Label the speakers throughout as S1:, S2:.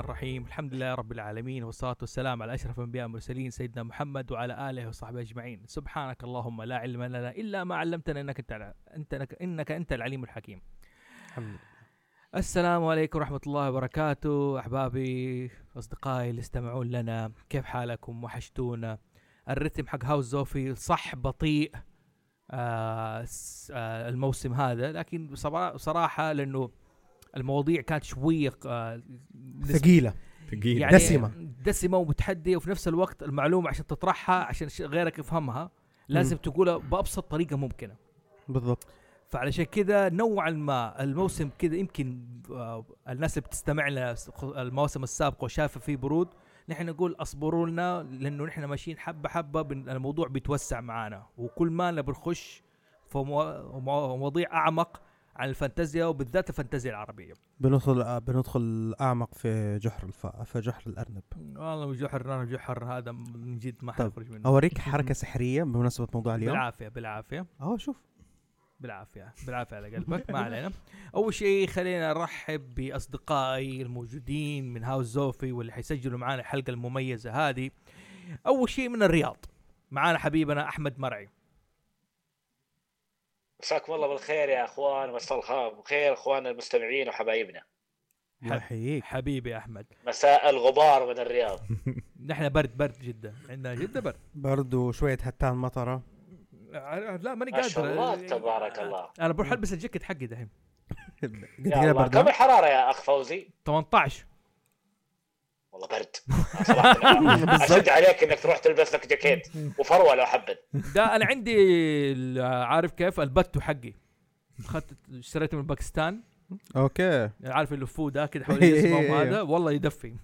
S1: الرحيم الحمد لله رب العالمين والصلاة والسلام على أشرف الأنبياء والمرسلين سيدنا محمد وعلى آله وصحبه أجمعين سبحانك اللهم لا علم لنا إلا ما علمتنا إنك أنت الع- أنت إنك أنت العليم الحكيم
S2: الحمد لله
S1: السلام عليكم ورحمة الله وبركاته أحبابي أصدقائي اللي استمعون لنا كيف حالكم وحشتونا الرتم حق هاوس زوفي صح بطيء آه س- آه الموسم هذا لكن بصرا- بصراحة لأنه المواضيع كانت شوية آه نسبة-
S2: ثقيلة
S3: ثقيل
S1: يعني
S2: دسمة.
S1: دسمة ومتحدية وفي نفس الوقت المعلومة عشان تطرحها عشان ش- غيرك يفهمها لازم
S2: مم.
S1: تقولها بأبسط طريقة ممكنة
S2: بالضبط
S1: فعلشان كذا نوعا ما الموسم كذا يمكن آه، الناس اللي بتستمع لنا س- خ- المواسم السابقه وشافه في برود نحن نقول اصبروا لنا لانه نحن ماشيين حبه حبه بن- الموضوع بيتوسع معانا وكل ما أنا بنخش في موا- موا- مواضيع اعمق عن الفانتازيا وبالذات الفانتازيا العربيه.
S2: بندخل بندخل أعمق في جحر الف... في جحر الأرنب
S1: والله جحر انا جحر هذا من جد ما
S2: طيب،
S1: حنخرج منه
S2: أوريك حركة سحرية بمناسبة موضوع اليوم
S1: بالعافيه بالعافيه
S2: أهو شوف
S1: بالعافيه بالعافيه على قلبك ما علينا اول شيء خلينا نرحب باصدقائي الموجودين من هاوس زوفي واللي حيسجلوا معانا الحلقه المميزه هذه اول شيء من الرياض معانا حبيبنا احمد مرعي
S4: مساكم الله بالخير يا اخوان مساء الخير بخير اخواننا المستمعين وحبايبنا
S2: الله يحييك
S1: حبيبي يا احمد
S4: مساء الغبار من الرياض
S1: نحن برد برد جدا عندنا جدا برد
S2: برد وشوية هتان مطرة
S1: لا ماني
S4: ما
S1: قادر
S4: شاء الله تبارك الله
S1: انا بروح البس الجاكيت حقي دحين
S2: قد
S4: يا
S2: كده
S4: الله كم
S2: برد
S4: الحراره يا اخ فوزي
S1: 18
S4: والله برد صراحة أنا اشد عليك انك تروح تلبس لك جاكيت وفروه لو حبت
S1: ده انا عندي ال- عارف كيف البتو حقي اخذت اشتريته من باكستان
S2: أوكي
S1: يعني عارف اللفو ده كده حوالين جسمهم هذا والله يدفي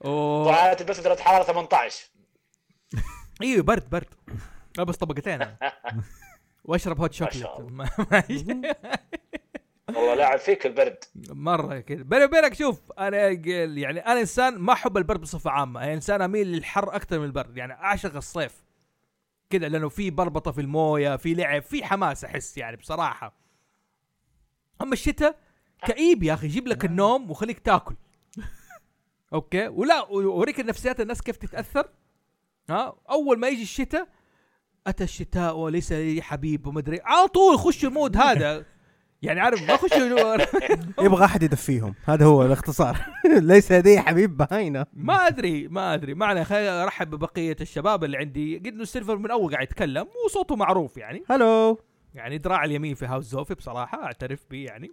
S1: و...
S4: وعلى تلبس درجه حراره 18
S1: ايوه برد برد البس طبقتين أنا. واشرب هوت
S4: ما شاء
S1: شوكليت
S4: الله.
S1: ما- ما-
S4: والله لاعب فيك البرد
S1: مره كذا بيني وبينك شوف انا قل- يعني انا انسان ما احب البرد بصفه عامه انا انسان اميل للحر اكثر من البرد يعني اعشق الصيف كذا لانه في بربطه في المويه في لعب في حماس احس يعني بصراحه اما الشتاء كئيب يا اخي يجيب لك النوم وخليك تاكل اوكي ولا اوريك نفسيات الناس كيف تتاثر ها اول ما يجي الشتاء اتى الشتاء وليس لي حبيب ومدري على طول خش المود هذا يعني عارف ما خش
S2: يبغى أحد يدفيهم هذا هو الاختصار ليس لدي حبيب بهاينا
S1: ما ادري ما ادري ما عليه خلينا ارحب ببقيه الشباب اللي عندي قد انه السيلفر من اول قاعد يتكلم وصوته معروف يعني
S2: هلو
S1: يعني دراع اليمين في هاوس زوفي بصراحه اعترف به يعني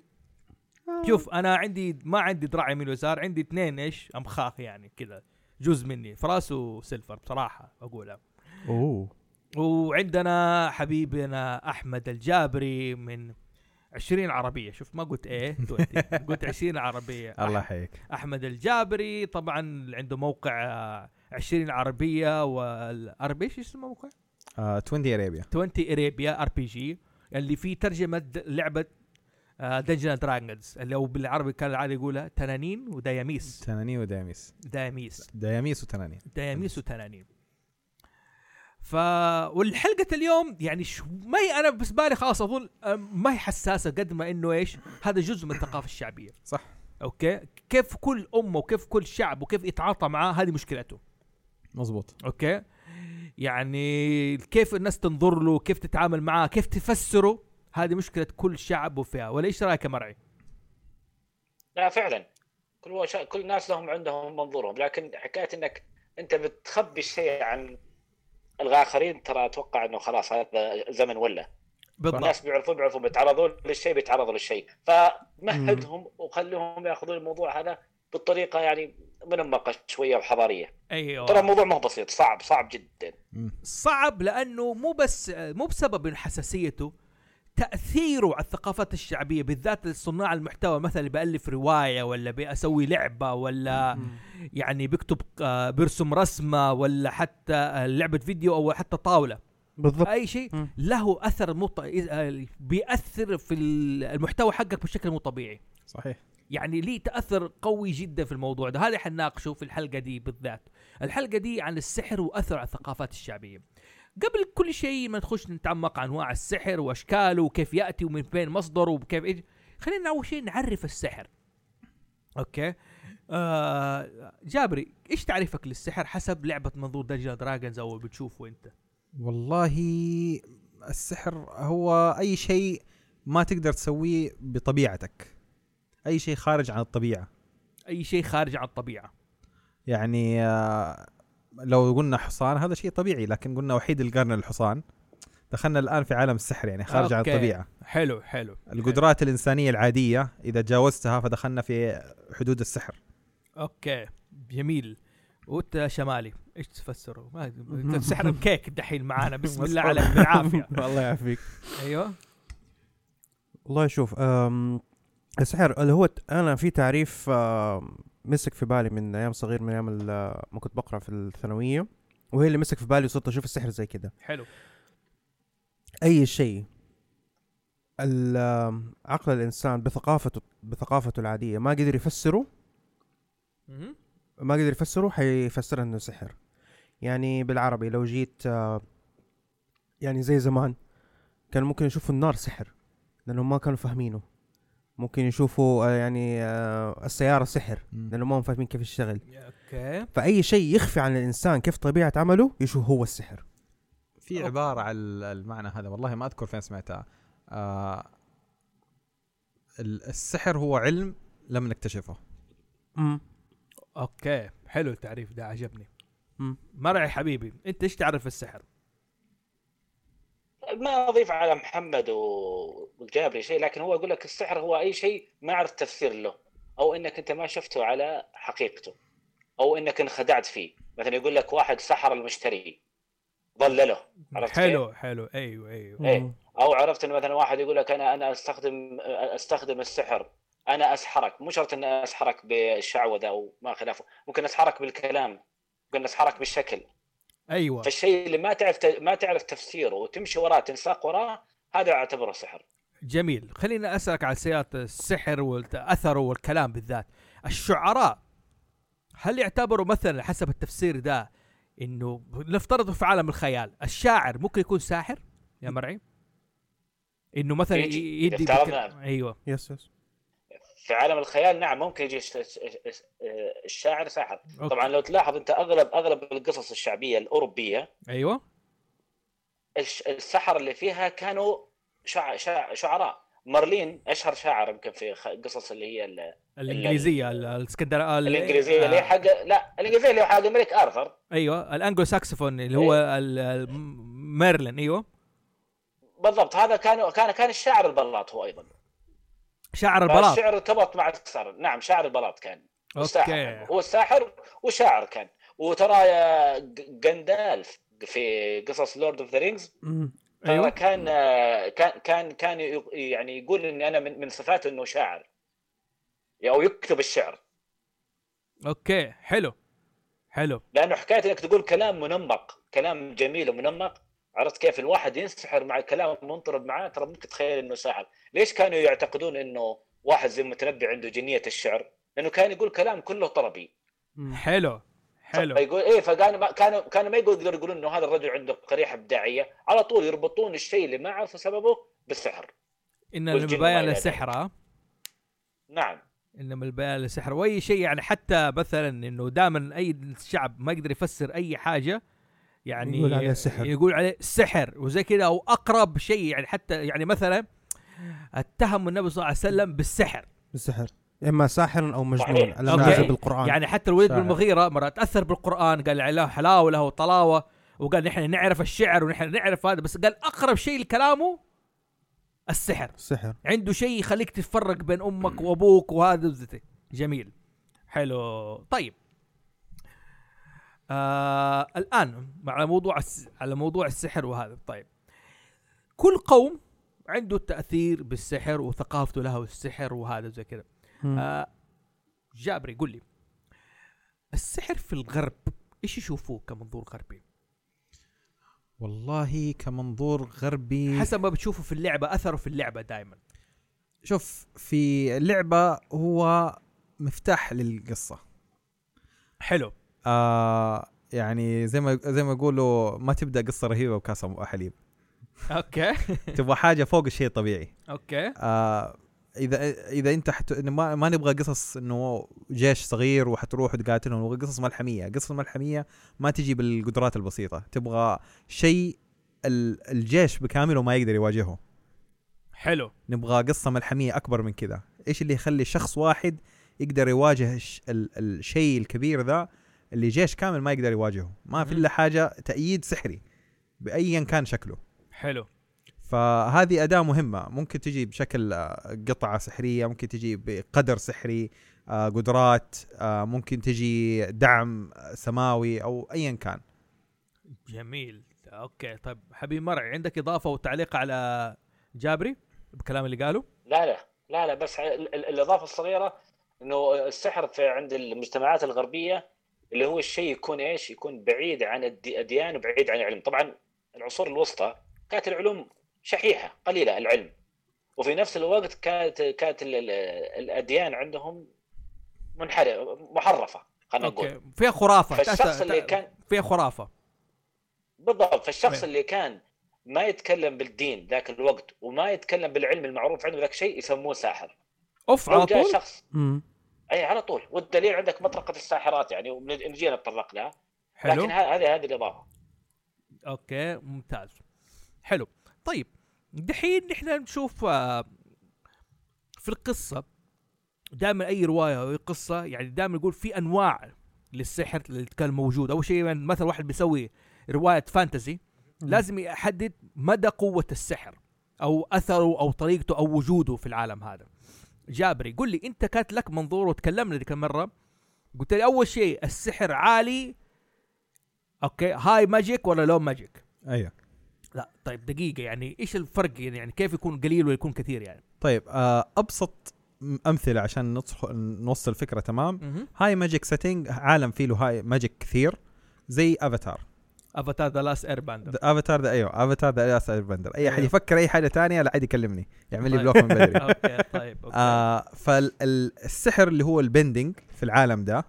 S1: شوف انا عندي ما عندي دراع يمين ويسار عندي اثنين ايش امخاخ يعني كذا جزء مني فراس وسيلفر بصراحه اقولها
S2: أوه
S1: وعندنا حبيبنا احمد الجابري من 20 عربيه شوف ما قلت ايه 20 قلت 20 عربيه
S3: الله يحييك
S1: احمد الجابري طبعا عنده موقع آه، 20 عربيه والاربي ايش اسمه الموقع؟
S3: آه، 20 اريبيا
S1: 20 اريبيا ار بي جي اللي فيه ترجمه د- آه، لعبه دنجن دراجونز اللي هو بالعربي كان العاده يقولها تنانين ودياميس
S3: تنانين ودياميس
S1: دياميس
S3: دياميس وتنانين
S1: دياميس وتنانين ف والحلقه اليوم يعني شو ما هي انا بالنسبه لي خلاص اظن آه، ما هي حساسه قد ما انه ايش هذا جزء من الثقافه الشعبيه
S3: صح.
S1: اوكي كيف كل امه وكيف كل شعب وكيف يتعاطى معاه هذه مشكلته
S3: مزبوط
S1: اوكي يعني كيف الناس تنظر له كيف تتعامل معاه كيف تفسره هذه مشكله كل شعب وفئه ولا ايش رايك يا مرعي
S4: لا فعلا كل وش... كل ناس لهم عندهم منظورهم لكن حكايه انك انت بتخبي الشيء عن الاخرين ترى اتوقع انه خلاص هذا زمن ولا
S1: بالضبط
S4: الناس بيعرفون بيعرفون بيتعرضوا للشيء بيتعرضوا للشيء فمهدهم وخليهم ياخذون الموضوع هذا بالطريقه يعني منمقه شويه وحضاريه ترى
S1: ايوه
S4: الموضوع ما هو بسيط صعب صعب جدا
S1: صعب لانه مو بس مو بسبب حساسيته تاثيره على الثقافات الشعبيه بالذات صناع المحتوى مثلا اللي بالف روايه ولا بسوي لعبه ولا يعني بكتب آه، بيرسم رسمه ولا حتى آه، لعبه فيديو او حتى طاوله
S2: بالضبط
S1: اي شيء
S2: مم.
S1: له اثر مو ط- آه، بياثر في ال- المحتوى حقك بشكل مو طبيعي
S3: صحيح
S1: يعني ليه تاثر قوي جدا في الموضوع ده هذا حنناقشه في الحلقه دي بالذات الحلقه دي عن السحر واثر على الثقافات الشعبيه قبل كل شيء ما نخش نتعمق عن انواع السحر واشكاله وكيف ياتي ومن فين مصدره وكيف إيش خلينا اول شيء نعرف السحر اوكي آه جابري ايش تعريفك للسحر حسب لعبه منظور دجله دراجونز او بتشوفه انت
S3: والله السحر هو اي شيء ما تقدر تسويه بطبيعتك اي شيء خارج عن الطبيعه
S1: اي شيء خارج عن الطبيعه
S3: يعني آه، لو قلنا حصان هذا شيء طبيعي لكن قلنا وحيد القرن الحصان دخلنا الان في عالم السحر يعني خارج عن
S1: أوكي.
S3: الطبيعه
S1: حلو حلو
S3: القدرات الانسانيه العاديه اذا تجاوزتها فدخلنا في حدود السحر
S1: اوكي جميل وانت شمالي ايش تفسره؟ ما أنت السحر كيك دحين معانا بسم الله عليك بالعافيه
S2: الله يعافيك
S1: ايوه
S2: والله شوف أم، السحر اللي هو ت- انا في تعريف أم، مسك في بالي من ايام صغير من ايام ال- ما كنت بقرا في الثانويه وهي اللي مسك في بالي وصرت اشوف السحر زي كده
S1: حلو
S2: اي شيء ال- عقل الانسان بثقافته بثقافته العاديه ما قدر يفسره
S1: مهم.
S2: ما قدر يفسره حيفسرها انه سحر يعني بالعربي لو جيت آه، يعني زي زمان كان ممكن يشوفوا النار سحر لانهم ما كانوا فاهمينه ممكن يشوفوا آه، يعني آه، السياره سحر لانهم ما هم فاهمين كيف يشتغل
S1: اوكي
S2: فاي شيء يخفي عن الانسان كيف طبيعه عمله يشوف هو السحر
S3: في عباره على المعنى هذا والله ما اذكر فين سمعتها آه السحر هو علم لم نكتشفه
S1: اوكي حلو التعريف ده عجبني
S2: مم.
S1: مرعي حبيبي انت ايش تعرف السحر؟
S4: ما اضيف على محمد و- والجابري شيء لكن هو يقول لك السحر هو اي شيء ما عرفت تفسير له او انك انت ما شفته على حقيقته او انك انخدعت فيه مثلا يقول لك واحد سحر المشتري ضلله عرفت
S1: حلو حلو ايوه ايوه
S4: إيه. او عرفت ان مثلا واحد يقول لك انا انا استخدم استخدم السحر انا اسحرك مو شرط ان اسحرك بالشعوذه او ما خلافه ممكن اسحرك بالكلام ممكن اسحرك بالشكل
S1: ايوه
S4: فالشيء اللي ما تعرف ما تعرف تفسيره وتمشي وراه تنساق وراه هذا اعتبره سحر
S1: جميل خلينا اسالك على سياق السحر واثره والكلام بالذات الشعراء هل يعتبروا مثلا حسب التفسير ده انه نفترض في عالم الخيال الشاعر ممكن يكون ساحر يا مرعي انه مثلا
S4: يجي.
S1: ي- يدي
S4: يفترض
S1: بك-
S4: نعم.
S1: ايوه
S2: يس يس
S4: في عالم الخيال نعم ممكن يجي الش- الش- الش- الشاعر ساحر
S1: أوكي.
S4: طبعا لو تلاحظ انت اغلب اغلب القصص الشعبيه الاوروبيه
S1: ايوه
S4: الش- السحر اللي فيها كانوا شع... شع... شعراء مارلين اشهر شاعر يمكن في خ- قصص اللي هي ال...
S1: الانجليزيه ال- الاسكندر ال-
S4: الانجليزيه اللي هي
S1: آه،
S4: حق لا الانجليزيه اللي هي حق الملك ارثر
S1: ايوه الانجلو ساكسفون اللي هو
S4: إيه.
S1: ال- ال- ميرلين ايوه
S4: بالضبط هذا كان كان كان الشاعر البلاط هو ايضا آه،
S1: شاعر البلاط
S4: الشعر ارتبط مع السحر نعم شاعر البلاط كان
S1: اوكي
S4: الساحر
S1: أيوه.
S4: هو الساحر وشاعر كان وترى يا ج- جندالف في قصص لورد اوف ذا رينجز
S1: ايوه
S4: أيوة. كان كان كان كان ي- يعني يقول اني انا من من صفاته انه شاعر او يكتب الشعر
S1: اوكي حلو حلو
S4: لانه حكايه انك تقول كلام منمق كلام جميل ومنمق عرفت كيف الواحد ينسحر مع كلام منطرب معاه ترى ممكن تخيل انه ساحر ليش كانوا يعتقدون انه واحد زي المتنبي عنده جنيه الشعر لانه كان يقول كلام كله طربي
S1: حلو حلو
S4: فيقول ايه فكان ما كانوا كانوا ما يقدروا يقولون انه هذا الرجل عنده قريحه ابداعيه على طول يربطون الشيء اللي ما عرفوا سببه بالسحر
S1: ان
S4: والجن
S1: البيان
S4: وما إلى
S1: للسحر ها؟
S4: نعم
S1: انما البيان للسحر واي شيء يعني حتى مثلا انه دائما اي شعب ما يقدر يفسر اي حاجه يعني
S2: يقول عليه سحر.
S1: يقول عليه سحر وزي كذا او اقرب شيء يعني حتى يعني مثلا اتهموا النبي صلى الله عليه وسلم بالسحر
S2: السحر اما ساحرا او مجنون
S4: صحيح.
S2: الم
S1: أوكي.
S2: يعجب بالقران
S1: يعني حتى الوليد بن
S3: ساحر.
S1: المغيره مره تاثر بالقران قال له حلاوه له طلاوه وقال نحن نعرف الشعر ونحن نعرف هذا بس قال اقرب شيء لكلامه السحر
S2: السحر
S1: عنده شيء يخليك تتفرق بين امك وابوك وهذا وزتي. جميل حلو طيب آه الان على موضوع الس... على موضوع السحر وهذا طيب كل قوم عنده التاثير بالسحر وثقافته لها والسحر وهذا زي كذا آه جابري قل لي السحر في الغرب ايش يشوفوه كمنظور غربي؟
S3: والله كمنظور غربي
S1: حسب ما بتشوفه في اللعبه اثره في اللعبه دائما
S3: شوف في اللعبة هو مفتاح للقصة
S1: حلو
S3: آه يعني زي ما زي ما يقولوا ما تبدا قصه رهيبه وكاسه حليب
S1: اوكي
S3: تبغى حاجه فوق الشيء الطبيعي
S1: اوكي
S3: آه اذا اذا انت حت... إنه ما, ما نبغى قصص انه جيش صغير وحتروح وتقاتلهم نبغى قصص ملحميه، قصص الملحميه ما تجي بالقدرات البسيطه، تبغى شيء ال... الجيش بكامله ما يقدر يواجهه،
S1: حلو
S3: نبغى قصه ملحميه اكبر من كذا، ايش اللي يخلي شخص واحد يقدر يواجه الش... ال... الشيء الكبير ذا اللي جيش كامل ما يقدر يواجهه، ما في
S1: مم.
S3: الا حاجه تأييد سحري بايا كان شكله.
S1: حلو
S3: فهذه أداة مهمة ممكن تجي بشكل آه، قطعة سحرية ممكن تجي بقدر سحري آه، قدرات آه، ممكن تجي دعم آه، سماوي أو أيا كان
S1: جميل اوكي طيب حبيبي مرعي عندك اضافه وتعليق على جابري بالكلام اللي قاله
S4: لا لا لا لا بس ال- ال- الاضافه الصغيره انه السحر في عند المجتمعات الغربيه اللي هو الشيء يكون ايش؟ يكون بعيد عن الدي- الاديان وبعيد عن العلم، طبعا العصور الوسطى كانت العلوم شحيحه قليله العلم وفي نفس الوقت كانت كانت ال- ال- الاديان عندهم منحرفه محرفه خلينا نقول
S1: اوكي فيها خرافه
S4: فالشخص اللي
S1: تحس-
S4: كان
S1: فيها خرافه
S4: بالضبط فالشخص
S1: طيب.
S4: اللي كان ما يتكلم بالدين ذاك الوقت وما يتكلم بالعلم المعروف عنده ذاك شيء يسموه ساحر
S1: اوف
S4: لو
S1: على
S4: جاء
S1: طول
S4: شخص
S2: مم.
S4: اي على طول والدليل عندك مطرقه الساحرات يعني ونجينا نتطرق لها
S1: حلو
S4: لكن ه- هذه هذه الاضافه
S1: اوكي ممتاز حلو طيب دحين نحن نشوف آه، في القصه دائما اي روايه او اي قصه يعني دائما يقول في انواع للسحر اللي كان موجود اول شيء يعني مثلا واحد بيسوي روايه فانتزي لازم يحدد مدى قوه السحر او اثره او طريقته او وجوده في العالم هذا جابري قل لي انت كانت لك منظور وتكلمنا ذيك المره قلت لي اول شيء السحر عالي اوكي هاي ماجيك ولا لو ماجيك
S3: أيوه
S1: لا طيب دقيقة يعني ايش الفرق يعني, يعني كيف يكون قليل ولا يكون كثير يعني؟
S3: طيب آه، أبسط م- أمثلة عشان نصح- نوصل الفكرة تمام هاي ماجيك سيتنج عالم فيه له هاي ماجيك كثير زي افاتار
S1: افاتار ذا لاست اير باندر
S3: افاتار ذا ايوه افاتار ذا لاست بندر اي احد
S1: أيوه.
S3: يفكر اي حاجه ثانيه لا عاد يكلمني يعمل لي
S1: طيب.
S3: بلوك من بدري
S1: اوكي طيب اوكي
S3: آه فالسحر اللي هو البندنج في العالم ده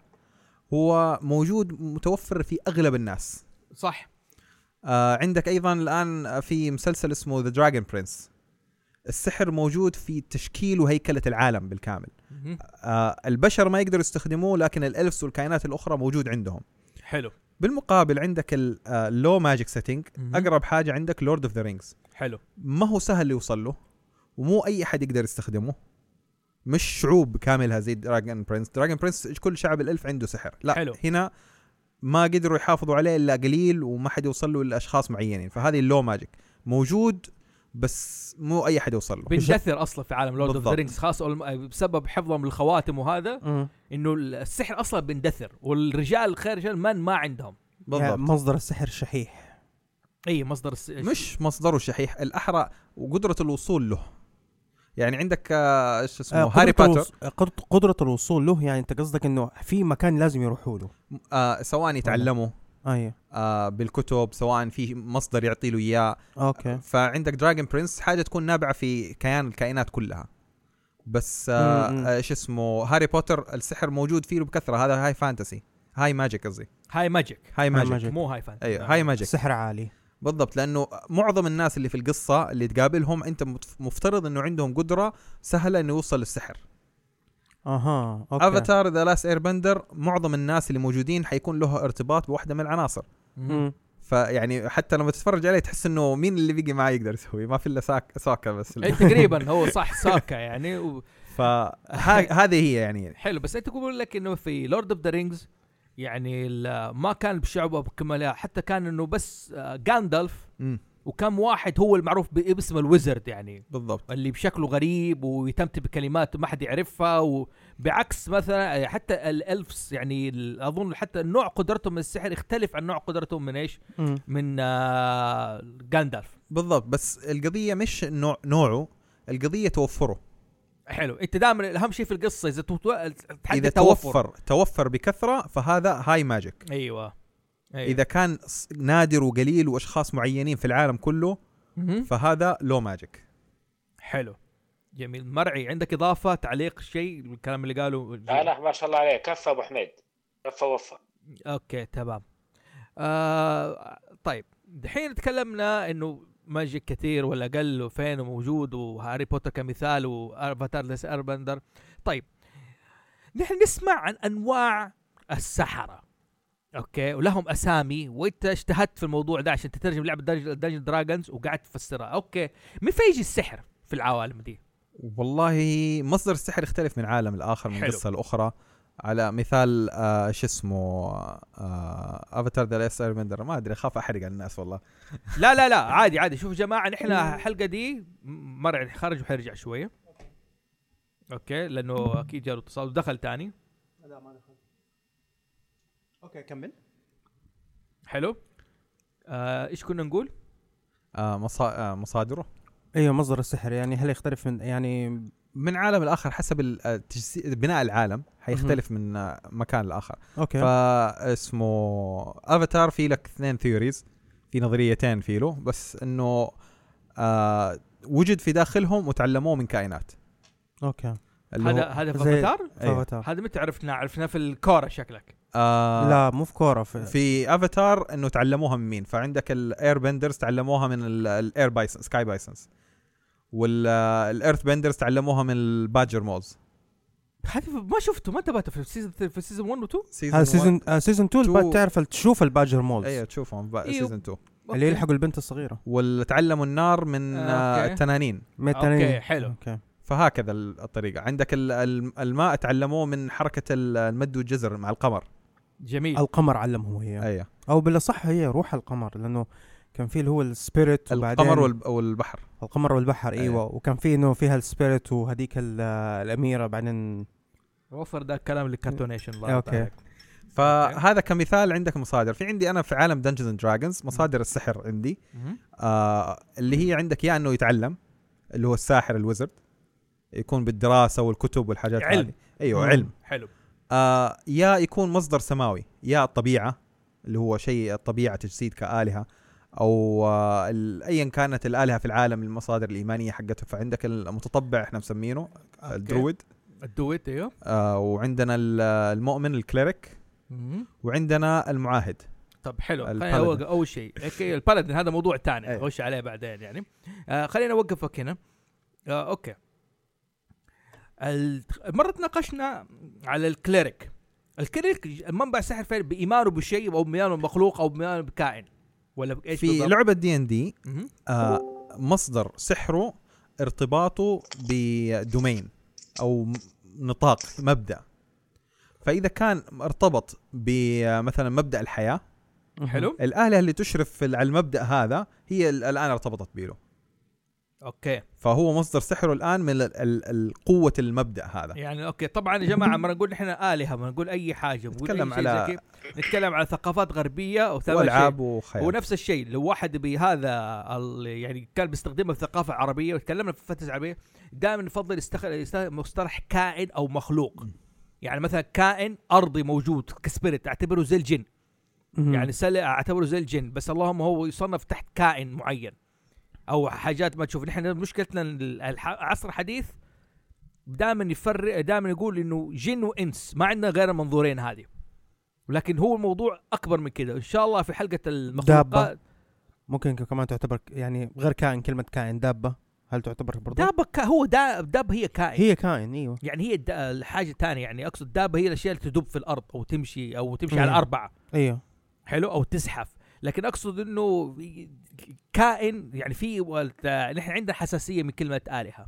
S3: هو موجود متوفر في اغلب الناس
S1: صح
S3: آه عندك ايضا الان في مسلسل اسمه ذا دراجون برنس السحر موجود في تشكيل وهيكله العالم بالكامل
S1: مهم.
S3: آه البشر ما يقدروا يستخدموه لكن الالفس والكائنات الاخرى موجود عندهم
S1: حلو
S3: بالمقابل عندك آه، اللو ماجيك سيتنج
S1: مهم.
S3: اقرب حاجه عندك لورد اوف ذا رينجز
S1: حلو
S3: ما هو سهل يوصل له ومو اي احد يقدر يستخدمه مش شعوب كاملها زي دراجون برنس دراجون برنس كل شعب الالف عنده سحر لا
S1: حلو.
S3: هنا ما قدروا يحافظوا عليه الا قليل وما حد يوصل له الا اشخاص معينين فهذه اللو ماجيك موجود بس مو اي حد يوصل له
S1: بنجثر اصلا في عالم لورد اوف ذا
S3: بالضبط.
S1: رينجز خاصة آه، بسبب حفظهم للخواتم وهذا
S2: مم.
S1: انه السحر اصلا بندثر والرجال خير رجال من ما عندهم
S2: يعني
S3: بالضبط
S2: مصدر السحر شحيح
S1: اي مصدر الس...
S3: مش مصدره شحيح الاحرى وقدره الوصول له يعني عندك آه، ايش اسمه
S2: آه،
S3: هاري
S2: قدرة
S3: باتر
S2: الوص- آه، قدرة- قدرة الوصول له يعني انت قصدك انه في مكان لازم يروحوا له
S3: آه سواء يتعلمه
S2: ايوه
S3: آه بالكتب سواء في مصدر يعطي له اياه آه،
S2: اوكي
S3: فعندك دراجون برنس حاجه تكون نابعه في كيان الكائنات كلها بس آه،
S2: مم.
S3: آه، ايش اسمه هاري بوتر السحر موجود فيه بكثره هذا هاي فانتسي هاي ماجيك قصدي
S1: هاي ماجيك
S3: هاي ماجيك
S2: ماجيك. آه،
S1: مو هاي فانتسي
S3: ايوه هاي ماجيك
S2: السحر عالي
S3: بالضبط لانه معظم الناس اللي في القصه اللي تقابلهم انت مت- مفترض انه عندهم قدره سهله انه يوصل للسحر
S2: اها اوكي
S3: افاتار ذا لاست اير بندر معظم الناس اللي موجودين حيكون له ارتباط بواحده من العناصر
S1: مهم.
S2: مم.
S3: فيعني حتى لما تتفرج عليه تحس انه مين اللي بيجي معاه يقدر يسوي ما في الا ساك- ساكا بس
S1: إيه، تقريبا هو صح ساكا يعني و...
S3: فهذه هي يعني
S1: حلو بس انت تقول لك انه في لورد اوف ذا رينجز يعني ال- ما كان بشعبه بكملها حتى كان انه بس آه، جاندالف
S3: مم.
S1: وكم واحد هو المعروف ب- باسم الويزرد يعني
S3: بالضبط
S1: اللي بشكله غريب ويتمتم بكلمات ما حد يعرفها وبعكس مثلا آه، حتى الالفس يعني ال- اظن حتى نوع قدرتهم من السحر يختلف عن نوع قدرتهم من ايش؟
S2: مم.
S1: من آه، جاندالف
S3: بالضبط بس القضيه مش نوع نوعه القضيه توفره
S1: حلو انت دائما اهم شيء في القصه اذا تو- تحدد
S3: اذا
S1: توفر.
S3: توفر توفر بكثره فهذا هاي ماجيك
S1: ايوه أيوة.
S3: اذا كان ص- نادر وقليل واشخاص معينين في العالم كله
S1: مهم.
S3: فهذا لو ماجيك
S1: حلو جميل مرعي عندك اضافه تعليق شيء الكلام اللي قاله
S4: لا لا ما شاء الله عليه كفى ابو حميد كفى وفى
S1: اوكي تمام آه طيب دحين تكلمنا انه ماجيك كثير ولا قل وفين وموجود وهاري بوتر كمثال وافاتار ليس اربندر طيب نحن نسمع عن انواع السحره اوكي ولهم اسامي وانت اجتهدت في الموضوع ده عشان تترجم لعبه دنجن دراجونز وقعدت تفسرها اوكي من فين يجي السحر في العوالم دي
S3: والله مصدر السحر يختلف من عالم الاخر من
S1: حلو.
S3: قصه الاخرى على مثال آه شو اسمه آه، افاتار ذا لاست ايربندر ما ادري اخاف احرق على الناس والله
S1: لا لا لا عادي عادي شوف يا جماعه نحن الحلقه دي يعني مرعي خرج وحيرجع شويه اوكي لانه اكيد جاله اتصال ودخل تاني
S2: لا ما دخل اوكي كمل
S1: حلو آه، ايش كنا نقول؟
S3: آه مصا- آه، مصادره
S2: ايوه مصدر السحر يعني هل يختلف من يعني
S3: من عالم الاخر حسب ال- آه، تجسي- بناء العالم حيختلف من آه، مكان لاخر
S2: اوكي
S3: فاسمه افاتار في لك اثنين ثيوريز في نظريتين في له بس انه آه وجد في داخلهم وتعلموه من كائنات
S2: اوكي
S3: اللي
S1: هذا
S3: هو
S1: هذا في
S2: زي- آه.
S1: افاتار؟
S3: أيوه.
S2: فوتها.
S1: هذا متى عرفناه؟ عرفناه في الكوره شكلك
S3: آه
S2: لا مو في كوره في,
S3: في افاتار انه تعلموها من مين فعندك الاير بندرز تعلموها من الاير بايسن سكاي بايسنز والايرث بندرز تعلموها من الباجر موز
S1: هذا ما شفته ما انتبهت في السيزون في السيزون 1 و 2
S2: هذا سيزون آه سيزون 2
S3: two.
S2: الب- تعرف تشوف الباجر مولز
S3: ايوه تشوفهم
S1: إيوه.
S3: سيزون 2
S2: اللي يلحقوا البنت الصغيره
S3: وتعلموا النار من
S1: آه،
S3: آه
S1: أوكي.
S3: التنانين
S2: ميتانين.
S1: أوكي، حلو.
S2: اوكي
S3: فهكذا ال- الطريقه عندك ال- ال- الماء تعلموه من حركه ال- المد والجزر مع القمر
S1: جميل
S2: القمر علمهم هي
S3: ايوه
S2: او بالاصح هي روح القمر لانه كان في اللي هو السبيريت
S3: القمر والب- والبحر
S2: القمر والبحر
S1: إيه.
S2: ايوه
S3: أيوة.
S2: وكان في انه فيها السبيريت وهذيك ال- الاميره بعدين
S1: وفر ده الكلام للكرتونيشن الله
S2: أوكي.
S1: يعطيك.
S3: فهذا كمثال عندك مصادر في عندي انا في عالم دنجنز اند دراجونز مصادر السحر عندي
S1: مهم.
S3: آه اللي هي عندك يا انه يتعلم اللي هو الساحر الوزرد يكون بالدراسه والكتب والحاجات
S1: علم.
S3: هذه. ايوه
S2: مم.
S3: علم
S1: حلو
S3: آه يا يكون مصدر سماوي يا الطبيعه اللي هو شيء الطبيعه تجسيد كالهه او آه ال- ايا كانت الالهه في العالم المصادر الايمانيه حقتها فعندك المتطبع احنا مسمينه
S1: أوكي.
S3: الدرويد
S1: الدويت ايوه
S3: آه وعندنا ال- المؤمن الكليريك وعندنا المعاهد
S1: طب حلو خلينا
S3: البالادين.
S1: أوقف- اول شيء اوكي البالادين هذا موضوع ثاني
S3: أي.
S1: نخش عليه بعدين يعني آه خلينا اوقفك هنا آه اوكي ال- مره تناقشنا على الكليريك الكليريك ج- منبع سحر فين بايمانه بشيء او بايمانه بمخلوق او بايمانه بكائن ولا بايش
S3: في
S1: بالضبط؟
S3: لعبه دي ان دي
S1: مهم.
S3: آه، مصدر سحره ارتباطه بدومين او م- نطاق مبدا فاذا كان ارتبط آه، بمثلا مبدا الحياه
S1: حلو
S3: الاله اللي تشرف في- على المبدا هذا هي ال- الان ارتبطت به
S1: اوكي
S3: فهو مصدر سحره الان من ال- ال- ال- قوه المبدا هذا
S1: يعني اوكي طبعا يا جماعه ما نقول نحن الهه ما نقول اي حاجه نقول
S3: نتكلم
S1: أي شيء
S3: على-
S1: زي كده. نتكلم على ثقافات غربيه وثمان شيء.
S3: والعاب وخيال
S1: ونفس الشيء لو واحد بهذا ال- يعني كان بيستخدمه في الثقافه العربيه وتكلمنا في الفتره العربيه دائما نفضل يستخ- يستخدم مصطلح كائن او مخلوق يعني مثلا كائن ارضي موجود كسبيريت اعتبره زي الجن
S2: مهم.
S1: يعني سلة اعتبره زي الجن بس اللهم هو يصنف تحت كائن معين او حاجات ما تشوف نحن مشكلتنا ال- الح- العصر الحديث دائما يفرق دائما يقول انه جن وانس ما عندنا غير المنظورين هذه ولكن هو الموضوع اكبر من كده ان شاء الله في حلقه المخلوقات
S2: ممكن ك- كمان تعتبر ك- يعني غير كائن كلمه كائن دابه هل تعتبر برضو
S1: دابة كا هو دا داب هي كائن
S2: هي كائن ايوه
S1: يعني هي الد- الحاجة الثانية يعني أقصد دابة هي الأشياء اللي تدب في الأرض أو تمشي أو تمشي
S2: مم.
S1: على أربعة
S2: ايوه
S1: حلو أو تزحف لكن أقصد إنه كائن يعني في والت- نحن عندنا حساسية من كلمة آلهة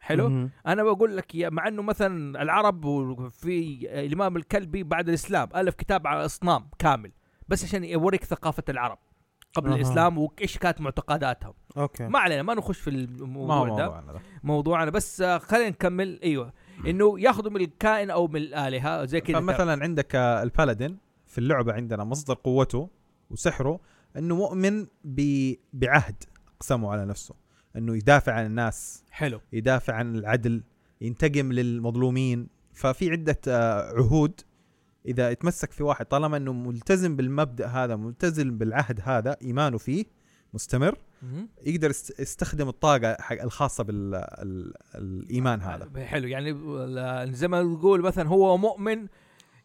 S1: حلو
S2: مهم.
S1: أنا بقول لك يا- مع إنه مثلا العرب وفي الإمام الكلبي بعد الإسلام ألف كتاب على الأصنام كامل بس عشان يوريك ثقافة العرب قبل
S2: أها.
S1: الإسلام وإيش كانت معتقداتهم
S2: اوكي
S1: ما علينا ما نخش في
S3: ما هو
S1: الموضوع ده
S3: موضوعنا ده
S1: موضوعنا بس آه، خلينا نكمل ايوه انه ياخذوا من الكائن او من الالهه زي كذا
S3: فمثلا عندك آه، البالادين في اللعبه عندنا مصدر قوته وسحره انه مؤمن ب- بعهد اقسمه على نفسه انه يدافع عن الناس
S1: حلو
S3: يدافع عن العدل ينتقم للمظلومين ففي عده آه، عهود اذا اتمسك في واحد طالما انه ملتزم بالمبدا هذا ملتزم بالعهد هذا ايمانه فيه مستمر
S1: مهم.
S3: يقدر يست- يستخدم الطاقه حق- الخاصه بالايمان هذا
S1: حلو يعني ال- زي ما نقول مثلا هو مؤمن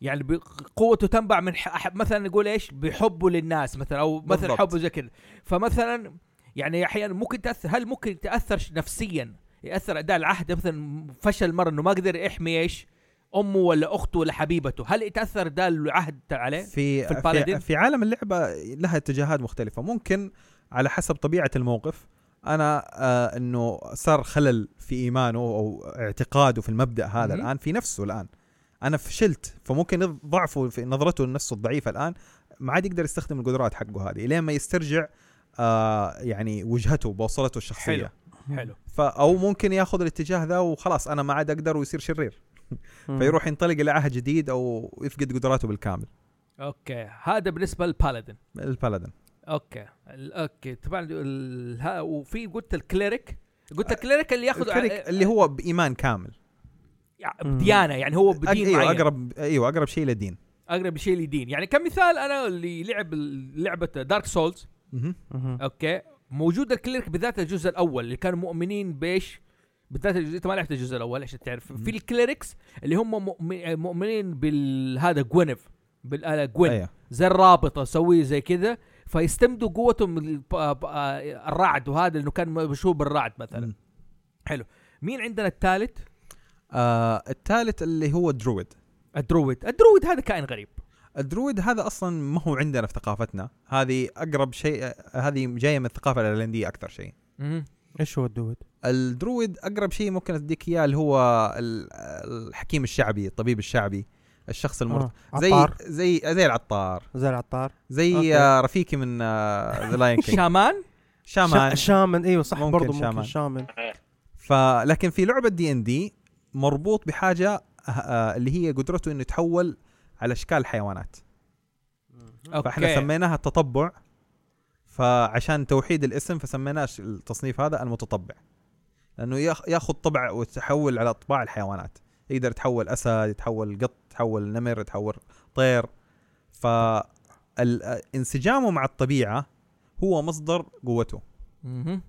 S1: يعني بق- قوته تنبع من ح... أح- مثلا نقول ايش بحبه للناس مثلا او مثلا
S3: بالضبط.
S1: حبه زي كذا فمثلا يعني احيانا ممكن تاثر هل ممكن تاثر ش- نفسيا ياثر اداء العهد مثلا فشل مره انه ما قدر يحمي ايش امه ولا اخته ولا حبيبته هل يتاثر ده العهد عليه
S3: في
S1: في البالادين؟
S3: في, في عالم اللعبه لها اتجاهات مختلفه ممكن على حسب طبيعه الموقف انا آه انه صار خلل في ايمانه او اعتقاده في المبدا هذا
S1: مهم.
S3: الان في نفسه الان انا فشلت فممكن ضعفه في نظرته لنفسه الضعيفه الان ما عاد يقدر يستخدم القدرات حقه هذه لين ما يسترجع آه يعني وجهته بوصلته الشخصيه
S1: حلو. حلو
S3: ف او ممكن ياخذ الاتجاه ذا وخلاص انا ما عاد اقدر ويصير شرير
S2: مم.
S3: فيروح ينطلق الى عهد جديد او يفقد قدراته بالكامل
S1: اوكي هذا بالنسبه للبالادين
S3: البلدن
S1: اوكي ال- اوكي طبعا ال- ها- وفي قلت الكليريك قلت الكليريك اللي ياخذ آه،
S3: الكريك اللي هو بايمان كامل
S1: بديانه يعني هو
S3: أق-
S1: بدين
S3: ايوه
S1: معين
S3: اقرب ايوه اقرب شيء للدين
S1: اقرب شيء لدين يعني كمثال انا اللي لعب ال- لعبه دارك سولز
S3: مهم.
S2: مهم.
S1: اوكي موجود الكليرك بالذات الجزء الاول اللي كانوا مؤمنين بايش بالذات الجزء انت ما لعبت الجزء الاول عشان تعرف في الكليركس اللي هم مؤمن- مؤمنين بالهذا جوينيف بالاله جوين
S3: ايوه
S1: زي الرابطه سوي زي كذا فيستمدوا قوتهم من الب- ب- آه، الرعد وهذا لانه كان مشهور بالرعد مثلا
S3: مم.
S1: حلو مين عندنا الثالث
S3: آه الثالث اللي هو الدرويد
S1: الدرويد الدرويد هذا كائن غريب
S3: الدرويد هذا اصلا ما هو عندنا في ثقافتنا هذه اقرب شيء هذه جايه من الثقافه الايرلنديه اكثر شيء
S1: مم.
S2: ايش هو الدود؟
S3: الدرويد اقرب شيء ممكن اديك اياه اللي هو ال- الحكيم الشعبي الطبيب الشعبي الشخص المرت
S2: آه.
S3: زي
S2: عطار
S3: زي زي العطار
S2: زي العطار
S3: زي
S2: أوكي.
S3: آه، رفيقي من آه، ذا لاين كينج
S1: شامان
S3: شامان
S2: شا- شامن ايوه صح
S3: ممكن
S2: برضه ممكن
S3: شامن.
S2: شامن, شامن.
S3: فلكن في لعبه دي ان دي مربوط بحاجه آه، آه، اللي هي قدرته انه يتحول على اشكال الحيوانات
S1: اوكي
S3: فاحنا سميناها التطبع فعشان توحيد الاسم فسميناه ش- التصنيف هذا المتطبع لانه ياخ- ياخذ طبع وتحول على اطباع الحيوانات يقدر يتحول اسد يتحول قط يتحول نمر يتحول طير ف آه، انسجامه مع الطبيعه هو مصدر قوته
S1: مهم.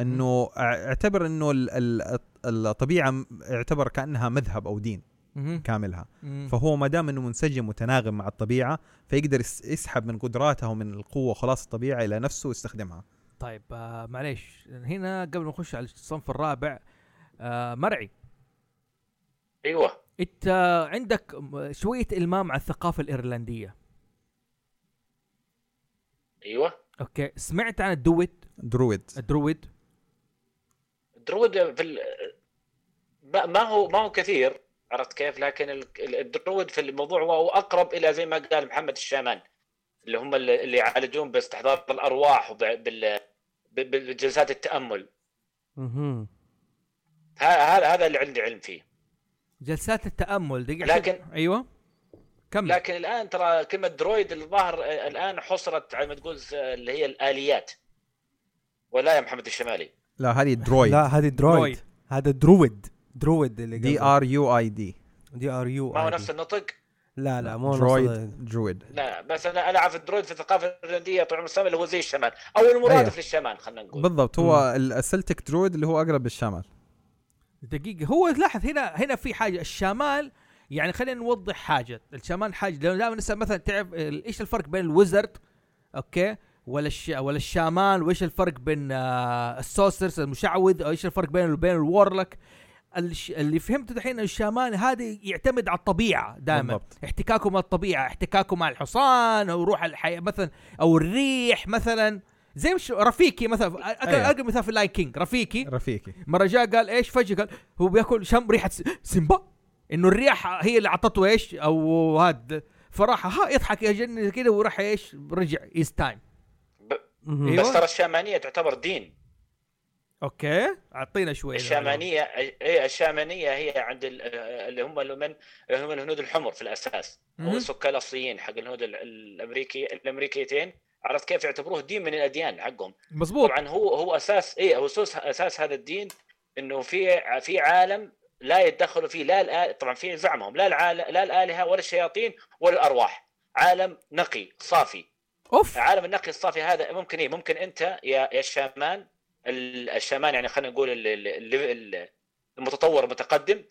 S3: انه اع- اعتبر انه ال- ال- الطبيعه م- اعتبر كانها مذهب او دين
S1: مهم.
S3: كاملها
S1: مم.
S3: فهو ما دام انه منسجم متناغم مع الطبيعه فيقدر يس- يسحب من قدراته ومن القوه وخلاص الطبيعه الى نفسه ويستخدمها
S1: طيب آه معليش هنا قبل ما نخش على الصنف الرابع آه مرعي
S4: ايوه
S1: انت عندك م- شويه المام على الثقافه الايرلنديه
S4: ايوه
S1: اوكي سمعت عن الدويد
S3: درويد
S1: الدرويد
S4: الدرويد في ال... ما ما هو ما هو كثير عرفت كيف لكن ال- ال- الدرويد في الموضوع هو اقرب الى زي ما قال محمد الشامان اللي هم ال- اللي يعالجون باستحضار الارواح وب- بال بال- بالجلسات التامل
S2: مهم.
S4: ه- هذا هذا اللي عندي علم فيه
S1: جلسات التامل دقيقه
S4: لكن-
S1: شوف. ايوه كمل
S4: لكن الان ترى كلمه درويد الظاهر الان حصرت على ما تقول س- اللي هي الاليات ولا يا محمد الشمالي
S3: لا هذه درويد
S2: لا هذه درويد
S1: درويد.
S2: هذا درويد درويد اللي
S3: دي
S2: قبله.
S3: ار يو اي دي
S2: دي ار يو
S4: ما هو
S2: ID.
S4: نفس النطق
S2: لا لا مو نفس
S3: درويد درويد
S4: لا بس انا العب الدرويد في الثقافه الايرلنديه طول عمر السلام اللي هو زي الشمال او المرادف
S3: أيوه.
S4: للشمال خلينا نقول
S3: بالضبط هو ال- السلتك درويد اللي هو اقرب للشمال
S1: دقيقه هو لاحظ هنا هنا في حاجه الشمال يعني خلينا نوضح حاجه الشمال حاجه لانه دائما نسال مثلا تعرف ال- ايش الفرق بين الوزرد اوكي ولا الش... ولا الشامان وايش الفرق بين آه السوسرس المشعوذ او ايش الفرق بينه وبين الورلك الش... اللي فهمته دحين الشامان هذا يعتمد على الطبيعه دائما
S3: بالضبط.
S1: احتكاكه مع الطبيعه احتكاكه مع الحصان او روح الحي... مثلا او الريح مثلا زي مش رفيقي مثلا أقل-
S3: أيوه.
S1: اقرب مثال في اللاي كينج رفيقي
S3: رفيقي
S1: مره جاء قال ايش فجاه قال هو بياكل شم ريحه س- سيمبا انه الرياح هي اللي اعطته ايش او هاد فراح ها يضحك يجن كذا وراح ايش رجع از تايم
S2: مهم.
S1: إيه.
S4: بس
S1: أيوه.
S4: ترى الشامانيه تعتبر دين
S3: أيوه.
S1: اوكي اعطينا شوي
S4: الشامانيه اي الشامانيه هي عند ال- آه، اللي هم اللي من اللي هم الهنود الحمر في الاساس
S1: مهم.
S4: هم السكان الاصليين حق الهنود ال- الامريكي الامريكيتين عرفت كيف يعتبروه دين من الاديان حقهم
S1: مزبوط
S4: طبعا هو هو اساس اي هو اساس اساس هذا الدين انه في في عالم لا يتدخلوا فيه لا الآ... طبعا في زعمهم لا العال... لا الالهه ولا الشياطين ولا الارواح عالم نقي صافي
S1: اوف
S4: عالم النقي الصافي هذا ممكن ايه ممكن انت يا يا الشامان ال- الشامان يعني خلينا نقول ال- ال- ال- المتطور المتقدم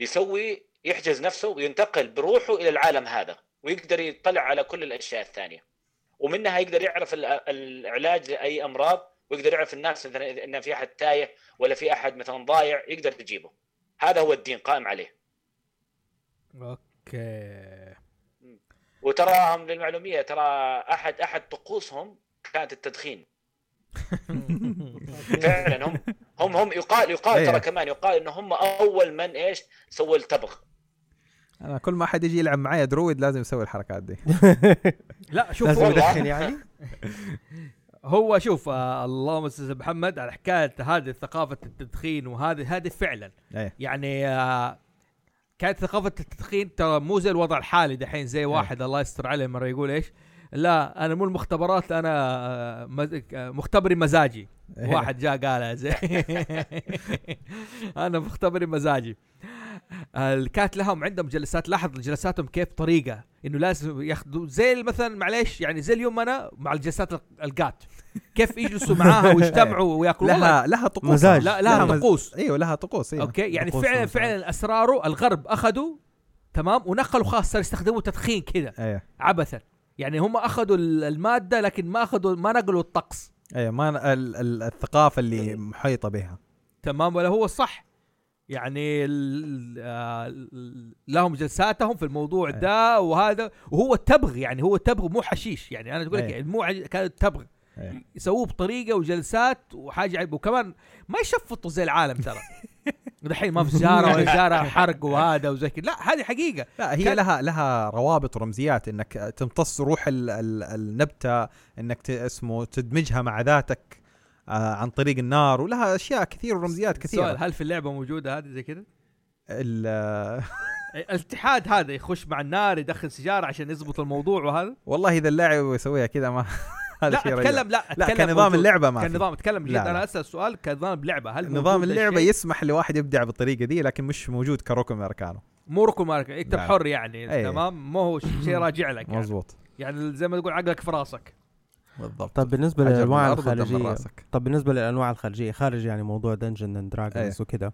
S4: يسوي يحجز نفسه وينتقل بروحه الى العالم هذا ويقدر يطلع على كل الاشياء الثانيه ومنها يقدر يعرف ال- العلاج لاي امراض ويقدر يعرف الناس مثلا ان في احد تايه ولا في احد مثلا ضايع يقدر يجيبه هذا هو الدين قائم عليه
S1: اوكي
S4: وتراهم للمعلوميه ترى احد احد طقوسهم كانت التدخين فعلا هم هم هم يقال يقال
S1: إيه.
S3: أيه.
S4: ترى كمان يقال ان هم اول من ايش سووا التبغ
S3: انا كل ما حد يجي يلعب معايا درويد لازم يسوي الحركات دي
S1: لا شوف
S2: لازم
S1: هو-
S4: والله.
S2: يدخن يعني
S1: هو شوف آه اللهم استاذ محمد على حكايه هذه ثقافه التدخين وهذه هذه فعلا
S3: أيه.
S1: يعني آه كانت ثقافه التدخين ترى مو زي الوضع الحالي دحين زي
S3: نعم.
S1: واحد الله يستر عليه مره يقول ايش لا انا مو المختبرات انا آه، مز- آه، مختبري مزاجي
S3: إيه.
S1: واحد جاء قالها زي انا مختبري مزاجي ال- كانت لهم عندهم جلسات لاحظ جلساتهم كيف طريقه انه لازم ياخذوا زي مثلا معليش يعني زي اليوم انا مع الجلسات ال- القات كيف يجلسوا معاها ويجتمعوا وياكلوا والله-
S3: لها لها طقوس
S2: مزاج.
S1: لا لها
S3: مز-
S1: طقوس
S3: ايوه لها طقوس ايوه
S1: اوكي يعني
S2: طقوس
S1: فعلا
S2: ومش
S1: فعلا اسراره الغرب اخذوا تمام ونقلوا خاص صار يستخدموا تدخين كذا
S3: ايوه
S1: عبثا يعني هم اخذوا ال- الماده لكن ما اخذوا ما نقلوا الطقس
S3: ايوه ما أنا- ال- ال- الثقافه اللي محيطه بها
S1: تمام ولا هو الصح يعني ال- آه، ال- لهم جلساتهم في الموضوع
S3: أيوة.
S1: ده وهذا وهو تبغ يعني هو تبغ مو حشيش يعني انا تقول لك
S3: أيوة.
S1: يعني مو عج- كان تبغ
S3: أيوة.
S1: يسووه بطريقه وجلسات وحاجه عيب وكمان ما يشفطوا زي العالم ترى دحين ما في سياره
S3: إيه.
S1: ولا سياره حرق وهذا وزي كذا لا هذه حقيقه
S3: لا هي
S1: كان-
S3: لها لها روابط ورمزيات انك تمتص روح ال ال النبته انك ت- اسمه تدمجها مع ذاتك آه عن طريق النار ولها اشياء كثير ورمزيات
S1: السؤال
S3: كثيره
S1: هل في اللعبه موجوده هذه زي كذا؟
S3: ال-
S1: الاتحاد هذا يخش مع النار يدخل سيجاره عشان يضبط الموضوع وهذا
S3: والله اذا اللاعب يسويها كذا ما هذا
S1: لا
S3: شيء
S1: اتكلم
S3: رهيب.
S1: لا
S3: لا
S1: اتكلم
S3: كنظام
S1: موجود.
S3: اللعبه ما في.
S1: كنظام اتكلم جد
S3: لا، لا.
S1: انا اسال سؤال كنظام اللعبه هل
S3: نظام
S1: موجود ذا
S3: اللعبه
S1: الشيء؟
S3: يسمح لواحد يبدع بالطريقه دي لكن مش موجود كروكو ماركانو
S1: مو ركن ماركة يكتب
S3: لا.
S1: حر يعني
S3: أي.
S1: تمام مو هو ش- شيء راجع لك يعني.
S3: مظبوط
S1: يعني زي ما تقول عقلك في راسك
S3: بالضبط
S2: طب بالنسبه
S3: عجب
S2: للانواع
S3: الأرض ودمر
S2: الخارجيه
S3: راسك.
S2: طب بالنسبه للانواع الخارجيه خارج يعني موضوع دنجن اند
S3: أيه.
S2: دراجونز وكذا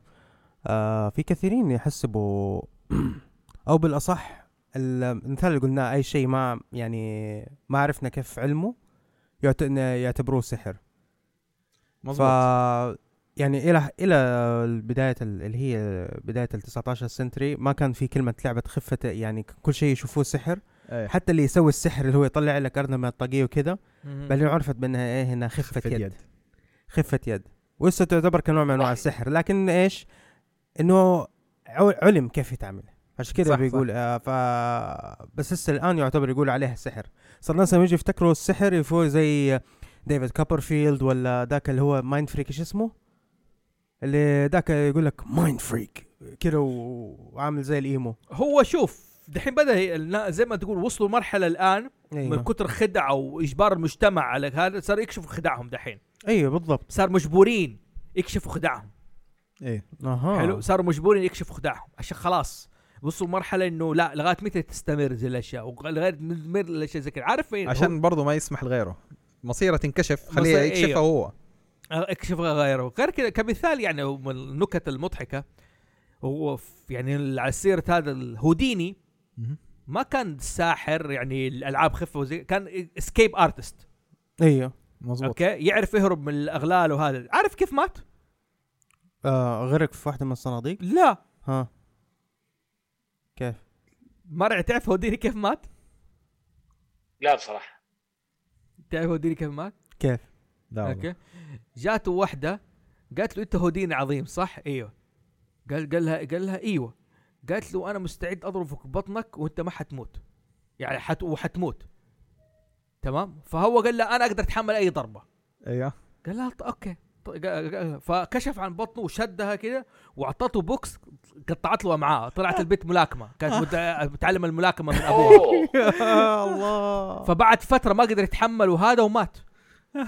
S2: آه في كثيرين يحسبوا او بالاصح المثال اللي قلناه اي شيء ما يعني ما عرفنا كيف علمه يعت- يعتبروه سحر ف
S3: مظبوط
S2: يعني الى الى بدايه اللي هي بدايه ال 19 سنتري ما كان في كلمه لعبه خفه يعني كل شيء يشوفوه سحر
S3: إيه.
S2: حتى اللي يسوي السحر اللي هو يطلع لك ارنب من الطاقيه وكذا بعدين عرفت بانها ايه انها خفه,
S3: خفة
S2: يد.
S3: يد.
S2: خفه يد ولسه تعتبر كنوع من انواع السحر لكن ايش انه عو- علم كيف يتعامل عشان
S3: صح،
S2: كذا
S3: صح.
S2: بيقول آه ف بس لسه الان يعتبر يقول عليها سحر صار الناس لما يجي يفتكروا السحر يفوز زي ديفيد كوبرفيلد ولا ذاك اللي هو مايند فريك ايش اسمه؟ اللي ذاك يقول لك مايند فريك كذا و- وعامل زي الايمو
S1: هو شوف دحين بدا ي- النا- زي ما تقول وصلوا مرحله الان من
S3: أيوه. أيوة.
S2: ايوه
S1: كتر خدع او اجبار المجتمع على هذا صار يكشفوا خداعهم دحين
S2: ايوه بالضبط
S1: صار مجبورين يكشفوا خداعهم
S3: ايه
S2: اها
S1: حلو صاروا مجبورين يكشفوا خداعهم عشان خلاص وصلوا مرحله انه لا لغايه متى تستمر زي الاشياء ولغايه تستمر الاشياء زي كذا عارف مين؟
S3: عشان برضو ما يسمح لغيره مصيره تنكشف خليه
S1: مصير-
S3: يكشفها
S1: أيوه.
S3: هو
S1: اكشف غيره غير كذا كمثال يعني من النكت المضحكه هو ف- يعني على سيره هذا الهوديني
S3: مهم.
S1: ما كان ساحر يعني الالعاب خفه وزي كان اسكيب ارتست
S2: ايوه
S3: مظبوط
S1: اوكي يعرف يهرب من الاغلال وهذا عارف كيف مات؟
S2: آه غرق في واحده من الصناديق
S1: لا
S2: ها كيف
S1: مرة تعرف هوديني كيف مات؟
S4: لا بصراحه
S1: تعرف هوديني كيف مات؟
S2: كيف
S3: لا والله.
S1: اوكي جاته واحده قالت له انت هوديني عظيم صح؟ ايوه قال قال لها قال لها ايوه قالت له انا مستعد اضربك بطنك وانت ما حتموت يعني حت وحتموت تمام فهو قال لها انا اقدر اتحمل اي ضربه
S3: ايوه
S1: قال لها "ط- اوكي ط- قا- قا- فكشف عن بطنه وشدها كده واعطته بوكس قطعت له امعاء طلعت البيت ملاكمه كانت مت- متعلم الملاكمه من ابوها
S4: اوه
S2: يا الله
S1: فبعد فتره ما قدر يتحمل وهذا ومات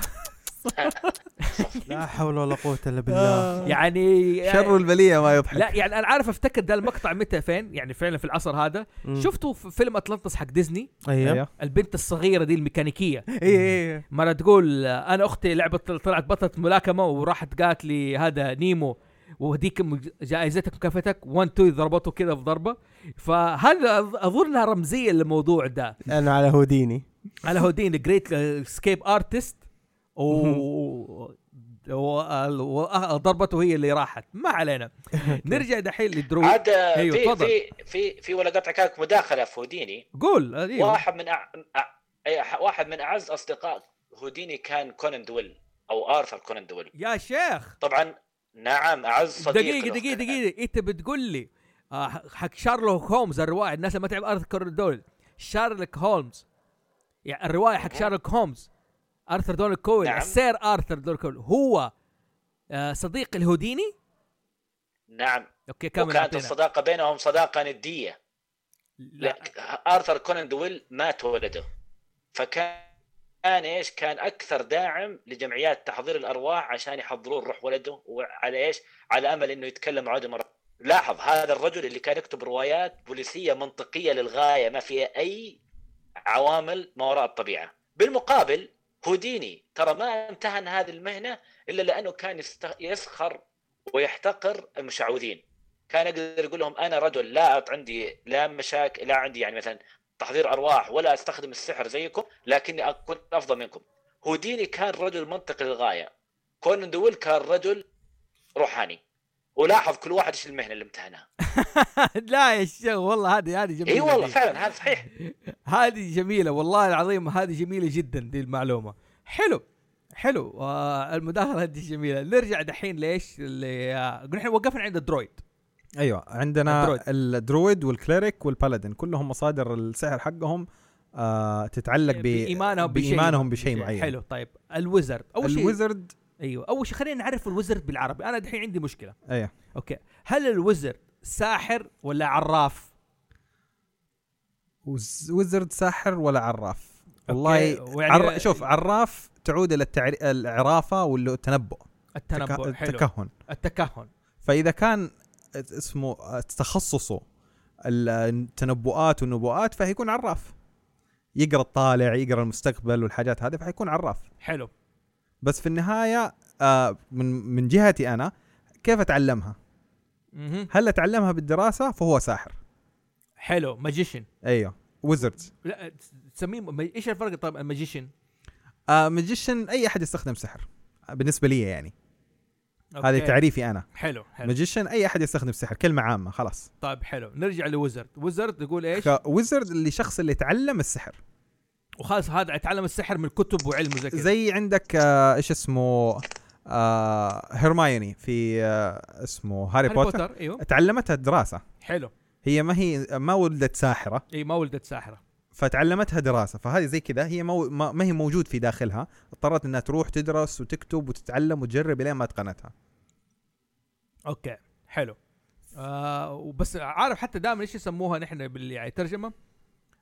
S2: لا حول ولا قوه الا بالله
S1: يعني
S3: شر البليه ما يضحك
S1: لا يعني انا عارف افتكر ده المقطع متى فين يعني فعلا في العصر هذا
S2: مم.
S1: شفتوا في فيلم اطلانتس حق ديزني
S2: ايوه
S3: ايوه
S1: البنت الصغيره دي الميكانيكيه
S2: اي اي
S1: مره تقول آه، انا اختي لعبت طلعت بطلة ملاكمه وراحت قالت لي هذا نيمو وهديك م- جائزتك مكافاتك 1 2 ضربته كذا في ضربه فهذا أظ- اظنها
S2: إيه.
S1: رمزيه للموضوع ده
S2: انا على هوديني
S1: على هودين جريت سكيب ارتست و- و- و- ضربته هي اللي راحت ما علينا نرجع دحين لدرو
S4: عاد
S1: أيوة،
S4: في
S1: تفضل.
S4: في في في ولا قطع كانت مداخله في هوديني
S1: قول أيوه.
S4: واحد من أع... أع- أي أح- واحد من اعز اصدقاء هوديني كان كونان دويل او ارثر كونان دويل
S1: يا شيخ
S4: طبعا نعم اعز صديق
S1: دقيقة
S4: له
S1: دقيقة
S4: كان.
S1: دقيقة انت بتقول لي آه، حق شارلوك هولمز الرواية الناس اللي ما تعرف ارثر دول شارلوك هولمز يعني الرواية حق شارلوك هولمز ارثر دون كويل
S4: نعم.
S1: السير ارثر دون كويل هو آه، صديق الهوديني
S4: نعم
S1: اوكي كمل
S4: وكانت
S1: أعطينا.
S4: الصداقه بينهم صداقه نديه
S1: لا.
S4: لا. ارثر كونان دويل مات ولده فكان كان ايش كان اكثر داعم لجمعيات تحضير الارواح عشان يحضرون روح ولده وعلى ايش على امل انه يتكلم معاه مره لاحظ هذا الرجل اللي كان يكتب روايات بوليسيه منطقيه للغايه ما فيها اي عوامل ما وراء الطبيعه بالمقابل هوديني ترى ما امتهن هذه المهنه الا لانه كان يست- يسخر ويحتقر المشعوذين كان يقدر يقول لهم انا رجل لا أط- عندي لا مشاكل لا عندي يعني مثلا تحضير ارواح ولا استخدم السحر زيكم لكني اكون افضل منكم هوديني كان رجل منطقي للغايه كونان دويل كان رجل روحاني ولاحظ كل واحد ايش المهنه اللي امتهنها
S1: لا يا شيخ والله هذه هذه جميلة
S4: اي والله
S1: دي.
S4: فعلا هذا صحيح
S1: هذه جميلة والله العظيم هذه جميلة جدا دي المعلومة حلو حلو آه المداخلة دي جميلة نرجع دحين ليش اللي آه، قلنا احنا وقفنا عند الدرويد
S3: ايوه عندنا
S1: الدرويد.
S3: الدرويد والكليريك والبالادين كلهم مصادر السحر حقهم آه تتعلق ب-
S1: بإيمانهم بشيء
S3: بايمانهم بشيء معين
S1: حلو طيب الوزرد اول شيء
S3: الويزرد
S1: ايوه اول شيء خلينا نعرف الوزرد بالعربي انا دحين عندي مشكله
S3: ايوه
S1: اوكي هل الوزرد ساحر ولا عراف
S3: وز- ويزرد ساحر ولا عراف والله
S1: ويعني-
S3: عر... شوف عراف تعود الى التعري... العرافه واللي هو التنبؤ
S1: التنبؤ
S3: التك-
S1: حلو
S3: التكهن
S1: التكهن
S3: فاذا كان اسمه تخصصه التنبؤات والنبوءات فهيكون عراف يقرا الطالع يقرا المستقبل والحاجات هذه فحيكون عراف
S1: حلو
S3: بس في النهايه آه من من جهتي انا كيف اتعلمها؟
S1: مهم.
S3: هل اتعلمها بالدراسه فهو ساحر
S1: حلو ماجيشن
S3: ايوه ويزرد
S1: لا تسميه م- ايش الفرق طيب الماجيشن
S3: آه ماجيشن اي احد يستخدم سحر بالنسبه لي يعني هذا تعريفي انا
S1: حلو حلو
S3: ماجيشن اي احد يستخدم سحر كلمه عامه خلاص
S1: طيب حلو نرجع لوزرد وزرد يقول ايش
S3: ويزرد اللي شخص اللي تعلم السحر
S1: وخلاص هذا اتعلم السحر من الكتب وعلم وزي كذا
S3: زي عندك آه، ايش اسمه آه هيرمايوني في آه اسمه هاري,
S1: هاري
S3: بوتر.
S1: بوتر ايوه
S3: تعلمتها دراسه
S1: حلو
S3: هي ما هي ما ولدت ساحره
S1: اي ما ولدت ساحره
S3: فتعلمتها دراسه فهذه زي كذا هي مو ما, ما هي موجود في داخلها اضطرت انها تروح تدرس وتكتب وتتعلم وتجرب لين ما اتقنتها
S1: اوكي حلو آه وبس عارف حتى دائما ايش يسموها نحن بال يعني ترجمه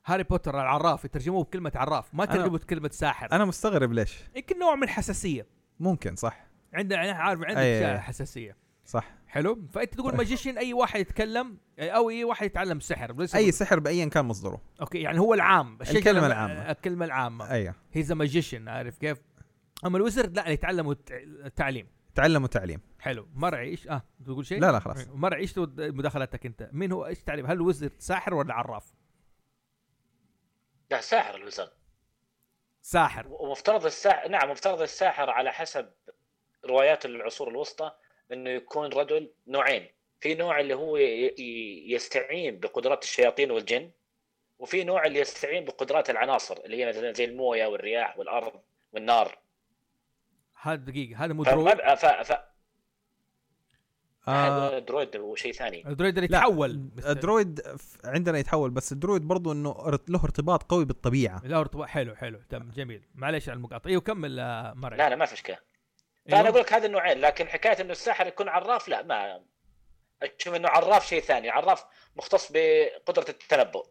S1: هاري بوتر العراف يترجموه بكلمه عراف ما
S3: أنا-
S1: ترجموا كلمه ساحر
S3: انا مستغرب ليش
S1: يمكن نوع من الحساسيه
S3: ممكن صح
S1: عندنا يعني عارف عندك
S3: أي-
S1: أيه.
S3: أي.
S1: حساسيه
S3: صح
S1: حلو فانت تقول ماجيشن اي واحد يتكلم او اي واحد يتعلم سحر ليس
S3: اي
S1: أي
S3: سحر بايا كان مصدره
S1: اوكي يعني هو العام الشيء
S3: الكلمة
S1: كلام-
S3: العامة.
S1: الكلمه العامه
S3: ايوه
S1: هيز ماجيشن عارف كيف اما الوزرد لا يتعلموا الت- التعليم
S3: تعلم وتعليم
S1: حلو مرعي ايش اه تقول شيء
S3: لا لا خلاص
S1: مرعي ايش تود- مداخلتك انت مين هو ايش تعريف هل الوزرد ساحر ولا عراف
S4: لا ساحر الوزن
S1: ساحر
S4: ومفترض الساحر نعم مفترض الساحر على حسب روايات العصور الوسطى انه يكون رجل نوعين في نوع اللي هو ي- ي- يستعين بقدرات الشياطين والجن وفي نوع اللي يستعين بقدرات العناصر اللي هي مثلا زي المويه والرياح والارض والنار
S1: هذا دقيقه هذا مو درويد
S4: فما ف... ف...
S3: آه
S4: هذا درويد وشيء ثاني
S1: الدرويد اللي
S3: لا،
S1: تحول
S3: الدرويد ف- عندنا يتحول بس الدرويد برضو انه ارت- له ارتباط قوي بالطبيعه
S1: لا ارتباط حلو حلو تم جميل معليش على المقاطعه ايوه كمل آه، مرعي
S4: لا لا ما في اشكال
S1: أيوة.
S4: فانا اقول لك هذا النوعين لكن حكايه انه الساحر يكون عراف لا ما اشوف انه عراف شيء ثاني عراف مختص بقدره التنبؤ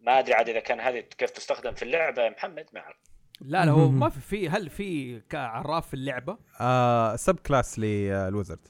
S4: ما ادري عاد اذا كان هذه كيف تستخدم في اللعبه يا محمد ما اعرف
S1: لا لا هو ما في في هل في كعراف في اللعبه
S3: آه سب كلاس للوزرد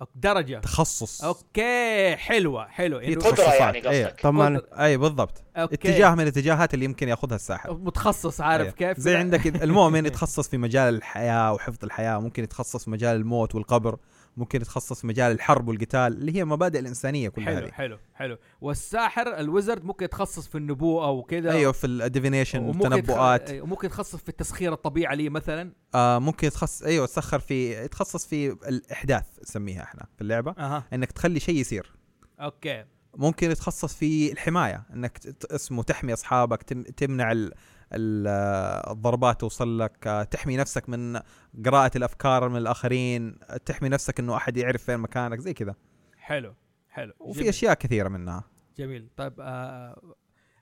S1: أو درجه
S3: تخصص
S1: اوكي حلوه حلو إنه
S3: تخصص.
S4: قدره
S3: تخصصات.
S4: يعني
S3: إيه.
S4: قصدك
S2: طبعا
S1: قدر-
S3: اي بالضبط
S1: أوكي.
S3: اتجاه من الاتجاهات اللي يمكن ياخذها الساحر
S1: متخصص عارف
S3: أيوة.
S1: كيف
S3: زي
S1: لا.
S3: عندك المؤمن يتخصص في مجال الحياه وحفظ الحياه ممكن يتخصص في مجال الموت والقبر ممكن يتخصص في مجال الحرب والقتال اللي هي مبادئ الانسانيه كلها
S1: حلو
S3: هذه
S1: حلو حلو والساحر الويزرد ممكن يتخصص في النبوءه وكذا
S3: ايوه في الاديفينيشن
S1: وممكن يتخ-
S3: التنبؤات
S1: أيوة، وممكن يتخصص في التسخير الطبيعه لي مثلا
S3: آه ممكن يتخصص ايوه يتسخر في يتخصص في الاحداث نسميها احنا في اللعبه
S1: اها
S3: انك تخلي شيء يصير
S1: اوكي
S3: ممكن يتخصص في الحمايه انك ت- ت- اسمه تحمي اصحابك تم- تمنع ال ال- آه، الضربات توصل لك آه، تحمي نفسك من قراءة الأفكار من الآخرين آه، تحمي نفسك أنه أحد يعرف فين مكانك زي كذا
S1: حلو حلو
S3: وفي
S1: جميل.
S3: أشياء كثيرة منها
S1: جميل طيب آه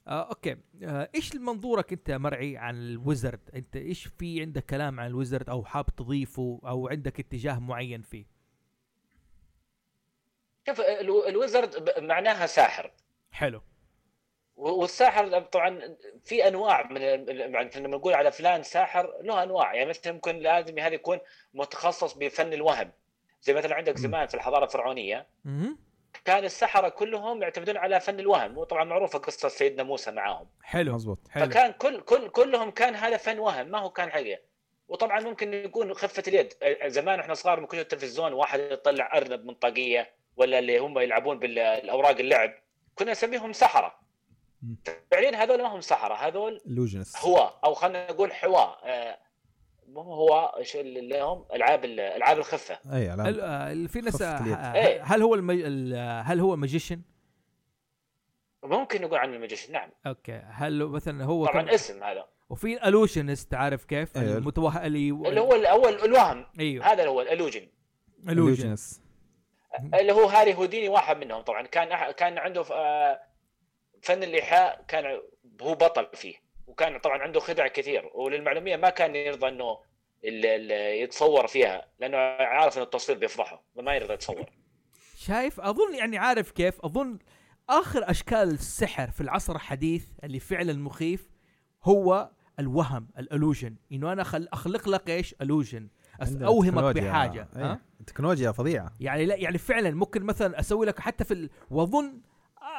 S1: آه اوكي آه ايش منظورك انت مرعي عن الويزرد انت ايش في عندك كلام عن الويزرد او حاب تضيفه او عندك اتجاه معين فيه
S4: شوف الو- الويزرد ب- معناها ساحر
S1: حلو
S4: والساحر طبعا في انواع من يعني لما نقول على فلان ساحر له انواع يعني مثلا ممكن لازم هذا يكون متخصص بفن الوهم زي مثلا عندك زمان في الحضاره الفرعونيه
S1: مهم.
S4: كان السحره كلهم يعتمدون على فن الوهم وطبعا معروفه قصه سيدنا موسى معاهم
S1: حلو
S3: مزبوط
S1: حلو
S4: فكان كل كل كلهم كان هذا فن وهم ما هو كان حقيقه وطبعا ممكن يكون خفه اليد زمان احنا صغار ما كنا التلفزيون واحد يطلع ارنب من طاقيه ولا اللي هم يلعبون بالاوراق اللعب كنا نسميهم سحره
S3: مم.
S4: فعليا هذول ما هم سحره هذول
S3: لوجنس
S4: هو او خلينا نقول حواء آه، مو هو شو اللي هم العاب ال- العاب الخفه
S3: أي
S1: هل
S3: علامة
S1: آه في ناس
S3: خفة
S1: آه،
S3: اليد.
S1: آه،
S4: إيه.
S1: هل هو المج... ال- آه، هل هو ماجيشن
S4: ممكن نقول عن الماجيشن نعم
S1: اوكي هل مثلا هو كان-
S4: طبعا اسم هذا
S1: وفي الوشنست عارف كيف
S3: أيوة.
S1: المتوه اللي
S4: اللي هو آه. الاول الوهم
S1: ايوه
S4: هذا هو الالوجن
S1: الوشن
S3: Illusionist.
S4: اللي هو هاري هوديني واحد منهم طبعا كان أح- كان عنده ف- آه، فن الايحاء كان هو بطل فيه وكان طبعا عنده خدع كثير وللمعلوميه ما كان يرضى انه ال- ال- يتصور فيها لانه عارف ان التصوير بيفضحه ما يرضى يتصور
S1: شايف اظن يعني عارف كيف اظن اخر اشكال السحر في العصر الحديث اللي فعلا مخيف هو الوهم الالوجن انه انا خل... اخلق لك ايش الوجن
S3: عندنا
S1: اوهمك
S3: تكنولوجيا- إيه.
S1: بحاجه
S3: أي،
S1: ها؟
S3: تكنولوجيا فظيعة
S1: يعني لا يعني فعلا ممكن مثلا اسوي لك حتى في ال... واظن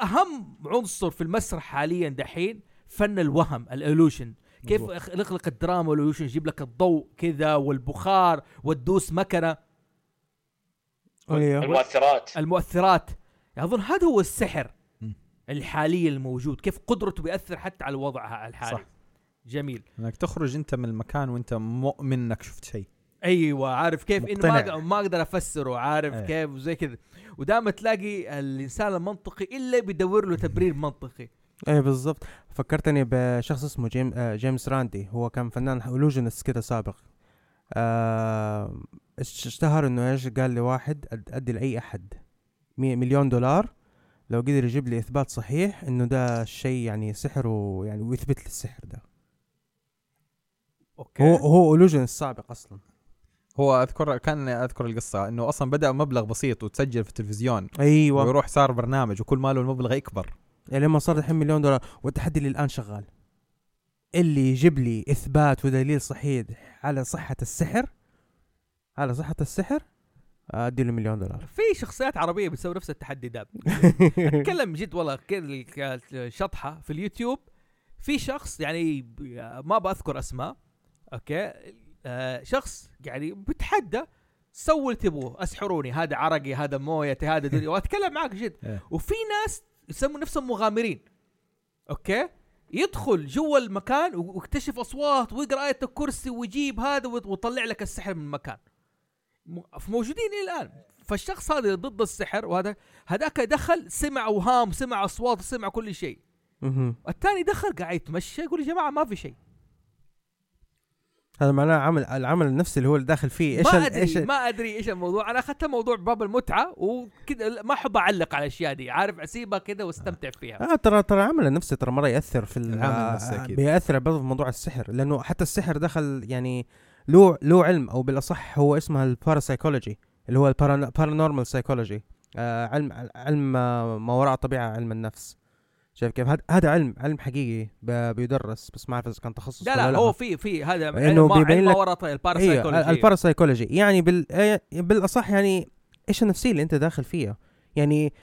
S1: اهم عنصر في المسرح حاليا دحين فن الوهم الالوشن كيف
S3: مظبوط.
S1: أخ- نخلق الدراما والالوشن يجيب لك الضوء كذا والبخار وتدوس مكنه
S2: ايوه
S4: المؤثرات
S1: المؤثرات اظن هذا هو السحر
S3: مم.
S1: الحالي الموجود كيف قدرته بيأثر حتى على الوضع الحالي
S3: صح.
S1: صح. جميل
S3: انك تخرج انت من المكان وانت مؤمن انك شفت شيء
S1: ايوه عارف كيف انه ما
S3: مقتنع.
S1: أق- ما اقدر افسره عارف
S3: إيه.
S1: كيف وزي كذا ودائما تلاقي الانسان المنطقي الا بيدور له تبرير منطقي
S2: ايه بالضبط فكرتني بشخص اسمه جيم آه جيمس راندي هو كان فنان اولوجينست كده سابق آه اش- اشتهر انه ايش قال لواحد أد- ادي لاي احد مي- مليون دولار لو قدر يجيب لي اثبات صحيح انه ده الشيء يعني سحر ويعني ويثبت لي السحر ده
S1: اوكي
S2: هو هو اولوجينست سابق اصلا
S3: هو اذكر كان اذكر القصه انه اصلا بدا مبلغ بسيط وتسجل في التلفزيون
S2: ايوه
S3: ويروح صار برنامج وكل ماله المبلغ يكبر
S2: يعني لما صار الحين مليون دولار والتحدي اللي الان شغال اللي يجيب لي اثبات ودليل صحيح على صحه السحر على صحه السحر ادي له مليون دولار
S1: في شخصيات عربيه بتسوي نفس التحدي ده اتكلم جد والله كذا كانت شطحه في اليوتيوب في شخص يعني ب- ما بذكر اسماء اوكي آه شخص يعني بتحدى سووا اللي تبغوه اسحروني هذا عرقي هذا مويتي هذا دنيا واتكلم معك جد
S3: إيه.
S1: وفي ناس يسموا نفسهم مغامرين اوكي يدخل جوا المكان و- ويكتشف اصوات ويقرا ايه الكرسي ويجيب هذا ويط- ويطلع لك السحر من المكان م- موجودين الى الان فالشخص هذا اللي ضد السحر وهذا هذاك دخل سمع اوهام سمع اصوات سمع كل شيء
S2: مهم.
S1: الثاني دخل قاعد يتمشى يقول يا جماعه ما في شيء
S2: هذا معناه عمل العمل النفسي اللي هو اللي داخل فيه ايش
S1: ما
S2: ال- ايش
S1: ادري
S2: ال-
S1: ما ادري ايش الموضوع انا اخذتها موضوع باب المتعه وكذا ما احب اعلق على الاشياء دي عارف اسيبها كذا واستمتع فيها
S2: آه ترى ترى العمل النفسي ترى مره ياثر في ال-
S3: العامل
S2: آه،
S3: النفسي أكيد.
S2: بياثر برضه في موضوع السحر لانه حتى السحر دخل يعني له له علم او بالاصح هو اسمها الباراسايكولوجي اللي هو البارانورمال سايكولوجي آه علم علم آه، ما وراء الطبيعه علم النفس شايف كيف هذا- هذا علم علم حقيقي ب- بيدرس بس ما اعرف اذا كان تخصص
S1: لا
S2: ولا
S1: لا هو في في هذا
S2: إنه
S1: علم ما-
S2: بيبين
S1: علم ما
S2: لك-
S1: وراء طي-
S2: ايوه
S1: الباراسايكولوجي
S2: الباراسايكولوجي يعني بال... إيه، بالاصح يعني ايش النفسيه اللي انت داخل فيها يعني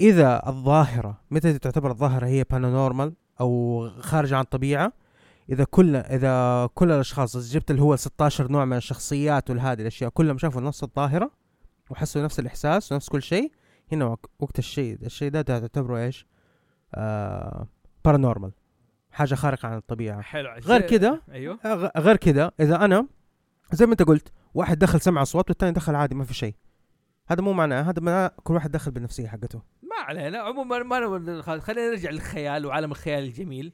S2: اذا الظاهره متى تعتبر الظاهره هي بانانورمال او خارجه عن الطبيعه اذا كل اذا كل الاشخاص إذا جبت اللي هو 16 نوع من الشخصيات والهذه الاشياء كلهم شافوا نفس الظاهره وحسوا نفس الاحساس ونفس كل شيء هنا وق- وقت الشيء الشيء ده تعتبره ايش؟ آه بارانورمال حاجه خارقه عن الطبيعه
S1: حلو
S2: غير
S1: شيء-
S2: كده
S1: ايوه
S2: آه، غ- غير كده اذا انا زي ما انت قلت واحد دخل سمع اصوات والثاني دخل عادي ما في شيء هذا مو معناه هذا معناه كل واحد دخل بالنفسيه حقته
S1: ما علينا عموما ما نبغى- خل- خلينا نرجع للخيال وعالم الخيال الجميل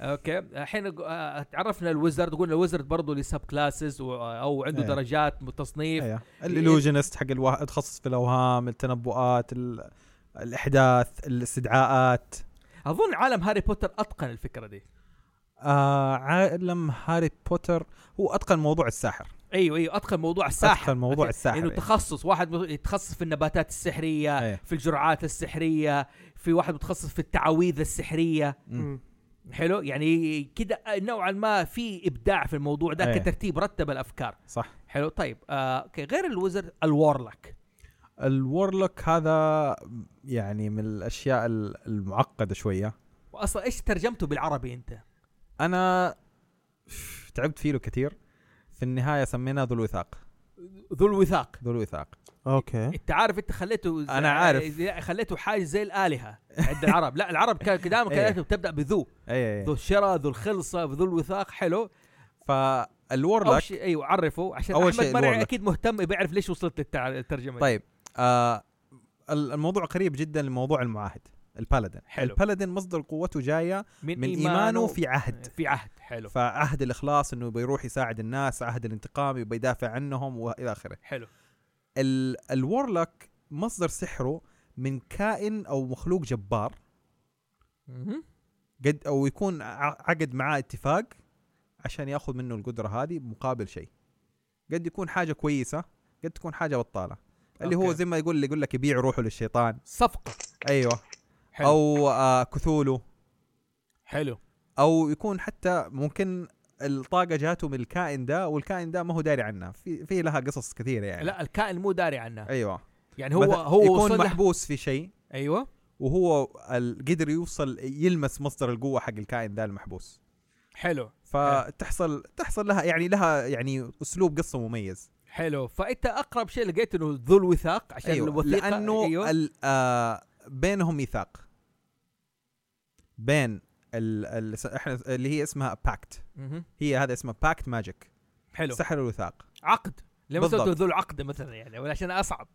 S1: اوكي الحين أق- آه، تعرفنا الوزرد قلنا الوزرد برضه لسب كلاسز او عنده
S3: إيه.
S1: درجات تصنيف
S3: ايوه الالوجنست حق الواحد تخصص في الاوهام التنبؤات ال... الاحداث الاستدعاءات
S1: اظن عالم هاري بوتر اتقن الفكره دي
S3: آه عالم هاري بوتر هو اتقن موضوع الساحر
S1: ايوه ايوه اتقن موضوع الساحر
S3: أتقن موضوع
S1: عشان-
S3: الساحر،
S1: انه
S3: أيوة.
S1: تخصص واحد يتخصص في النباتات السحريه
S3: أيوة.
S1: في الجرعات السحريه في واحد متخصص في التعاويذ السحريه حلو يعني كده نوعا ما في ابداع في الموضوع ده
S3: أيوة.
S1: كترتيب رتب الافكار
S3: صح
S1: حلو طيب آه، اوكي غير الوزر الوارلك
S3: الورلوك هذا يعني من الاشياء ال- المعقده شويه
S1: واصلا ايش ترجمته بالعربي انت
S3: انا تعبت فيه له كثير في النهايه سميناه ذو الوثاق
S1: ذو الوثاق
S3: ذو الوثاق
S2: اوكي
S1: انت عارف انت خليته زي-
S3: أنا عارف.
S1: زي- خليته حاجه زي الالهه عند العرب لا العرب كان دائما
S3: إيه.
S1: كانت بتبدا بذو
S3: اي
S1: ذو
S3: اي
S1: الشرى ذو الخلصه ذو الوثاق حلو
S3: فالورلوك
S1: اول شيء ايوه عرفه عشان
S3: أول
S1: اول احمد
S3: شيء
S1: مرعي
S3: الورلك.
S1: اكيد مهتم بيعرف ليش وصلت للترجمه
S3: طيب آه ال- الموضوع قريب جدا لموضوع المعاهد البالادين
S1: حلو.
S3: البالادين مصدر قوته جايه من ايمانه في عهد
S1: في عهد إيه، حلو
S3: فعهد الاخلاص انه بيروح يساعد الناس عهد الانتقام يبي يدافع عنهم والى اخره
S1: حلو
S3: ال- الورلوك مصدر سحره من كائن او مخلوق جبار
S1: مهم.
S3: قد او يكون ع- عقد معاه اتفاق عشان ياخذ منه القدره هذه مقابل شيء قد يكون حاجه كويسه قد تكون حاجه بطاله اللي هو
S1: أوكي.
S3: زي ما يقول اللي يقول لك يبيع روحه للشيطان
S1: صفقه
S3: ايوه
S1: حلو.
S3: او آه كثوله
S1: حلو
S3: او يكون حتى ممكن الطاقه جاته من الكائن ده والكائن ده ما هو داري عنها في في لها قصص كثيره يعني
S1: لا الكائن مو داري عنها
S3: ايوه
S1: يعني هو
S3: مثلا
S1: هو
S3: يكون
S1: وصل له-
S3: محبوس في شيء
S1: ايوه
S3: وهو ال- قدر يوصل يلمس مصدر القوه حق الكائن ذا المحبوس
S1: حلو
S3: فتحصل تحصل لها يعني لها يعني اسلوب قصه مميز
S1: حلو فانت اقرب شيء لقيت انه ذو الوثاق عشان
S3: ايوه
S1: الوثيقه
S3: لانه
S1: ايوه
S3: ال- آه بينهم ميثاق بين ال ال احنا اللي هي اسمها باكت
S1: مهم.
S3: هي هذا اسمه باكت ماجيك
S1: حلو
S3: سحر الوثاق
S1: عقد لما
S3: بالضبط.
S1: سويت ذو العقد مثلا يعني ولا عشان اصعب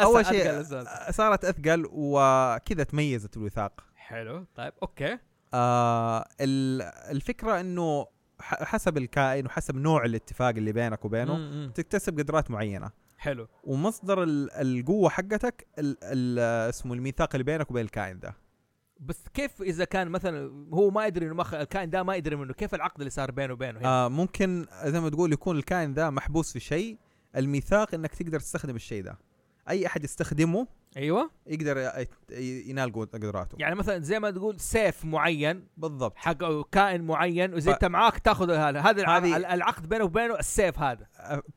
S3: اول شيء آه، صارت اثقل وكذا تميزت الوثاق
S1: حلو طيب اوكي
S3: آه ال- الفكره انه ح- حسب الكائن وحسب نوع الاتفاق اللي بينك وبينه
S1: مم، مم.
S3: تكتسب قدرات معينه
S1: حلو
S3: ومصدر ال- القوه حقتك ال- ال- اسمه الميثاق اللي بينك وبين الكائن ده
S1: بس كيف اذا كان مثلا هو ما يدري انه ما خ... الكائن ده ما يدري منه كيف العقد اللي صار بينه وبينه يعني؟ هنا؟
S3: آه ممكن زي ما تقول يكون الكائن ذا محبوس في شيء الميثاق انك تقدر تستخدم الشيء ده اي احد يستخدمه أيوة.
S1: ايوه
S3: يقدر ي- ي- ينال قو- قدراته
S1: يعني مثلا زي ما تقول سيف معين
S3: بالضبط
S1: حق أو كائن معين واذا
S3: ف-
S1: انت معاك تاخذ هذا هذا الع-
S3: هذه-
S1: ال- العقد بينه وبينه السيف هذا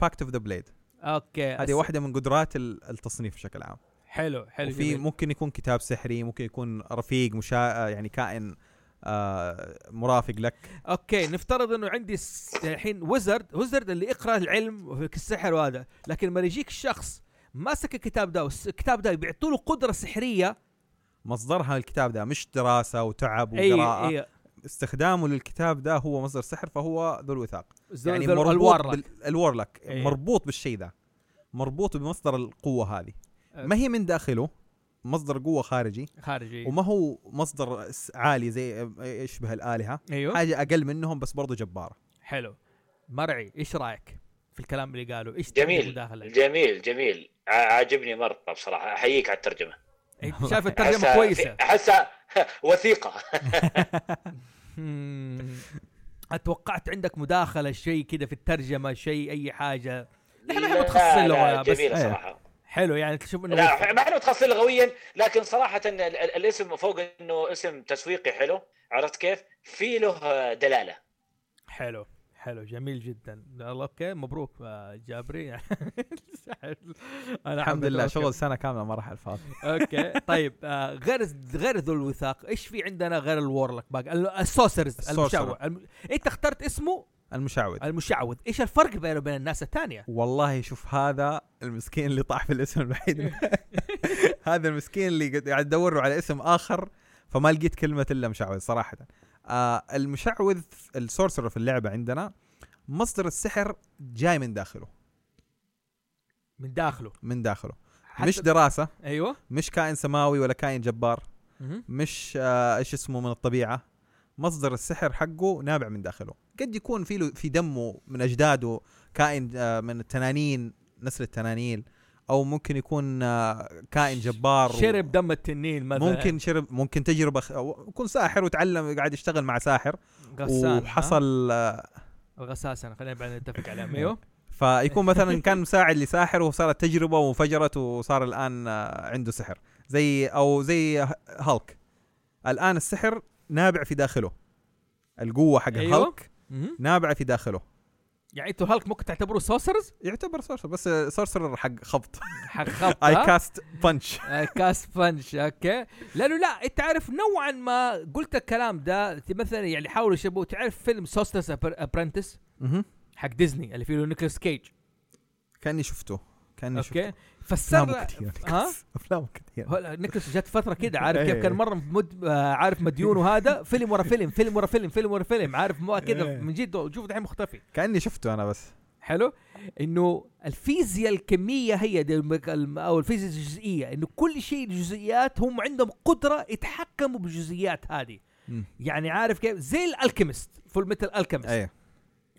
S3: باكت اوف ذا بليد
S1: اوكي
S3: هذه
S1: الس-
S3: واحده من قدرات ال- التصنيف بشكل عام
S1: حلو حلو
S3: وفي
S1: جميل.
S3: ممكن يكون كتاب سحري ممكن يكون رفيق مشا... يعني كائن آه مرافق لك
S1: اوكي نفترض انه عندي س- الحين وزرد وزرد اللي يقرا العلم والسحر وهذا لكن لما يجيك شخص ماسك الكتاب ده والس- الكتاب ده بيعطوا له قدره سحريه
S3: مصدرها الكتاب ده مش دراسه وتعب وقراءه
S1: اي اي
S3: استخدامه للكتاب ده هو مصدر سحر فهو ذو الوثاق
S1: زو-
S3: يعني
S1: زو-
S3: مربوط
S1: الورق.
S3: بال- الورلك
S1: إيه.
S3: مربوط بالشيء ده مربوط بمصدر القوه هذه ما هي من داخله مصدر قوه خارجي
S1: خارجي
S3: وما هو مصدر س- عالي زي يشبه الالهه
S1: ايوه
S3: حاجه اقل منهم بس برضو جباره
S1: حلو مرعي ايش رايك في الكلام اللي قاله ايش
S4: جميل
S1: مداخله
S4: جميل جميل ع- عاجبني مره بصراحه احييك على الترجمه
S1: إيه، شايف الترجمه
S4: أحسها-
S1: كويسه
S4: في- احسها وثيقه
S1: مم. اتوقعت عندك مداخله شيء كذا في الترجمه شيء اي حاجه نحن
S4: لا-
S1: احنا متخصصين
S4: لا،
S1: لغه بس
S4: جميله
S3: إيه.
S4: صراحه
S1: حلو يعني تشوف انه
S4: لا ما احنا متخصصين لغويا لكن صراحه ال- ال- الاسم فوق انه اسم تسويقي حلو عرفت كيف؟ في له دلاله
S1: حلو حلو جميل جدا الله اوكي مبروك آه، جابري انا
S3: الحمد
S1: حبيت
S3: لله
S1: أوكي.
S3: شغل سنه كامله ما راح على الفاضي
S1: اوكي طيب آه، غير غير ذو الوثاق ايش في عندنا غير الورلك باقي ال- السوسرز
S3: السورسرر.
S1: المشوع الم- انت اخترت اسمه
S3: المشعوذ
S1: المشعوذ ايش الفرق بينه وبين الناس الثانيه
S3: والله شوف هذا المسكين اللي طاح في الاسم الوحيد هذا المسكين اللي قد- قاعد ادور له على اسم اخر فما لقيت كلمه الا مشعوذ صراحه آه المشعوذ السورسر في اللعبه عندنا مصدر السحر جاي من داخله
S1: من داخله
S3: من داخله
S1: حتى-
S3: مش دراسه
S1: ايوه
S3: مش كائن سماوي ولا كائن جبار
S1: مهم.
S3: مش آه، ايش اسمه من الطبيعه مصدر السحر حقه نابع من داخله قد يكون في له في دمه من اجداده كائن آه، من التنانين نسل التنانيل او ممكن يكون آه، كائن جبار و-
S1: شرب دم التنين مثلا
S3: ممكن شرب ممكن تجربه خ... أو يكون ساحر وتعلم قاعد يشتغل مع ساحر
S1: غسان وحصل
S3: وحصل آه،
S1: غساسا خلينا بعد نتفق عليهم ايوه
S3: فيكون مثلا كان مساعد لساحر وصارت تجربه وانفجرت وصار الان آه، عنده سحر زي او زي ه- هالك الان السحر نابع في داخله القوه حق
S1: أيوة.
S3: أيوه. هالك
S1: مهم.
S3: نابعه في داخله
S1: يعني انتوا هالك ممكن تعتبروه سوسرز
S3: يعتبر سورسر بس سورسر حق خبط
S1: حق خبط
S3: اي
S1: ها؟
S3: كاست بانش
S1: آه، كاس بنش اوكي لانه لا انت عارف نوعا ما قلت الكلام ده مثلا يعني حاولوا يشبهوا تعرف فيلم سوستس ابرنتس حق ديزني اللي فيه نيكلاس كيج
S3: كاني شفته كاني
S1: اوكي
S3: شفته نعم،
S1: فالسر
S3: افلامه كثير
S1: ها؟
S3: افلامه كثير
S1: هلا نيكلاس جت فتره كده عارف كيف
S3: إيه.
S1: كان مره مد... آه، عارف مديون وهذا فيلم ورا فيلم فيلم ورا فيلم فيلم ورا فيلم عارف ما كده
S3: إيه.
S1: من جد شوف دحين مختفي
S3: كاني شفته انا بس
S1: حلو انه الفيزياء الكميه هي دي المك... الم- او الفيزياء الجزئيه انه كل شيء الجزئيات هم عندهم قدره يتحكموا بالجزئيات هذه
S3: مم.
S1: يعني عارف كيف زي الالكيمست فول ميتال الكيمست
S3: ايه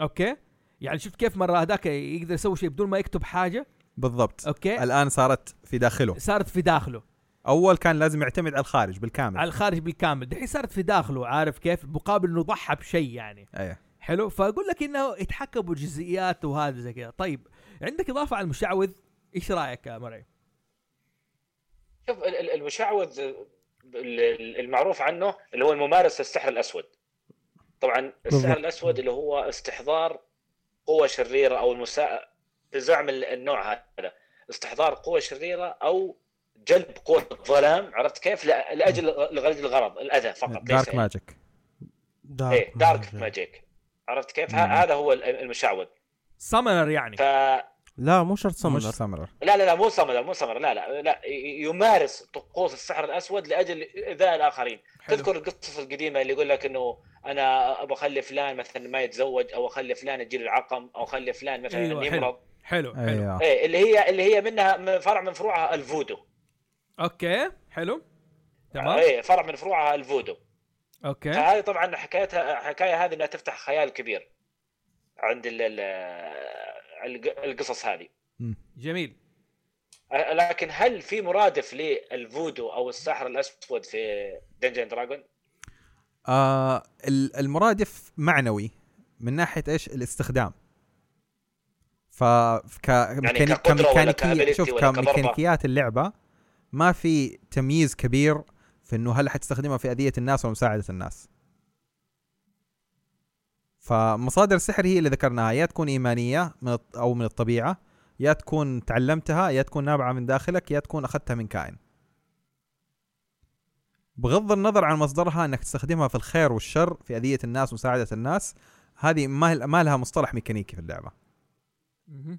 S1: اوكي يعني شفت كيف مره هذاك يقدر يسوي شيء بدون ما يكتب حاجه
S3: بالضبط
S1: اوكي
S3: الان صارت في داخله
S1: صارت في داخله
S3: اول كان لازم يعتمد على الخارج بالكامل
S1: على الخارج بالكامل دحين صارت في داخله عارف كيف مقابل انه ضحى بشيء يعني
S3: ايه
S1: حلو فاقول لك انه يتحكم بالجزئيات وهذا زي كذا طيب عندك اضافه على المشعوذ ايش رايك يا مرعي
S4: شوف ال- ال- المشعوذ ال- ال- المعروف عنه اللي هو الممارس السحر الاسود طبعا السحر
S2: بالضبط.
S4: الاسود اللي هو استحضار قوه شريره او المساء بزعم ال- النوع هذا استحضار قوه شريره او جلب قوه الظلام عرفت كيف لأ- لاجل لاجل الغرض الاذى فقط ليس
S3: دارك ماجيك
S1: آه،
S4: ايه دارك ماجيك عرفت كيف
S3: مم.
S4: ه- هذا هو ال- المشعوذ
S1: سمنر يعني
S4: ف
S2: لا مو شرط
S3: مش
S2: سمنر
S3: سمرر
S4: لا لا لا مو سمر مو سمر لا لا لا ي- يمارس طقوس السحر الاسود لاجل ايذاء الاخرين
S1: حلو.
S4: تذكر القصص القديمه اللي يقول لك انه انا ابغى اخلي فلان مثلا ما يتزوج او اخلي فلان يجي العقم او اخلي فلان مثلا
S1: أيوة،
S4: أيوة
S1: حلو.
S4: يمرض
S1: حلو حلو أيوه.
S3: ايوه
S4: ايه اللي هي اللي هي منها من فرع من فروعها الفودو
S1: اوكي حلو تمام إيه.
S4: ايه فرع من فروعها الفودو
S1: اوكي
S4: فهذه طبعا حكايتها حكايه هذه انها تفتح خيال كبير عند ال ال الق- القصص هذه
S1: جميل
S4: لكن هل في مرادف للفودو او السحر الاسود في دنجن دراجون؟
S3: آه ال- المرادف معنوي من ناحيه ايش الاستخدام ف ك ميكاني-
S4: يعني كقدرة ولا
S3: كميكانيكية
S4: كability
S3: شوف
S4: ولا كضربة؟
S3: كميكانيكيات اللعبه ما في تمييز كبير في انه هل حتستخدمها في اذيه الناس ولا مساعده الناس فمصادر السحر هي اللي ذكرناها يا تكون ايمانيه من الط- او من الطبيعه يا تكون تعلمتها يا تكون نابعه من داخلك يا تكون اخذتها من كائن بغض النظر عن مصدرها انك تستخدمها في الخير والشر في اذيه الناس ومساعده الناس هذه ما ما لها مصطلح ميكانيكي في اللعبه
S1: مهم.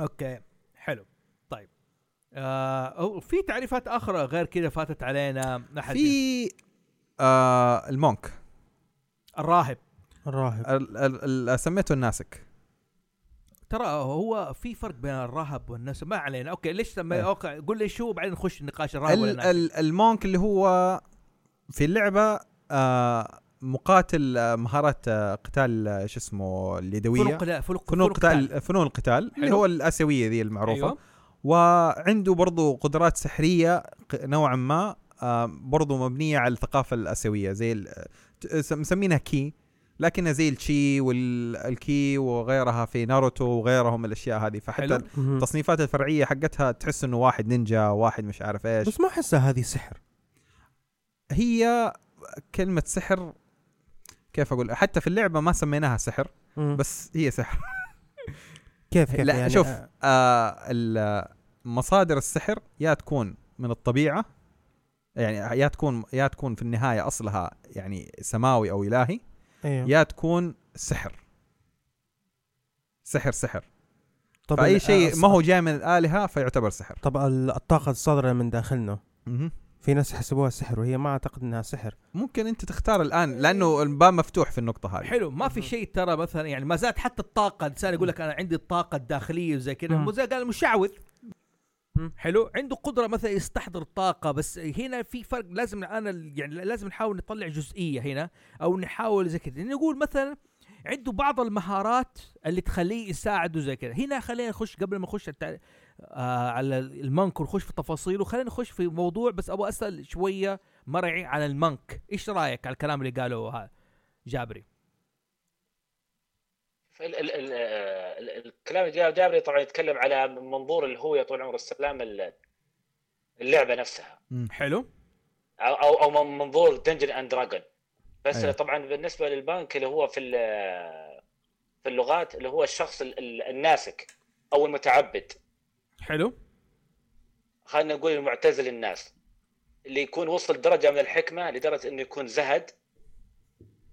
S1: اوكي حلو طيب آه أو في تعريفات اخرى غير كذا فاتت علينا أحد
S3: في آه المونك
S1: الراهب
S2: الراهب
S3: ال- ال- ال- سميته الناسك
S1: ترى هو في فرق بين الرهب والناس ما علينا اوكي ليش لما
S3: إيه.
S1: اوكي قول لي شو بعدين نخش نقاش الرهب ولا
S3: ال-
S1: الناس
S3: ال- المونك اللي هو في اللعبه آه مقاتل آه، مهارات آه، قتال آه، شو اسمه اليدويه
S1: فنون قتال فنون
S3: فنون القتال فنون القتال اللي
S1: حلو.
S3: هو الاسيويه ذي المعروفه
S1: أيوة.
S3: وعنده برضو قدرات سحرية ق- نوعا ما آه، برضو مبنية على الثقافة الآسيوية زي ال- ت- س- مسمينها كي لكنها زي الشي والكي وغيرها في ناروتو وغيرهم من الأشياء هذه فحتى
S1: حلو.
S2: مهم.
S3: التصنيفات الفرعية حقتها تحس انه واحد نينجا واحد مش عارف ايش
S2: بس ما احسها هذه سحر
S3: هي كلمة سحر كيف اقول حتى في اللعبة ما سميناها سحر
S2: مم.
S3: بس هي سحر
S2: كيف كيف
S3: لا
S2: يعني
S3: شوف
S2: آه،
S3: آه ال- مصادر السحر يا تكون من الطبيعه يعني يا تكون يا تكون في النهايه اصلها يعني سماوي او الهي
S2: ايوه
S3: يا تكون السحر سحر سحر
S2: طب
S3: فاي
S2: ال-
S3: شيء
S2: الص-
S3: ما هو جاي من الالهه فيعتبر سحر
S2: طب ال- الطاقة الصادرة من داخلنا
S3: مهم.
S2: في ناس يحسبوها سحر وهي ما اعتقد انها سحر
S3: ممكن انت تختار الان لانه الباب مفتوح في النقطه هذه
S1: حلو ما في شيء ترى مثلا يعني ما زالت حتى الطاقه الانسان يقول لك انا عندي الطاقه الداخليه وزي كذا
S2: مم.
S1: مو زي قال المشعوذ
S2: مم.
S1: حلو عنده قدره مثلا يستحضر طاقه بس هنا في فرق لازم انا يعني لازم نحاول نطلع جزئيه هنا او نحاول زي كذا يعني نقول مثلا عنده بعض المهارات اللي تخليه يساعده زي كذا هنا خلينا نخش قبل ما نخش على التع- آه على المنك ونخش في تفاصيله خلينا نخش في موضوع بس ابغى اسال شويه مرعي على المنك ايش رايك على الكلام اللي قاله هذا جابري
S4: ال- ال- ال- ال- الكلام اللي جاب جابري طبعا يتكلم على منظور اللي هو يا طول عمر السلام ال- اللعبه نفسها
S1: حلو
S4: او او أو من منظور دنجن اند دراجون بس
S3: أيوة.
S4: طبعا بالنسبه للبنك اللي هو في ال- في اللغات اللي هو الشخص ال- ال- الناسك او المتعبد
S1: حلو
S4: خلينا نقول المعتزل الناس اللي يكون وصل درجه من الحكمه لدرجه انه يكون زهد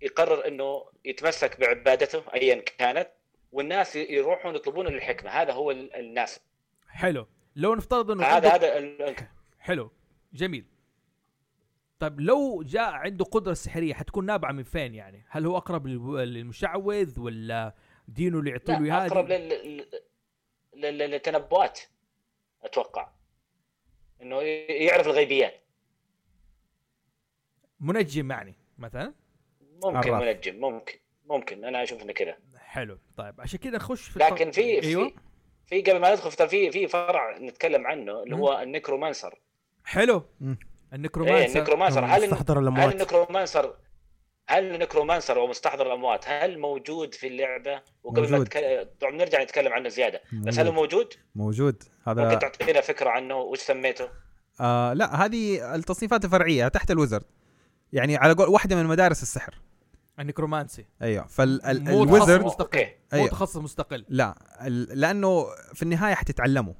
S4: يقرر انه يتمسك بعبادته ايا كانت والناس ي- يروحون يطلبون الحكمه هذا هو ال- الناس
S1: حلو لو نفترض انه
S4: هذا
S1: عنده-
S4: هذا ال-
S1: حلو جميل طيب لو جاء عنده قدرة سحرية حتكون نابعة من فين يعني؟ هل هو أقرب للو- للمشعوذ ولا دينه اللي يعطي له
S4: لا،
S1: إياها
S4: اقرب
S1: دي؟
S4: لل... لل- لل- للتنبؤات اتوقع انه ي- يعرف الغيبيات
S1: منجم يعني مثلا؟
S4: ممكن
S3: عراف.
S4: منجم ممكن ممكن انا اشوف انه كذا
S1: حلو طيب عشان كذا نخش في الط-
S4: لكن في
S1: أيوه
S4: في في قبل ما ندخل في- في في فرع نتكلم عنه اللي هو النكرومانسر
S1: حلو
S3: مم.
S1: النكرومانسر
S4: ايه النكرومانسر هل
S2: مستحضر
S4: هل
S2: الاموات
S4: النكرومانسر هل النكرومانسر او مستحضر الاموات هل موجود في اللعبه؟ وقبل ما
S3: موجود.
S4: نتك- طبعا نرجع نتكلم عنه زياده بس
S3: موجود.
S4: هل هو موجود؟
S3: موجود هذا
S4: ممكن تعطينا فكره عنه وش سميته؟
S3: آه لا هذه التصنيفات الفرعيه تحت الوزرد يعني على قول واحده من مدارس السحر
S1: النكرومانسي
S3: ايوه فال ال-
S1: مو تخصص
S3: الوزرد
S1: مستقل
S4: أوكي.
S1: مو
S3: أيوه.
S1: تخصص مستقل
S3: لا ال- لانه في النهايه حتتعلمه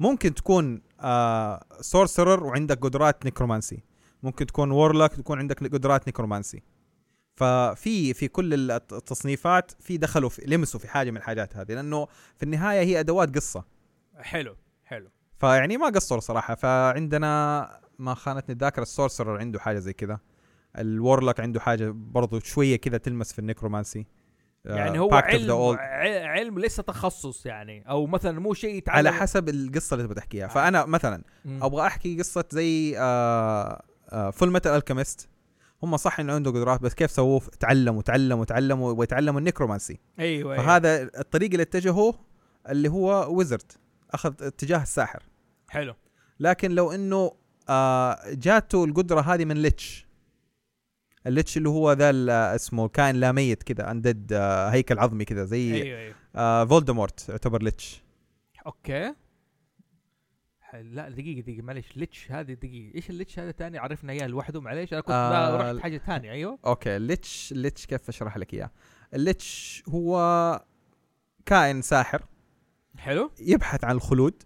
S3: ممكن تكون آه سورسرر وعندك قدرات نيكرومانسي ممكن تكون وورلك تكون عندك قدرات نيكرومانسي ففي في كل ال- الت- التصنيفات في دخلوا في لمسوا في حاجه من الحاجات هذه لانه في النهايه هي ادوات قصه
S1: حلو حلو
S3: فيعني ما قصروا صراحه فعندنا ما خانتني الذاكره السورسرر عنده حاجه زي كذا الورلك عنده حاجه برضو شويه كذا تلمس في النيكرومانسي آه،
S1: يعني هو
S3: Pact of the
S1: علم
S3: Old.
S1: ع- علم ليس تخصص يعني أو مثلا مو شيء يتعلم
S3: على حسب القصه اللي تبغى تحكيها فانا مثلا
S1: مم.
S3: ابغى احكي قصه زي آه آه فول ميتال الكيمست هم صح انه عنده قدرات بس كيف سووه تعلموا تعلموا تعلموا ويتعلموا النكرومانسي
S1: أيوه أيوه.
S3: فهذا الطريق اللي اتجهوه اللي هو ويزرد اخذ اتجاه الساحر
S1: حلو
S3: لكن لو انه آه جاته القدره هذه من ليتش الليتش اللي هو ذا ال- آه، اسمه كائن لا ميت كذا اندد آه هيكل عظمي كذا زي
S1: ايوه ايوه
S3: آه فولدمورت يعتبر ليتش
S1: اوكي حل- لا دقيقة دقيقة معليش ليتش هذه دقيقة ايش الليتش هذا تاني عرفنا اياه لوحده معليش انا كنت
S3: آه،
S1: آه رحت حاجة تانية ايوه
S3: اوكي الليتش الليتش كيف اشرح لك اياه الليتش هو كائن ساحر
S1: حلو
S3: يبحث عن الخلود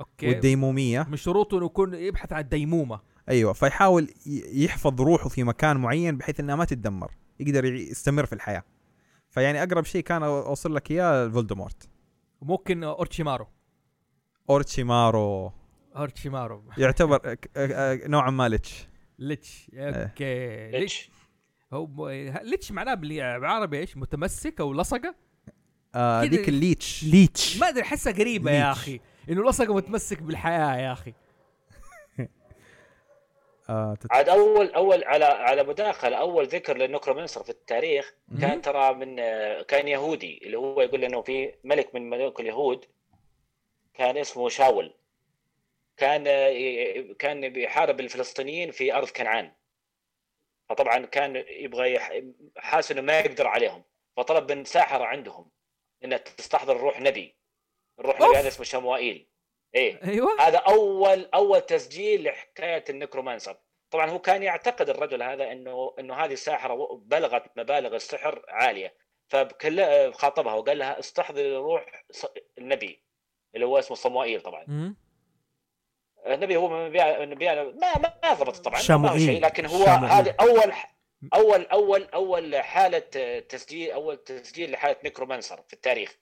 S1: اوكي
S3: والديموميه
S1: من شروطه انه يكون يبحث عن الديمومة
S3: ايوه فيحاول ي- يحفظ روحه في مكان معين بحيث انها ما تتدمر يقدر ي- يستمر في الحياه فيعني اقرب شيء كان أو- اوصل لك اياه فولدمورت
S1: ممكن اورتشيمارو
S3: اورتشيمارو
S1: اورتشيمارو
S3: يعتبر ك- آه، آه، نوعا ما ليتش
S1: ليتش اوكي ليتش هو م- ليتش معناه بال- بالعربي ايش متمسك او لصقة
S3: آه،
S1: كده-
S3: ذيك الليتش
S2: ليتش
S1: ما ادري احسها قريبة يا
S3: ليتش.
S1: اخي انه لصقة متمسك بالحياة يا اخي
S3: آه، تت-
S4: عاد اول اول على على مداخله اول ذكر للنكرومانسر في التاريخ
S1: مم.
S4: كان ترى من آه، كان يهودي اللي هو يقول انه في ملك من ملوك اليهود كان اسمه شاول كان آه، ي- ي- كان بيحارب الفلسطينيين في ارض كنعان فطبعا كان يبغى يح- حاسس انه ما يقدر عليهم فطلب من ساحره عندهم انها تستحضر روح نبي الروح
S1: أوف.
S4: نبي هذا اسمه شموائيل ايه
S1: ايوه
S4: هذا اول اول تسجيل لحكايه النكرومانسر طبعا هو كان يعتقد الرجل هذا انه انه هذه ساحره بلغت مبالغ السحر عاليه فبكل خاطبها وقال لها استحضري روح ص- النبي اللي هو اسمه صموئيل طبعا
S1: مم.
S4: النبي هو من انبياء انبياء ما ما ما ضبط طبعا ما هو
S2: شموئيل.
S4: شيء لكن هو
S2: شموئيل.
S4: هذه اول اول اول اول حاله تسجيل اول تسجيل لحاله نيكرومانسر في التاريخ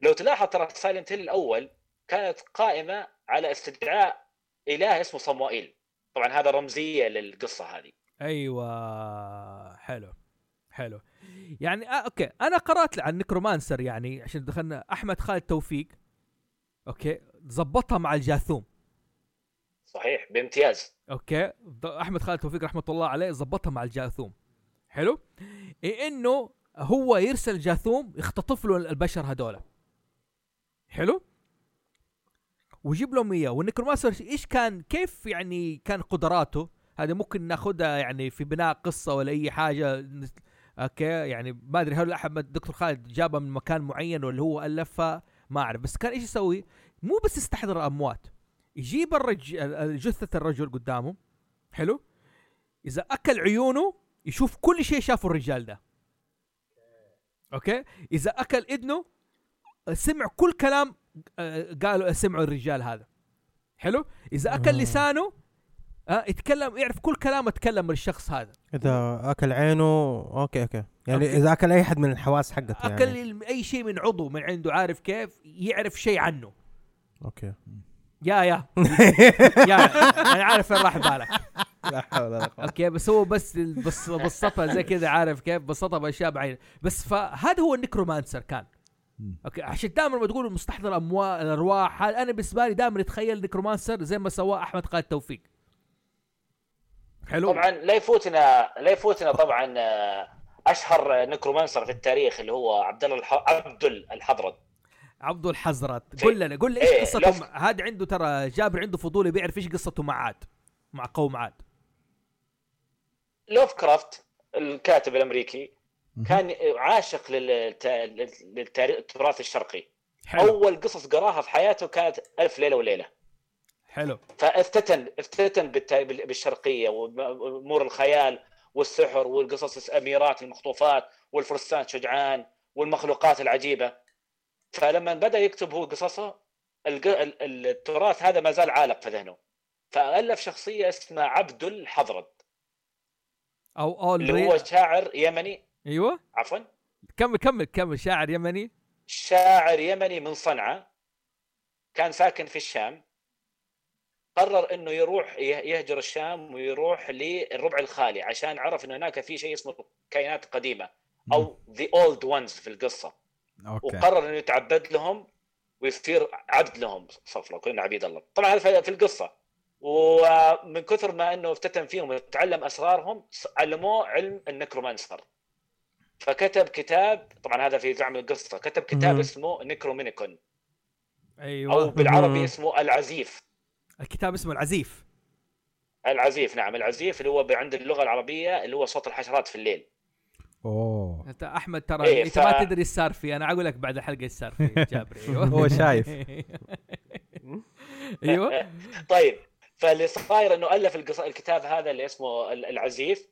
S4: لو تلاحظ ترى سايلنت هيل الاول كانت قائمه على استدعاء اله اسمه صموئيل طبعا هذا رمزيه للقصه هذه
S1: ايوه حلو حلو يعني آه اوكي انا قرات عن نكرومانسر يعني عشان دخلنا احمد خالد توفيق اوكي ظبطها مع الجاثوم
S4: صحيح بامتياز
S1: اوكي ض- احمد خالد توفيق رحمه الله عليه ظبطها مع الجاثوم حلو إيه انه هو يرسل جاثوم يختطف له البشر هذول حلو ويجيب لهم اياه والنكرومانسر ايش كان كيف يعني كان قدراته هذا ممكن ناخذها يعني في بناء قصه ولا اي حاجه نس- اوكي يعني ما ادري هل احمد دكتور خالد جابها من مكان معين ولا هو الفها ما اعرف بس كان ايش يسوي مو بس يستحضر الاموات يجيب الرج... جثة الرجل قدامه حلو إذا أكل عيونه يشوف كل شيء شافه الرجال ده أوكي إذا أكل إذنه سمع كل كلام آه، قالوا سمعوا الرجال هذا حلو إذا أكل
S2: آه.
S1: لسانه آه يتكلم يعرف كل كلام اتكلم الشخص هذا
S2: اذا اكل عينه اوكي اوكي يعني
S1: أوكي.
S2: اذا اكل اي حد من الحواس حقته يعني
S1: أكل الم- أي شيء من عضو من عنده عارف كيف يعرف شيء عنه
S2: اوكي
S1: يا يا يا أنا عارف وين راح بالك
S3: لا حول ولا قوه
S1: اوكي بس هو بس بس بسطها زي كذا عارف كيف بسطها باشياء بعينه بس فهذا هو النكرومانسر كان
S3: مم.
S1: اوكي عشان دائما لما تقولوا مستحضر اموال الارواح هذا انا بالنسبه لي دائما اتخيل نكرومانسر زي ما سواه احمد خالد توفيق حلو
S4: طبعا لا يفوتنا لا يفوتنا طبعا آه، اشهر نكرومانسر في التاريخ اللي هو عبد الله الح... عبد الحضرد
S1: عبد الحزرت
S4: شيء-
S1: قل لنا قل لي ايش
S4: إيه،
S1: قصته
S4: لف-
S1: مع- هذا عنده ترى جابر عنده فضول بيعرف ايش قصته مع عاد مع قوم عاد
S4: لوف كرافت الكاتب الامريكي كان عاشق للت... للتراث الشرقي
S1: حلو
S4: اول قصص قراها في حياته كانت الف ليله وليله
S1: حلو
S4: فافتتن افتتن بالت- بال- بالشرقيه وامور الخيال والسحر والقصص الاميرات المخطوفات والفرسان شجعان والمخلوقات العجيبه فلما بدا يكتب هو قصصه الق- ال- ال- التراث هذا ما زال عالق في ذهنه فالف شخصيه اسمها عبد الحضرد
S1: او اول
S4: اللي هو شاعر يمني
S1: ايوه
S4: عفوا
S1: كمل كمل كمل شاعر يمني
S4: شاعر يمني من صنعاء كان ساكن في الشام قرر انه يروح يه- يهجر الشام ويروح للربع الخالي عشان عرف انه هناك في شيء اسمه الكائنات القديمه او ذا اولد وانز في القصه
S3: اوكي
S4: وقرر انه يتعبد لهم ويصير عبد لهم صفرة كلنا عبيد الله طبعا هذا في- في القصه ومن كثر ما انه افتتن فيهم وتعلم اسرارهم س- علموه علم النكرومانسر فكتب كتاب طبعا هذا في زعم القصه كتب كتاب
S2: مم.
S4: اسمه نكرومينيكون او
S1: ايوه
S4: بالعربي
S2: مم.
S4: اسمه العزيف
S1: الكتاب اسمه العزيف
S4: العزيف نعم العزيف اللي هو ب- عند اللغه العربيه اللي هو صوت الحشرات في الليل
S3: اوه
S1: انت احمد ترى
S4: إيه،
S1: انت
S4: ف-
S1: ما تدري ايش صار فيه انا اقول لك بعد الحلقه ايش صار فيه جابري ايوه
S3: هو شايف.
S1: ايوه
S4: طيب فاللي صاير انه الف القص- الكتاب هذا اللي اسمه ال- العزيف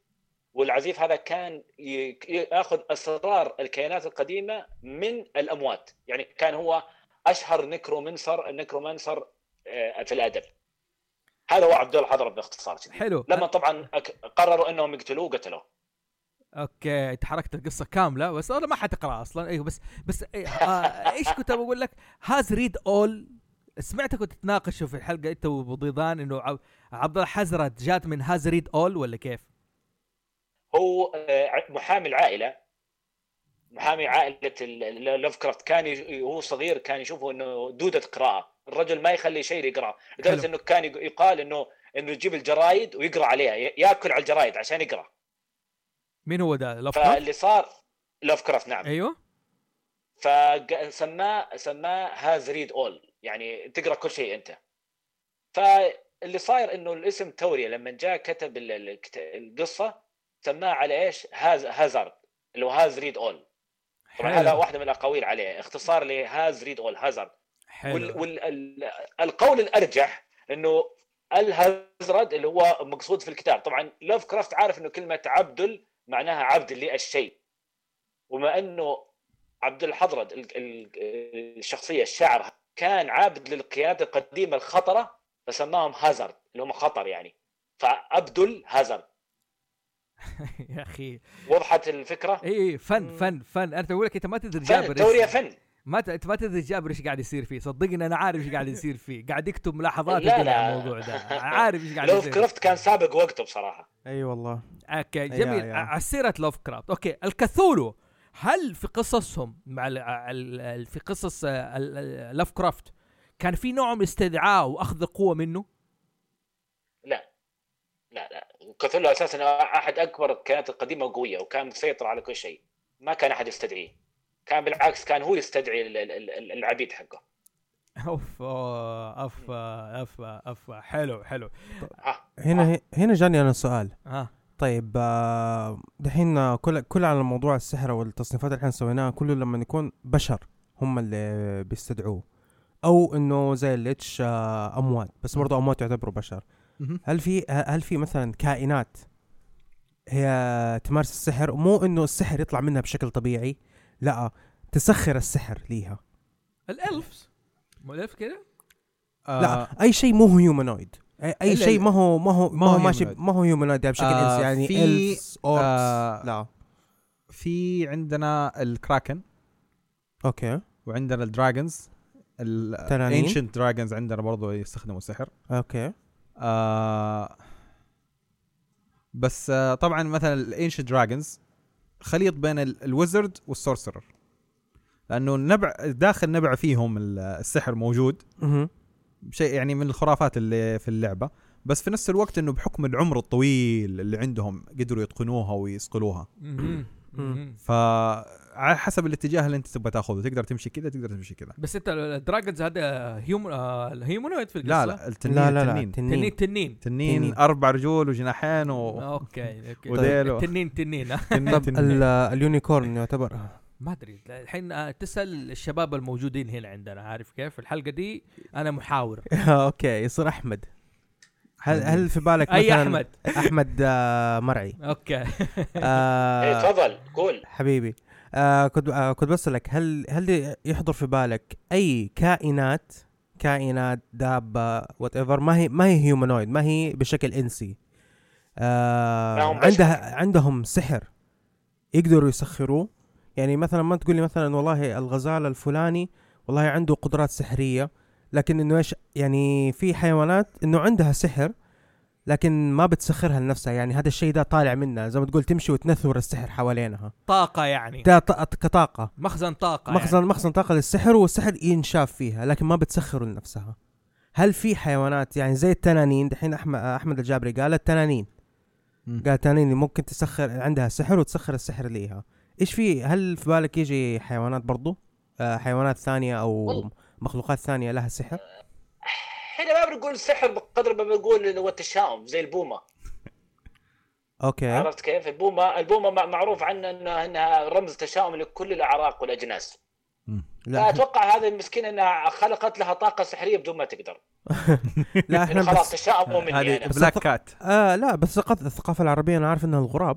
S4: والعزيف هذا كان ي- ياخذ اسرار الكائنات القديمه من الاموات يعني كان هو اشهر نكرومنسر نكرومانسر آه، في الادب هذا هو عبد الله حضرب باختصار شديد.
S1: حلو
S4: لما طبعا أك- قرروا انهم يقتلوه قتلوه
S1: اوكي تحركت القصه كامله بس انا ما حتقراها اصلا ايوه بس بس إيه، آه، ايش كنت بقول لك هاز ريد اول سمعتك كنت تتناقشوا في الحلقه انت وبضيضان انه عب- عبد الله حزرت جات من هاز ريد اول ولا كيف؟
S4: هو آه، ع- محامي العائله محامي عائله لوف كرافت كان يش- وهو صغير كان يشوفه انه دوده قراءه الرجل ما يخلي شيء يقراه
S1: حلو.
S4: لدرجه انه كان يق- يقال انه انه يجيب الجرايد ويقرا عليها ي- ياكل على الجرايد عشان يقرا
S1: مين هو ده؟ لفكر؟
S4: فاللي صار لوف كرافت نعم
S1: ايوه
S4: فسماه سماه هاز ريد اول يعني تقرا كل شيء انت فاللي صاير انه الاسم توريه لما جاء كتب ال- ال- الكت- القصه سماه على ايش؟ هاز هازارد اللي هو هاز ريد اول طبعا
S1: حلو.
S4: هذا واحده من الاقاويل عليه اختصار لهاز ريد اول هازارد
S1: حلو
S4: والقول الارجح انه الهازرد اللي هو مقصود في الكتاب طبعا لوف كرافت عارف انه كلمه عبدل معناها عبد للشيء وما انه عبد الحضرد ال- ال- الشخصيه الشاعر كان عابد للقيادة القديمه الخطره فسماهم هازارد اللي هم خطر يعني فعبدل هازارد
S1: يا اخي
S4: وضحت الفكره
S1: اي اي فن فن فن انا اقول لك انت ما تدري
S4: فن
S1: إيه، جابر
S4: توريه
S1: إيش-
S4: فن
S1: ما ت- انت ما تدري جابر ايش قاعد يصير فيه صدقني انا عارف ايش قاعد يصير فيه قاعد يكتب ملاحظات
S4: لا،
S1: يدري
S4: لا.
S1: على الموضوع ده عارف ايش قاعد
S4: لو
S1: يصير
S4: كرفت كان سابق وقته بصراحه
S2: اي والله
S1: اوكي
S2: يا-
S1: جميل
S2: يا.
S1: على سيره لوف كرافت اوكي الكثولو هل في قصصهم مع ال ال ال في قصص آه، لوف كرافت كان في نوع من استدعاء واخذ القوه منه؟
S4: لا لا كوثولو اساسا احد اكبر الكائنات القديمه وقويه وكان مسيطر على كل شيء ما كان احد يستدعيه كان بالعكس كان هو يستدعي ال- ال- ال- العبيد حقه
S1: اوف أوه، اف اف اف حلو حلو
S4: آه.
S2: هنا هنا جاني انا سؤال
S1: ها
S2: طيب آه، دحين آه، كل كل على موضوع السحر والتصنيفات اللي احنا سويناها كله لما يكون بشر هم اللي بيستدعوه او انه زي الليتش آه، اموات بس برضه اموات يعتبروا بشر
S3: مهم.
S2: هل في هل في مثلا كائنات هي تمارس السحر مو انه السحر يطلع منها بشكل طبيعي لا تسخر السحر ليها
S1: الالفز مو الالف كذا؟
S3: آه،
S2: لا اي شيء مو هيومانويد اي أي
S3: إلا-
S2: شيء ما هو ما هو ما هو
S3: ما هو
S2: ماشي
S3: humanoid.
S2: ما هو هيومانويد بشكل
S3: آه،
S2: انسي يعني
S3: في-
S2: elves, orcs.
S3: آه،
S2: لا
S3: في عندنا الكراكن
S2: اوكي
S3: وعندنا الدراجونز
S2: تنانين؟
S3: الانشنت دراجونز عندنا برضو يستخدموا السحر
S2: اوكي
S3: آه بس آه طبعا مثلا الانشنت دراجونز خليط بين الويزرد والسورسرر لانه النبع داخل نبع فيهم ال- السحر موجود
S2: مهم.
S3: شيء يعني من الخرافات اللي في اللعبه بس في نفس الوقت انه بحكم العمر الطويل اللي عندهم قدروا يتقنوها ويصقلوها
S1: مهم. مهم.
S3: فعلى حسب الاتجاه اللي انت تبغى تاخذه تقدر تمشي كذا تقدر تمشي كذا
S1: بس انت الدراجونز هذا هيومن هيومنويد في القصه
S3: لا لا التنين
S2: لا لا لا
S3: تنين.
S2: تنين.
S1: تنين تنين
S3: تنين
S2: تنين. آه.
S3: اربع رجول وجناحين و
S1: اوكي اوكي
S3: وديلو.
S1: تنين تنين
S3: تنين
S2: طب
S3: تنين.
S2: ال- اليونيكورن يعتبر
S1: ما ادري الحين آه، تسال الشباب الموجودين هنا عندنا عارف كيف الحلقه دي انا محاور
S2: اوكي يصير احمد هل هل في بالك
S1: اي
S2: مثلاً
S1: احمد
S2: احمد آه، مرعي
S1: اوكي
S4: إيه،
S2: آه
S4: تفضل قول
S2: حبيبي آه كنت آه كنت بسألك هل هل يحضر في بالك اي كائنات كائنات دابه وات ايفر ما هي ما هي هيومانويد ما هي بشكل انسي
S4: ما
S2: آه
S4: هم بشر.
S2: عندها عندهم سحر يقدروا يسخروه يعني مثلا ما تقول لي مثلا والله الغزال الفلاني والله عنده قدرات سحريه لكن انه ايش يعني في حيوانات انه عندها سحر لكن ما بتسخرها لنفسها يعني هذا الشيء ده طالع منها زي ما تقول تمشي وتنثور السحر حوالينها
S1: طاقه يعني
S2: ده ط- كطاقة
S1: مخزن يعني. طاقه
S2: مخزن مخزن طاقة للسحر والسحر ينشاف فيها لكن ما بتسخره لنفسها هل في حيوانات يعني زي التنانين دحين احمد احمد الجابري قال التنانين
S3: مم.
S2: قال التنانين اللي ممكن تسخر عندها سحر وتسخر السحر ليها ايش في هل في بالك يجي حيوانات برضو آه حيوانات ثانية او
S4: والله.
S2: مخلوقات ثانية لها سحر
S4: هنا ما بنقول سحر بقدر ما بنقول اللي هو التشاؤم زي البومه
S2: اوكي
S4: عرفت كيف البومه البومه مع- معروف عنها انها انها رمز تشاؤم لكل الاعراق والاجناس
S2: لا
S4: فاتوقع هذه المسكينه انها خلقت لها طاقه سحريه بدون ما تقدر
S2: لا
S4: يعني
S2: احنا
S4: خلاص يعني.
S2: بس
S4: تشاؤموا مني
S3: هذه
S4: انا
S3: بلاك كات
S2: آه لا بس ثقافة- الثقافة العربية انا عارف انها الغراب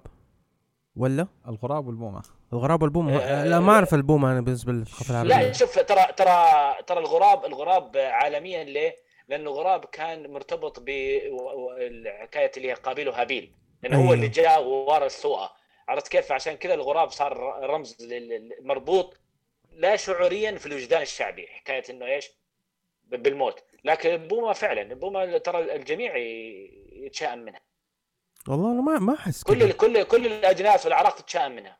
S2: ولا
S3: الغراب والبومه
S2: الغراب والبومة آه لا ما اعرف البومة انا بالنسبة للثقافة العربية
S4: لا شوف ترى ترى ترى الغراب الغراب عالميا ليه؟ لانه الغراب كان مرتبط بحكايه اللي هي قابيل وهابيل لانه هو
S2: أيوه.
S4: اللي جاء وورث سوءه عرفت كيف؟ عشان كذا الغراب صار رمز لل- لل- مربوط لا شعوريا في الوجدان الشعبي حكايه انه ايش؟ ب- بالموت لكن بوما فعلا بوما ترى الجميع ي- يتشائم منها
S2: والله انا ما ما احس
S4: كل
S2: كده
S4: كل كل الاجناس والاعراق تتشائم منها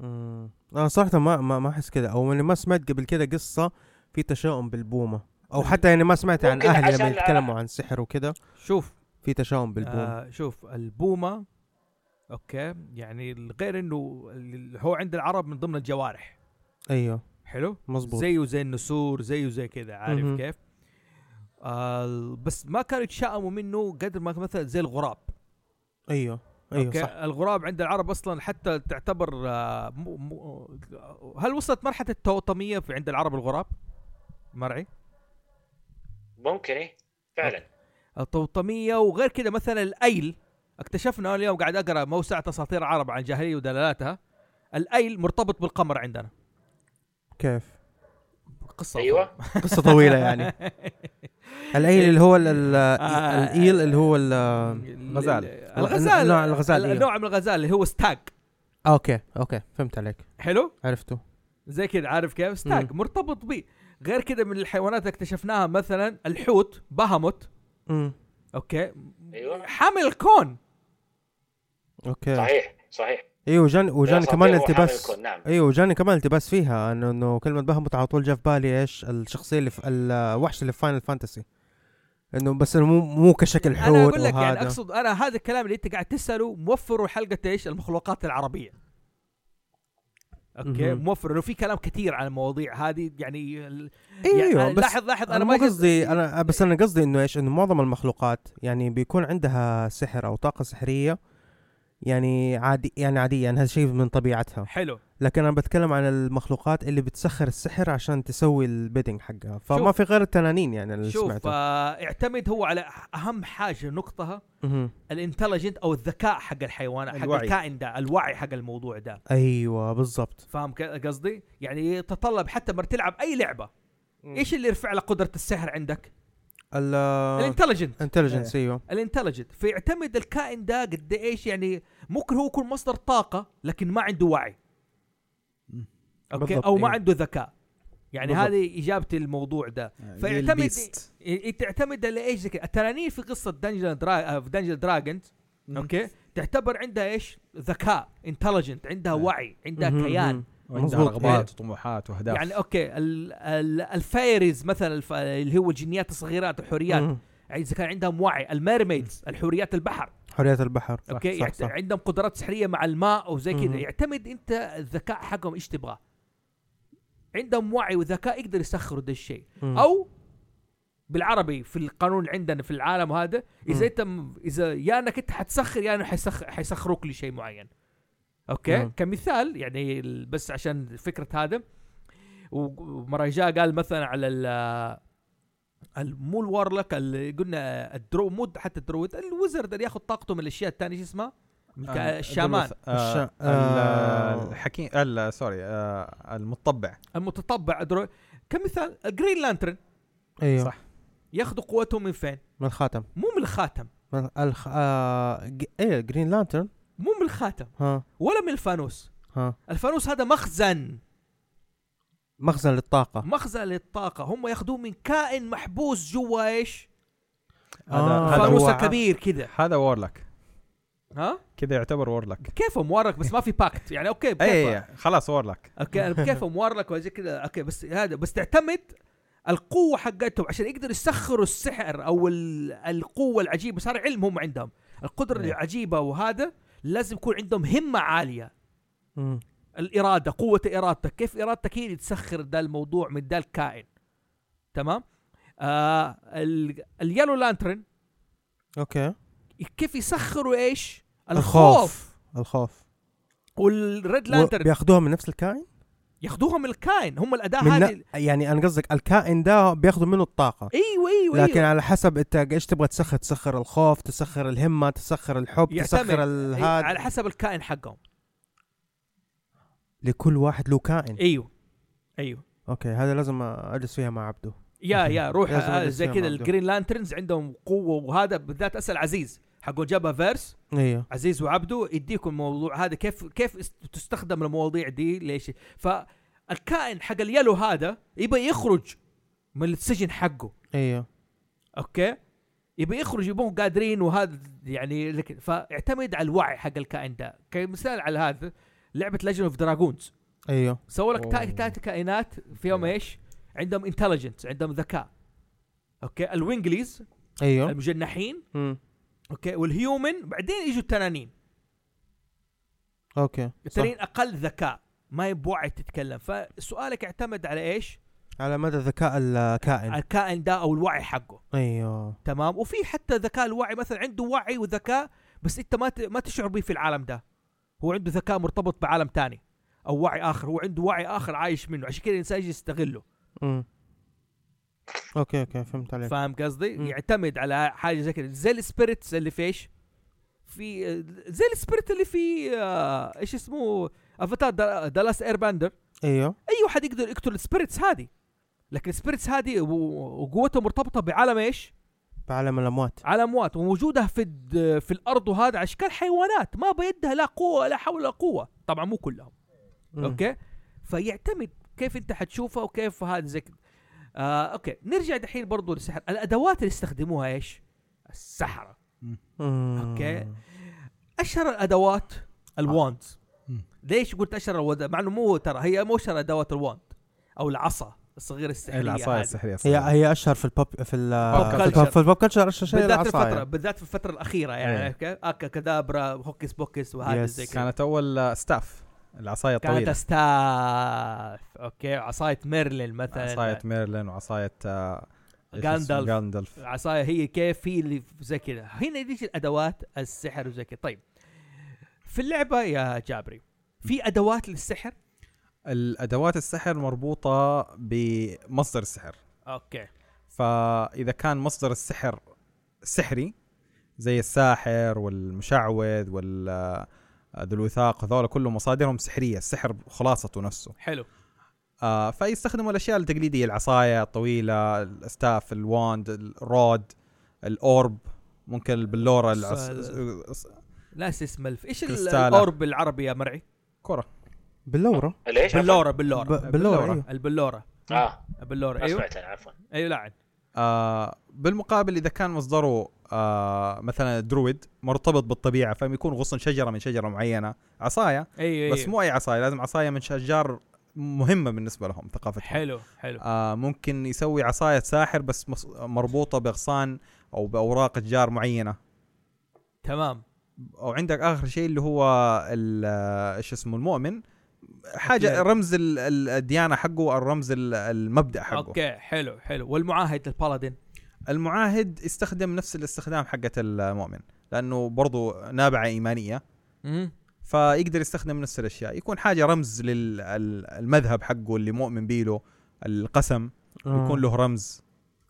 S2: مم. انا صراحه ما ما ما احس كده او اني ما سمعت قبل كده قصه في تشاؤم بالبومه او حتى يعني ما سمعت عن
S4: ممكن
S2: اهل لما
S4: عشان-
S2: يتكلموا عن سحر وكده
S1: شوف
S2: في تشاؤم بالبومه
S1: آه شوف البومه اوكي يعني غير انه اللي هو عند العرب من ضمن الجوارح
S2: ايوه
S1: حلو
S2: مظبوط
S1: زيه زي النسور زيه زي كذا عارف
S2: مهم.
S1: كيف آه بس ما كانوا يتشائموا منه قدر ما مثلا زي الغراب
S2: ايوه ايوه
S1: اوكي
S2: صح
S1: الغراب عند العرب اصلا حتى تعتبر آه، مو مو هل وصلت مرحله التوطميه في عند العرب الغراب؟ مرعي
S4: ممكن ايه فعلا
S1: التوطميه وغير كذا مثلا الايل اكتشفنا أنا اليوم قاعد اقرا موسع اساطير عرب عن الجاهليه ودلالاتها الايل مرتبط بالقمر عندنا
S2: كيف
S1: قصه
S4: ايوه
S2: قصه طويله يعني الايل اللي هو ال- ال-
S1: آه.
S2: الايل اللي هو ال-
S1: الغزال
S2: الغزال-
S1: الغزال
S2: نوع الغزال، أيوه.
S1: نوع من الغزال اللي هو ستاك
S2: اوكي اوكي فهمت عليك
S1: حلو
S2: عرفته
S1: زي كذا عارف كيف ستاك
S2: مم.
S1: مرتبط به غير كذا من الحيوانات اللي اكتشفناها مثلا الحوت بهموت
S2: امم
S1: اوكي
S4: ايوه
S1: حامل الكون
S2: اوكي
S4: صحيح صحيح
S2: ايوه وجاني وجاني
S4: يا
S2: كمان
S4: صديق وحامل
S2: التباس
S4: الكون، نعم
S2: ايوه وجاني كمان التباس فيها انه انه كلمه بهمت على طول جا في بالي ايش الشخصيه اللي في الوحش اللي في فاينل فانتسي انه بس انه مو مو كشكل حوت
S1: انا اقول لك يعني
S2: وهذا.
S1: اقصد انا هذا الكلام اللي انت قاعد تساله موفره حلقه ايش المخلوقات العربيه اوكي
S2: مهم.
S1: موفر انه في كلام كثير عن المواضيع هذه يعني ال-
S2: ايوه
S1: يعني
S2: بس
S1: لاحظ يعني لاحظ
S2: انا
S1: انا
S2: مو
S1: ما قصدي
S2: قصدي انا بس انا قصدي انه ايش انه معظم المخلوقات يعني بيكون عندها سحر او طاقه سحريه يعني عادي يعني عاديه يعني هذا شيء من طبيعتها
S1: حلو
S2: لكن انا بتكلم عن المخلوقات اللي بتسخر السحر عشان تسوي البيدنج حقها فما
S1: شوف.
S2: في غير التنانين يعني اللي
S1: شوف
S2: سمعته
S1: آه، اعتمد هو على اهم حاجه نقطها
S2: مهم.
S1: الانتليجنت او الذكاء حق الحيوان حق
S3: الوعي.
S1: الكائن ده الوعي حق الموضوع ده
S2: ايوه بالضبط
S1: فاهم ك- قصدي يعني يتطلب حتى لما تلعب اي لعبه ايش اللي يرفع لك قدره السحر عندك
S2: ال
S1: الانتليجنت
S2: انتليجنس
S1: إيه.
S2: ايوه
S1: الانتليجنت فيعتمد الكائن ده قد ايش يعني ممكن هو يكون مصدر طاقه لكن ما عنده وعي
S3: مم.
S1: اوكي
S2: بالضبط،
S1: او ما
S2: أيوه.
S1: عنده ذكاء يعني
S2: بالضبط. آه،
S1: هذه اجابه الموضوع ده فيعتمد إيه- تعتمد على ايش زي كده التنانين في قصه دنجن درا... في دنجن دراجونز اوكي تعتبر عندها ايش ذكاء انتليجنت عندها
S3: آه.
S1: وعي عندها
S2: مهم،
S1: كيان
S2: مهم.
S3: مظبوط
S2: مظبوط. إيه.
S3: رغبات وطموحات واهداف
S1: يعني اوكي ال... ال... الفايريز مثلا الف... اللي هو الجنيات الصغيرات الحوريات
S2: مهم.
S1: اذا يعني كان عندهم وعي الميرميدز الحوريات البحر
S2: حريات البحر
S1: اوكي
S2: صح
S1: يعت...
S2: صح
S1: عندهم قدرات سحريه مع الماء او زي كذا
S2: مهم.
S1: يعتمد انت الذكاء حقهم ايش تبغاه عندهم وعي وذكاء يقدر يسخروا ده الشيء
S2: مم.
S1: او بالعربي في القانون اللي عندنا في العالم هذا
S2: مم.
S1: اذا انت م- اذا يا انك انت حتسخر يا انه حيسخر حيسخروك لشيء معين اوكي
S2: نعم.
S1: كمثال يعني ال- بس عشان فكره هذا و- ومره جاء قال مثلا على ال ال- مو الوارلك اللي قلنا الدرو مو حتى الدرويد الوزرد اللي ياخذ طاقته من الاشياء الثانيه ايش اسمها؟
S3: آه،
S1: الشامان.
S3: الدروث- آه،
S2: الش-
S3: ال-
S2: آه.
S3: الحكيم ال- سوري آه، المتطبع
S1: المتطبع درو كمثال الجرين لانترن
S2: ايوه
S3: صح.
S2: صح
S1: ياخذوا قوتهم من فين؟
S2: من الخاتم
S1: مو من الخاتم
S2: من الخ... آه... ج- ايه جرين لانترن
S1: مو من الخاتم
S2: ها
S1: ولا من الفانوس
S2: ها
S1: الفانوس هذا مخزن
S2: مخزن للطاقه
S1: مخزن للطاقة هم ياخذوه من كائن محبوس جوا ايش؟
S3: هذا
S2: آه.
S3: هذا
S1: فانوس
S3: هو
S1: كبير كذا
S3: هذا وورلك
S1: ها؟
S3: كذا يعتبر وورلك
S1: كيف مورك بس ما في باكت يعني اوكي
S3: اي
S1: بكيف
S3: أي، خلاص وورلك
S1: اوكي كيف مورك وزي كذا اوكي بس هذا بس تعتمد القوة حقتهم عشان يقدروا يسخروا السحر او ال- القوة العجيبة صار علم هم عندهم القدرة
S3: إيه.
S1: العجيبة وهذا لازم يكون عندهم همة عالية
S2: مم.
S1: الاراده قوه ارادتك كيف ارادتك هي اللي تسخر ده الموضوع من ده الكائن تمام آه ال... اليالو لانترن
S2: اوكي
S1: كيف يسخروا ايش
S2: الخوف.
S1: الخوف
S2: الخوف
S1: والريد
S2: و-
S1: لانترن
S2: بياخذوها من نفس الكائن؟
S1: ياخذوها من الكائن هم الاداه
S2: من
S1: هذه
S2: ن... يعني انا قصدك الكائن ده بياخذوا منه الطاقه
S1: ايوه ايوه
S2: لكن
S1: أيوة.
S2: على حسب انت ايش تبغى تسخر تسخر الخوف تسخر الهمه تسخر الحب
S1: يعتمد
S2: تسخر
S1: أي-
S2: الهاد
S1: على حسب الكائن حقهم
S2: لكل واحد له كائن
S1: ايوه ايوه
S2: اوكي هذا لازم اجلس فيها مع عبده
S1: يا يا روح
S2: لازم
S1: آه،
S2: أدرس
S1: زي
S2: فيها
S1: كذا
S2: مع عبده.
S1: الجرين لانترنز عندهم قوه وهذا بالذات اسال عزيز حقه جابها فيرس
S2: ايوه
S1: عزيز وعبده يديكم الموضوع هذا كيف كيف است- تستخدم المواضيع دي ليش فالكائن حق اليلو هذا يبى يخرج من السجن حقه
S2: ايوه
S1: اوكي يبى يخرج يبون قادرين وهذا يعني لكن فاعتمد على الوعي حق الكائن ده كمثال على هذا لعبه ليجن اوف دراجونز
S2: ايوه
S1: سووا لك تا-
S3: أوه.
S1: ثلاث كائنات فيهم ايش؟ عندهم انتليجنس عندهم ذكاء اوكي الوينجليز
S2: ايوه
S1: المجنحين
S2: مم.
S1: اوكي والهيومن بعدين يجوا التنانين
S2: اوكي صح.
S1: التنين اقل ذكاء ما يبوعي تتكلم فسؤالك اعتمد على ايش
S2: على مدى ذكاء الكائن
S1: الكائن ده او الوعي حقه
S2: ايوه
S1: تمام وفي حتى ذكاء الوعي مثلا عنده وعي وذكاء بس انت ما ت- ما تشعر به في العالم ده هو عنده ذكاء مرتبط بعالم تاني او وعي اخر هو عنده وعي اخر عايش منه عشان كذا الانسان يجي يستغله
S2: مم. اوكي اوكي فهمت عليك
S1: فاهم قصدي
S2: مم.
S1: يعتمد على حاجه زي كذا زي السبيريتس اللي في ايش في زي السبيريت اللي في آه، ايش اسمه افاتار دالاس اير باندر
S2: ايوه
S1: اي واحد يقدر يقتل السبيريتس هذه لكن السبيرتس هذه و- وقوتها مرتبطه بعالم ايش؟
S2: بعالم الاموات
S1: عالم وات ووجودها في الد- في الارض وهذا على اشكال حيوانات ما بيدها لا قوه لا حول ولا قوه طبعا مو كلهم
S2: مم.
S1: اوكي فيعتمد كيف انت حتشوفها وكيف هذا زي كده. آه اوكي نرجع دحين برضو للسحر الادوات اللي استخدموها ايش السحره
S2: مم.
S1: اوكي اشهر الادوات الواند
S3: مم.
S1: ليش قلت اشهر الود مع انه مو ترى هي مو اشهر ادوات الواند او العصا الصغيره السحريه
S3: العصاية
S1: هذه.
S3: السحرية
S2: هي
S3: صحيح.
S2: هي اشهر في البوب في ال
S1: Pop
S2: في
S1: culture.
S2: البوب- في البوب كلتشر اشهر شيء
S1: بالذات
S2: العصا
S1: الفترة
S2: يعني.
S1: بالذات في الفترة الأخيرة يعني
S3: إيه.
S1: اوكي اكا كدابرا هوكس بوكس وهذا
S2: Yes.
S1: زي كذا
S3: كانت أول آه، ستاف العصاية
S1: كانت
S3: الطويلة
S1: ستاف اوكي عصاية ميرلين مثلا
S3: عصاية ميرلين وعصاية آه، إيش اسمه؟
S1: غاندالف.
S3: غاندالف
S1: عصاية هي كيف هي اللي زي كذا هنا ليش الأدوات السحر وزي كذا طيب في اللعبة يا جابري في أدوات للسحر
S3: الأدوات السحر مربوطة بمصدر السحر
S1: اوكي
S3: فاذا كان مصدر السحر سحري زي الساحر والمشعوذ وال آه، ذو الوثاق هذول كلهم مصادرهم سحريه السحر خلاصته نفسه
S1: حلو
S3: آه فيستخدموا الاشياء التقليديه العصايه الطويله الاستاف الواند الرود الاورب ممكن البلوره العص...
S1: ناس اسم الف ايش ال-
S3: كريستالة.
S1: الاورب بالعربي يا مرعي
S3: كره
S2: باللورة
S4: ليش؟
S1: بلورة بلورة
S2: ب-
S3: باللورة.
S2: باللورة أيوه.
S1: البلورة
S4: اه
S1: البلورة
S4: ما
S1: ايوه
S4: سمعت انا عفوا
S1: ايوه لعن
S3: آه بالمقابل اذا كان مصدره آه مثلا درويد مرتبط بالطبيعه فبيكون غصن شجره من شجره معينه عصايه
S1: ايوه
S3: بس مو اي عصايه لازم عصايه من شجار مهمه بالنسبه لهم ثقافتهم
S1: حلو حلو
S3: آه ممكن يسوي عصايه ساحر بس مص- مربوطه باغصان او باوراق اشجار معينه
S1: تمام
S3: او عندك اخر شيء اللي هو ال- آه، ايش اسمه المؤمن حاجه
S1: أوكي.
S3: رمز ال- ال- الديانه حقه الرمز ال- المبدا حقه أوكي.
S1: اوكي حلو حلو والمعاهد البالادين
S3: المعاهد استخدم نفس الاستخدام حقه المؤمن لانه برضو نابعه ايمانيه
S1: امم
S3: فيقدر يستخدم نفس الاشياء يكون حاجه رمز للمذهب حقه اللي مؤمن بيه له القسم
S1: آه.
S3: ويكون له رمز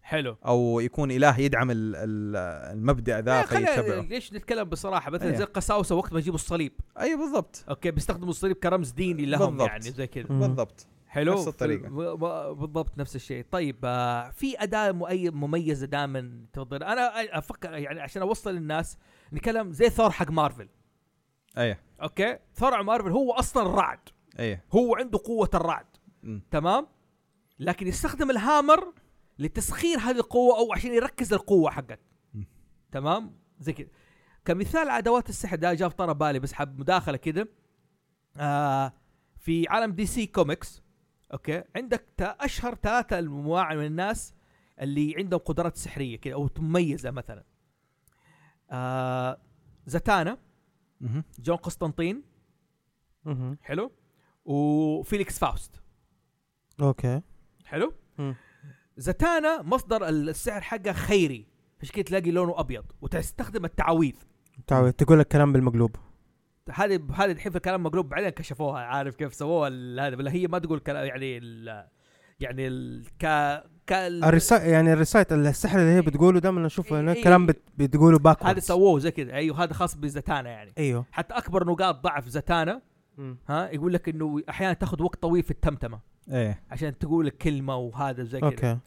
S1: حلو
S3: او يكون اله يدعم ال- ال- المبدا ذا
S1: إيه، خلينا
S3: فيتبعه
S1: ليش نتكلم بصراحه مثلا
S3: أيوة.
S1: زي القساوسه وقت ما يجيبوا الصليب
S3: اي بالضبط
S1: اوكي بيستخدموا الصليب كرمز ديني لهم
S3: بالضبط.
S1: يعني زي كذا
S2: مم.
S3: بالضبط
S1: حلو
S3: نفس الطريقة.
S1: في- ب- ب- بالضبط نفس الشيء طيب آه في اداه مؤي- مميزه دائما تفضل انا افكر يعني عشان اوصل للناس نتكلم زي ثور حق مارفل
S3: اي
S1: اوكي ثور حق مارفل هو اصلا الرعد
S3: اي
S1: هو عنده قوه الرعد
S3: مم.
S1: تمام لكن يستخدم الهامر لتسخير هذه القوه او عشان يركز القوه حقك
S3: م.
S1: تمام زي كذا كمثال على ادوات السحر ده جاب طرى بالي بس حاب مداخله كده آه في عالم دي سي كوميكس اوكي عندك تا- اشهر ثلاثه انواع من الناس اللي عندهم قدرات سحريه كده او مميزه مثلا آه زتانا
S3: مهم.
S1: جون قسطنطين
S2: مهم.
S1: حلو وفيليكس فاوست
S2: اوكي
S1: حلو
S2: مم.
S1: زتانا مصدر السعر حقه خيري عشان كده تلاقي لونه ابيض وتستخدم التعاويذ
S2: تعود تقول لك كلام بالمقلوب
S1: هذه هذه الحين في الكلام مقلوب بعدين كشفوها عارف كيف سووها ال- هذا ولا هي ما تقول كلام يعني ال يعني ال ك ك
S2: الرسائل يعني الرسائل السحر اللي هي بتقوله ده من اشوف
S1: إيه،
S2: انه
S1: إيه.
S2: كلام بت- بتقوله باكورد
S1: هذا سووه زي كذا ايوه هذا خاص بزتانا يعني
S2: ايوه
S1: حتى اكبر نقاط ضعف زتانا ها يقول لك انه احيانا تاخذ وقت طويل في التمتمه
S3: ايه
S1: عشان تقول الكلمه وهذا زي كذا
S2: اوكي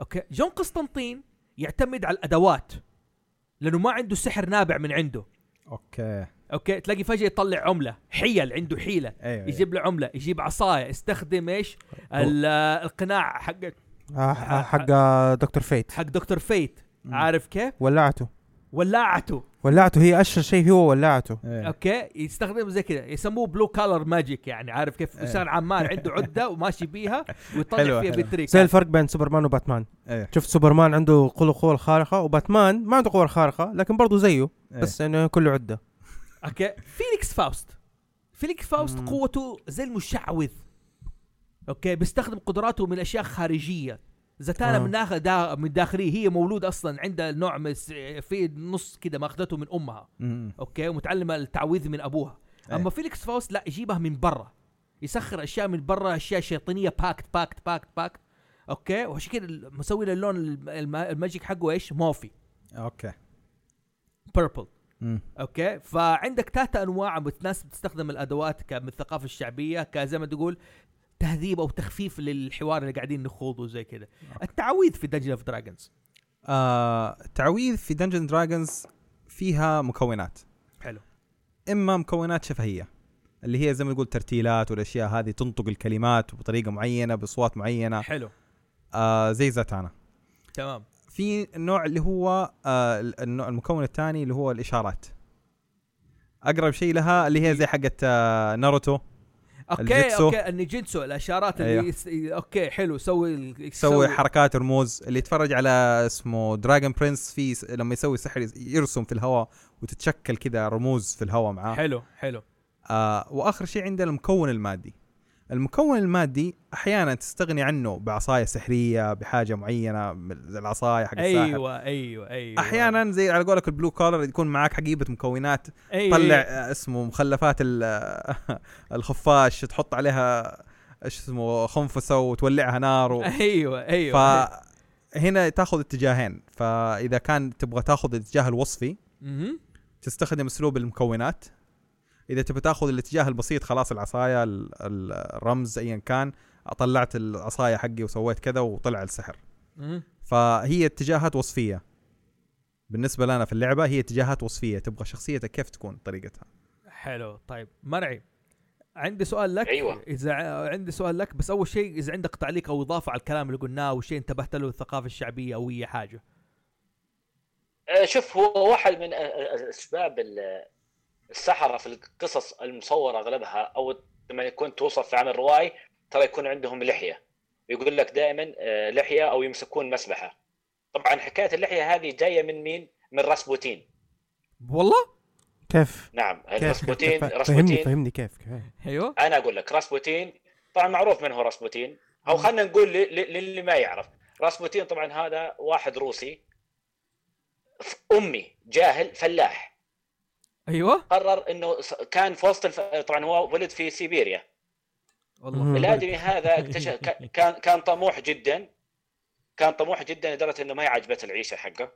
S1: اوكي جون قسطنطين يعتمد على الادوات لانه ما عنده سحر نابع من عنده
S3: اوكي
S1: اوكي تلاقي فجاه يطلع عمله حيل عنده حيله
S3: ايوه
S1: يجيب له عمله يجيب عصايه استخدم ايش ال- القناع حق
S2: آه، آه، حق دكتور فيت
S1: حق دكتور فيت
S3: مم.
S1: عارف كيف
S2: ولعته
S1: ولاعته
S2: ولعته هي اشهر شيء هو ولعته
S3: إيه.
S1: اوكي يستخدم زي كذا يسموه بلو كالر ماجيك يعني عارف كيف
S3: إيه.
S1: انسان عمال عنده عده وماشي بيها ويطلع
S3: حلوة،
S1: فيها
S3: حلوة.
S1: بالتريك
S2: زي الفرق بين سوبرمان وباتمان
S3: ايه
S2: شفت سوبرمان عنده قوة القوة الخارقة وباتمان ما عنده قوة خارقة لكن برضه زيه
S3: إيه.
S2: بس انه كله عدة
S1: اوكي فيليكس فاوست فيليكس فاوست
S2: مم.
S1: قوته زي المشعوذ اوكي بيستخدم قدراته من اشياء خارجيه زتانا
S2: آه.
S1: من داخل دا من داخليه هي مولوده اصلا عندها نوع من الس- في نص كده ماخذته من امها
S3: مم.
S1: اوكي ومتعلمه التعويذ من ابوها
S2: إيه.
S3: أي.
S1: اما فيليكس فاوست لا يجيبها من برا يسخر اشياء من برا اشياء شيطانيه باكت باكت باكت باكت اوكي وعشان كده مسوي له اللون الم- الم- الماجيك حقه ايش موفي
S3: اوكي
S1: بيربل
S3: مم.
S1: اوكي فعندك ثلاثة انواع من ناس بتستخدم الادوات ك- من الثقافه الشعبيه كزي ما تقول تهذيب او تخفيف للحوار اللي قاعدين نخوضه زي كذا التعويذ في دنجن اوف دراجونز
S3: آه، تعويذ في دنجن دراجونز فيها مكونات
S1: حلو
S3: اما مكونات شفهيه اللي هي زي ما تقول ترتيلات والاشياء هذه تنطق الكلمات بطريقه معينه باصوات معينه
S1: حلو
S3: آه زي زتانا
S1: تمام
S3: في نوع اللي هو آه النوع- المكون الثاني اللي هو الاشارات اقرب شيء لها اللي هي زي حقت آه ناروتو
S1: اوكي
S3: الجيتسو.
S1: اوكي النيجيتسو الاشارات اللي
S3: أيوه.
S1: يس... اوكي حلو سوي ال-
S3: تسوي حركات رموز اللي يتفرج على اسمه دراجون برنس في س- لما يسوي سحر يرسم في الهواء وتتشكل كذا رموز في الهواء معاه
S1: حلو حلو
S3: آه واخر شيء عندنا المكون المادي المكون المادي احيانا تستغني عنه بعصايه سحريه بحاجه معينه من زي العصايه حق الساحر
S1: ايوه ايوه ايوه
S3: احيانا زي على قولك البلو كولر يكون معاك حقيبه مكونات
S1: أيوة.
S3: طلع آه، اسمه مخلفات ال- الخفاش تحط عليها ايش اسمه خنفسه وتولعها نار و...
S1: ايوه ايوه
S3: فهنا تاخذ اتجاهين فاذا كان تبغى تاخذ الاتجاه الوصفي
S1: مهم.
S3: تستخدم اسلوب المكونات اذا تبي تاخذ الاتجاه البسيط خلاص العصايه ال- ال- الرمز ايا كان طلعت العصايه حقي وسويت كذا وطلع السحر
S1: مهم.
S3: فهي اتجاهات وصفيه بالنسبه لنا في اللعبه هي اتجاهات وصفيه تبغى شخصيتك كيف تكون طريقتها
S1: حلو طيب مرعي عندي سؤال لك
S4: أيوة.
S1: اذا ع- عندي سؤال لك بس اول شيء اذا عندك تعليق او اضافه على الكلام اللي قلناه او شيء انتبهت له الثقافه الشعبيه او اي حاجه
S4: آه، شوف هو واحد من آه، آه، اسباب ال- السحره في القصص المصوره اغلبها او لما يكون توصف في عمل روائي ترى يكون عندهم لحيه يقول لك دائما آه، لحيه او يمسكون مسبحه طبعا حكايه اللحيه هذه جايه من مين؟ من راسبوتين
S1: والله
S2: كيف؟
S4: نعم
S2: كيف؟
S4: راسبوتين
S2: فا- فهمني
S4: راسبوتين
S2: فهمني كيف؟ كيف؟
S1: ايوه
S4: انا اقول لك راسبوتين طبعا معروف من هو راسبوتين او خلينا نقول ل- ل- للي ما يعرف راسبوتين طبعا هذا واحد روسي امي جاهل فلاح
S1: ايوه
S4: قرر انه س- كان في وسط الف... طبعا هو ولد في سيبيريا
S1: والله
S4: الادمي هذا اكتشف ك- كان كان طموح جدا كان طموح جدا لدرجه انه ما عجبته العيشه حقه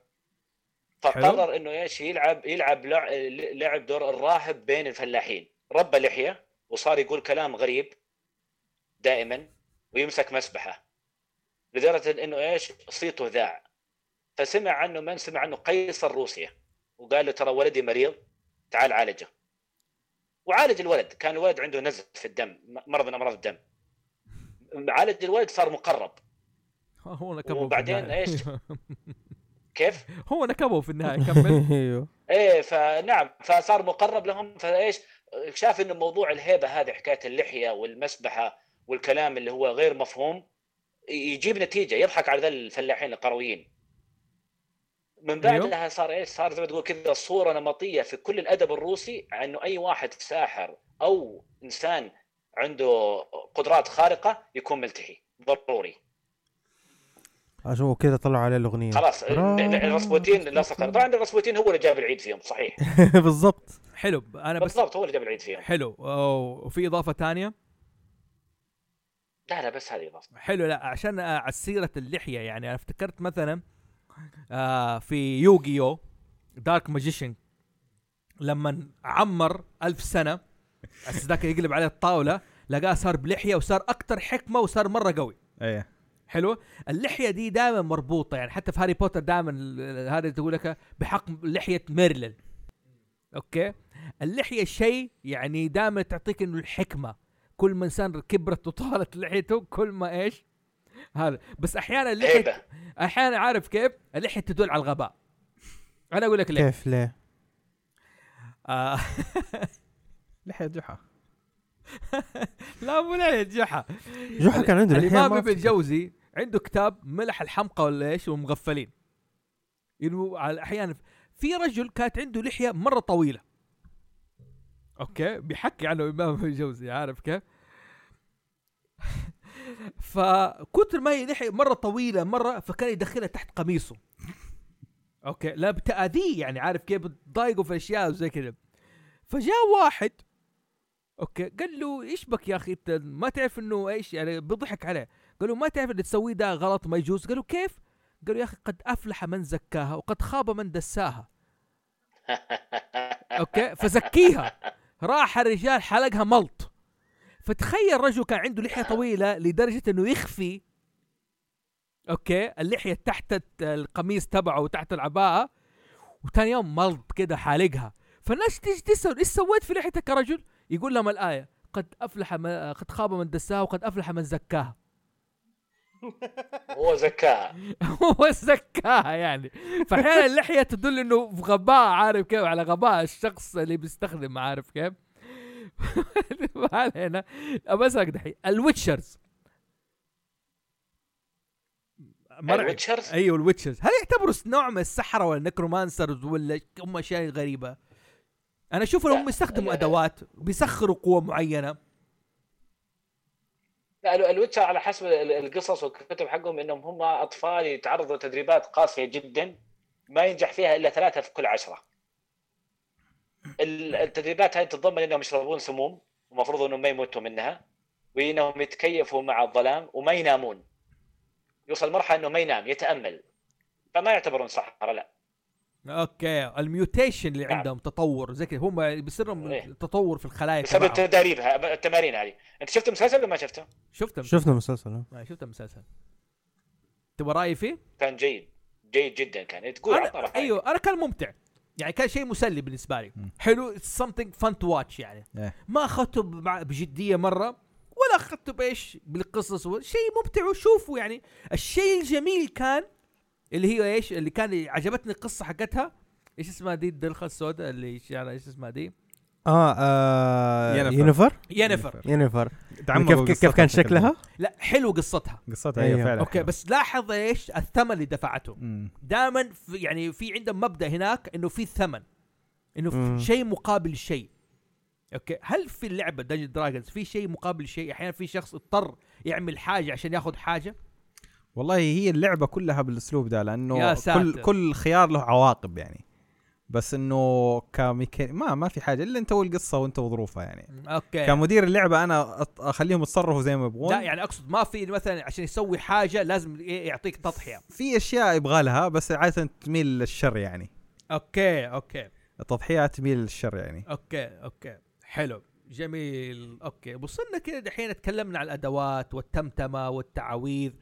S4: فقرر انه ايش يلعب يلعب لع- لعب دور الراهب بين الفلاحين ربى لحيه وصار يقول كلام غريب دائما ويمسك مسبحه لدرجه انه ايش صيته ذاع فسمع عنه من سمع عنه قيصر روسيا وقال له ترى ولدي مريض تعال عالجه وعالج الولد كان الولد عنده نزف في الدم م- مرض من امراض الدم عالج الولد صار مقرب
S1: هو نكبه
S4: وبعدين إيش؟ كيف؟
S1: هو نكبه في النهايه كمل
S2: ايوه
S4: ايه فنعم فصار مقرب لهم فايش شاف انه موضوع الهيبه هذه حكايه اللحيه والمسبحه والكلام اللي هو غير مفهوم يجيب نتيجه يضحك على ذا الفلاحين القرويين من
S1: أيوه.
S4: بعدها صار ايش صار زي ما تقول كذا صوره نمطيه في كل الادب الروسي انه اي واحد ساحر او انسان عنده قدرات خارقه يكون ملتحي ضروري
S2: اشوفه كذا طلعوا عليه الاغنيه
S4: خلاص الرسبوتين لصق طبعا الرسبوتين هو اللي جاب العيد فيهم صحيح
S2: بالضبط
S1: حلو انا بس
S4: بالضبط هو اللي جاب العيد فيهم
S1: حلو أو- وفي اضافه ثانيه
S4: لا لا بس هذه اضافه
S1: حلو لا عشان آه، على سيره اللحيه يعني انا افتكرت مثلا آه في يوغيو دارك ماجيشن لما عمر ألف سنه اساس ذاك يقلب عليه الطاوله لقاه صار بلحيه وصار اكثر حكمه وصار مره قوي
S3: ايه
S2: إيه.
S1: حلو اللحيه دي دائما مربوطه يعني حتى في هاري بوتر دائما هذا تقول لك بحق لحيه ميرلين اوكي اللحيه شيء يعني دائما تعطيك انه الحكمه كل ما انسان كبرت وطالت لحيته كل ما ايش هذا بس احيانا اللحيه
S4: هيبه
S1: احيانا عارف كيف اللحيه تدل على الغباء انا اقول لك ليه
S2: كيف ليه؟
S1: آه
S3: لحيه جحا
S1: لا مو لحيه جحا
S2: جحا كان عنده لحية
S1: الامام
S2: ما
S1: ابن
S2: أفتكر.
S1: جوزي عنده كتاب ملح الحمقى ولا ايش والمغفلين ينو على احيانا في رجل كانت عنده لحيه مره طويله اوكي بيحكي عنه الامام ابن جوزي عارف كيف فكتر ما هي لحيه مره طويله مره فكان يدخلها تحت قميصه اوكي لا بتاذيه يعني عارف كيف بتضايقه في اشياء وزي كذا فجاء واحد اوكي قال له ايش بك يا اخي انت ما تعرف انه ايش يعني بيضحك عليه قال له ما تعرف اللي تسويه ده غلط ما يجوز قال له كيف قال له يا اخي قد افلح من زكاها وقد خاب من دساها اوكي فزكيها راح الرجال حلقها ملط فتخيل رجل كان عنده لحيه طويله لدرجه انه يخفي اوكي اللحيه تحت الت- القميص تبعه وتحت العباءه وثاني يوم ملط كده حالقها فالناس تيجي تسال ايش سويت في لحيتك يا رجل؟ يقول لهم الايه قد افلح ما قد خاب من دساها وقد افلح من زكاها
S4: هو زكاها
S1: هو زكاها يعني فاحيانا اللحيه تدل انه في غباء عارف كيف على غباء الشخص اللي بيستخدم عارف كيف ما علينا أبى اسالك دحين الويتشرز مرعب
S4: الويتشرز
S1: ايوه الويتشرز هل يعتبروا نوع من السحره ولا النكرومانسرز ولا هم اشياء غريبه؟ انا اشوف انهم
S4: لا،
S1: بيستخدموا
S4: لا، لا.
S1: ادوات بيسخروا قوه معينه
S4: لا ال- الويتشر على حسب ال- القصص والكتب حقهم انهم هم اطفال يتعرضوا لتدريبات قاسيه جدا ما ينجح فيها الا ثلاثه في كل عشره. ال- التدريبات هذه تتضمن انهم يشربون سموم ومفروض انهم ما يموتوا منها وانهم يتكيفوا مع الظلام وما ينامون. يوصل مرحله انه ما ينام يتامل فما يعتبرون سحره لا
S1: اوكي الميوتيشن اللي
S4: نعم.
S1: عندهم تطور زي كذا هم بيصير
S4: إيه.
S1: لهم تطور في الخلايا
S4: بسبب
S1: تبعهم.
S4: تداريبها التمارين هذه. انت شفت المسلسل ولا ما شفته؟
S1: شفتهم
S2: شفنا مسلسل
S1: ما شفت المسلسل تبغى رايي فيه؟
S4: كان جيد جيد جدا كان إيه، تقول عطنا
S1: أنا
S4: رأيك.
S1: ايوه انا كان ممتع يعني كان شيء مسلي بالنسبه لي
S3: مم.
S1: حلو something fun to watch يعني
S3: إيه.
S1: ما اخذته بمع- بجديه مره ولا اخذته بايش بالقصص ولا- شيء ممتع وشوفه يعني الشيء الجميل كان اللي هي ايش اللي كان عجبتني القصه حقتها ايش اسمها دي الدلخه السوداء اللي إيش- يعني ايش اسمها دي
S2: اه, آه
S3: ينفر.
S2: يونيفر
S1: ينفر
S2: يونيفر
S3: تعمقوا
S2: يعني كيف كيف كان
S3: قصتها بشكل
S2: شكلها؟
S1: لا حلو قصتها
S3: كبير. قصتها ايوه
S2: أيوه.
S3: فعلا
S1: اوكي بس لاحظ ايش الثمن اللي دفعته
S3: مم.
S1: دائما في يعني في عندهم مبدا هناك انه في ثمن انه
S2: مم.
S1: في شيء مقابل شيء اوكي هل في اللعبه دنجن دراجونز في شيء مقابل شيء احيانا في شخص اضطر يعمل حاجه عشان ياخذ حاجه
S3: والله هي اللعبه كلها بالاسلوب ده
S1: يا
S3: لانه
S1: ساتر.
S3: كل كل خيار له عواقب يعني بس انه كميكاني ما ما في حاجه الا انت والقصه وانت وظروفها يعني
S1: اوكي
S3: كمدير اللعبه انا أط- اخليهم يتصرفوا زي ما
S1: إيه. لا
S3: يبغون
S1: يعني اقصد ما في مثلا عشان يسوي حاجه لازم إيه يعطيك تضحيه
S3: في اشياء يبغى لها بس عاده تميل للشر يعني
S1: اوكي اوكي
S3: التضحيات تميل للشر يعني
S1: اوكي اوكي حلو جميل اوكي وصلنا كده دحين تكلمنا عن الادوات والتمتمه والتعاويذ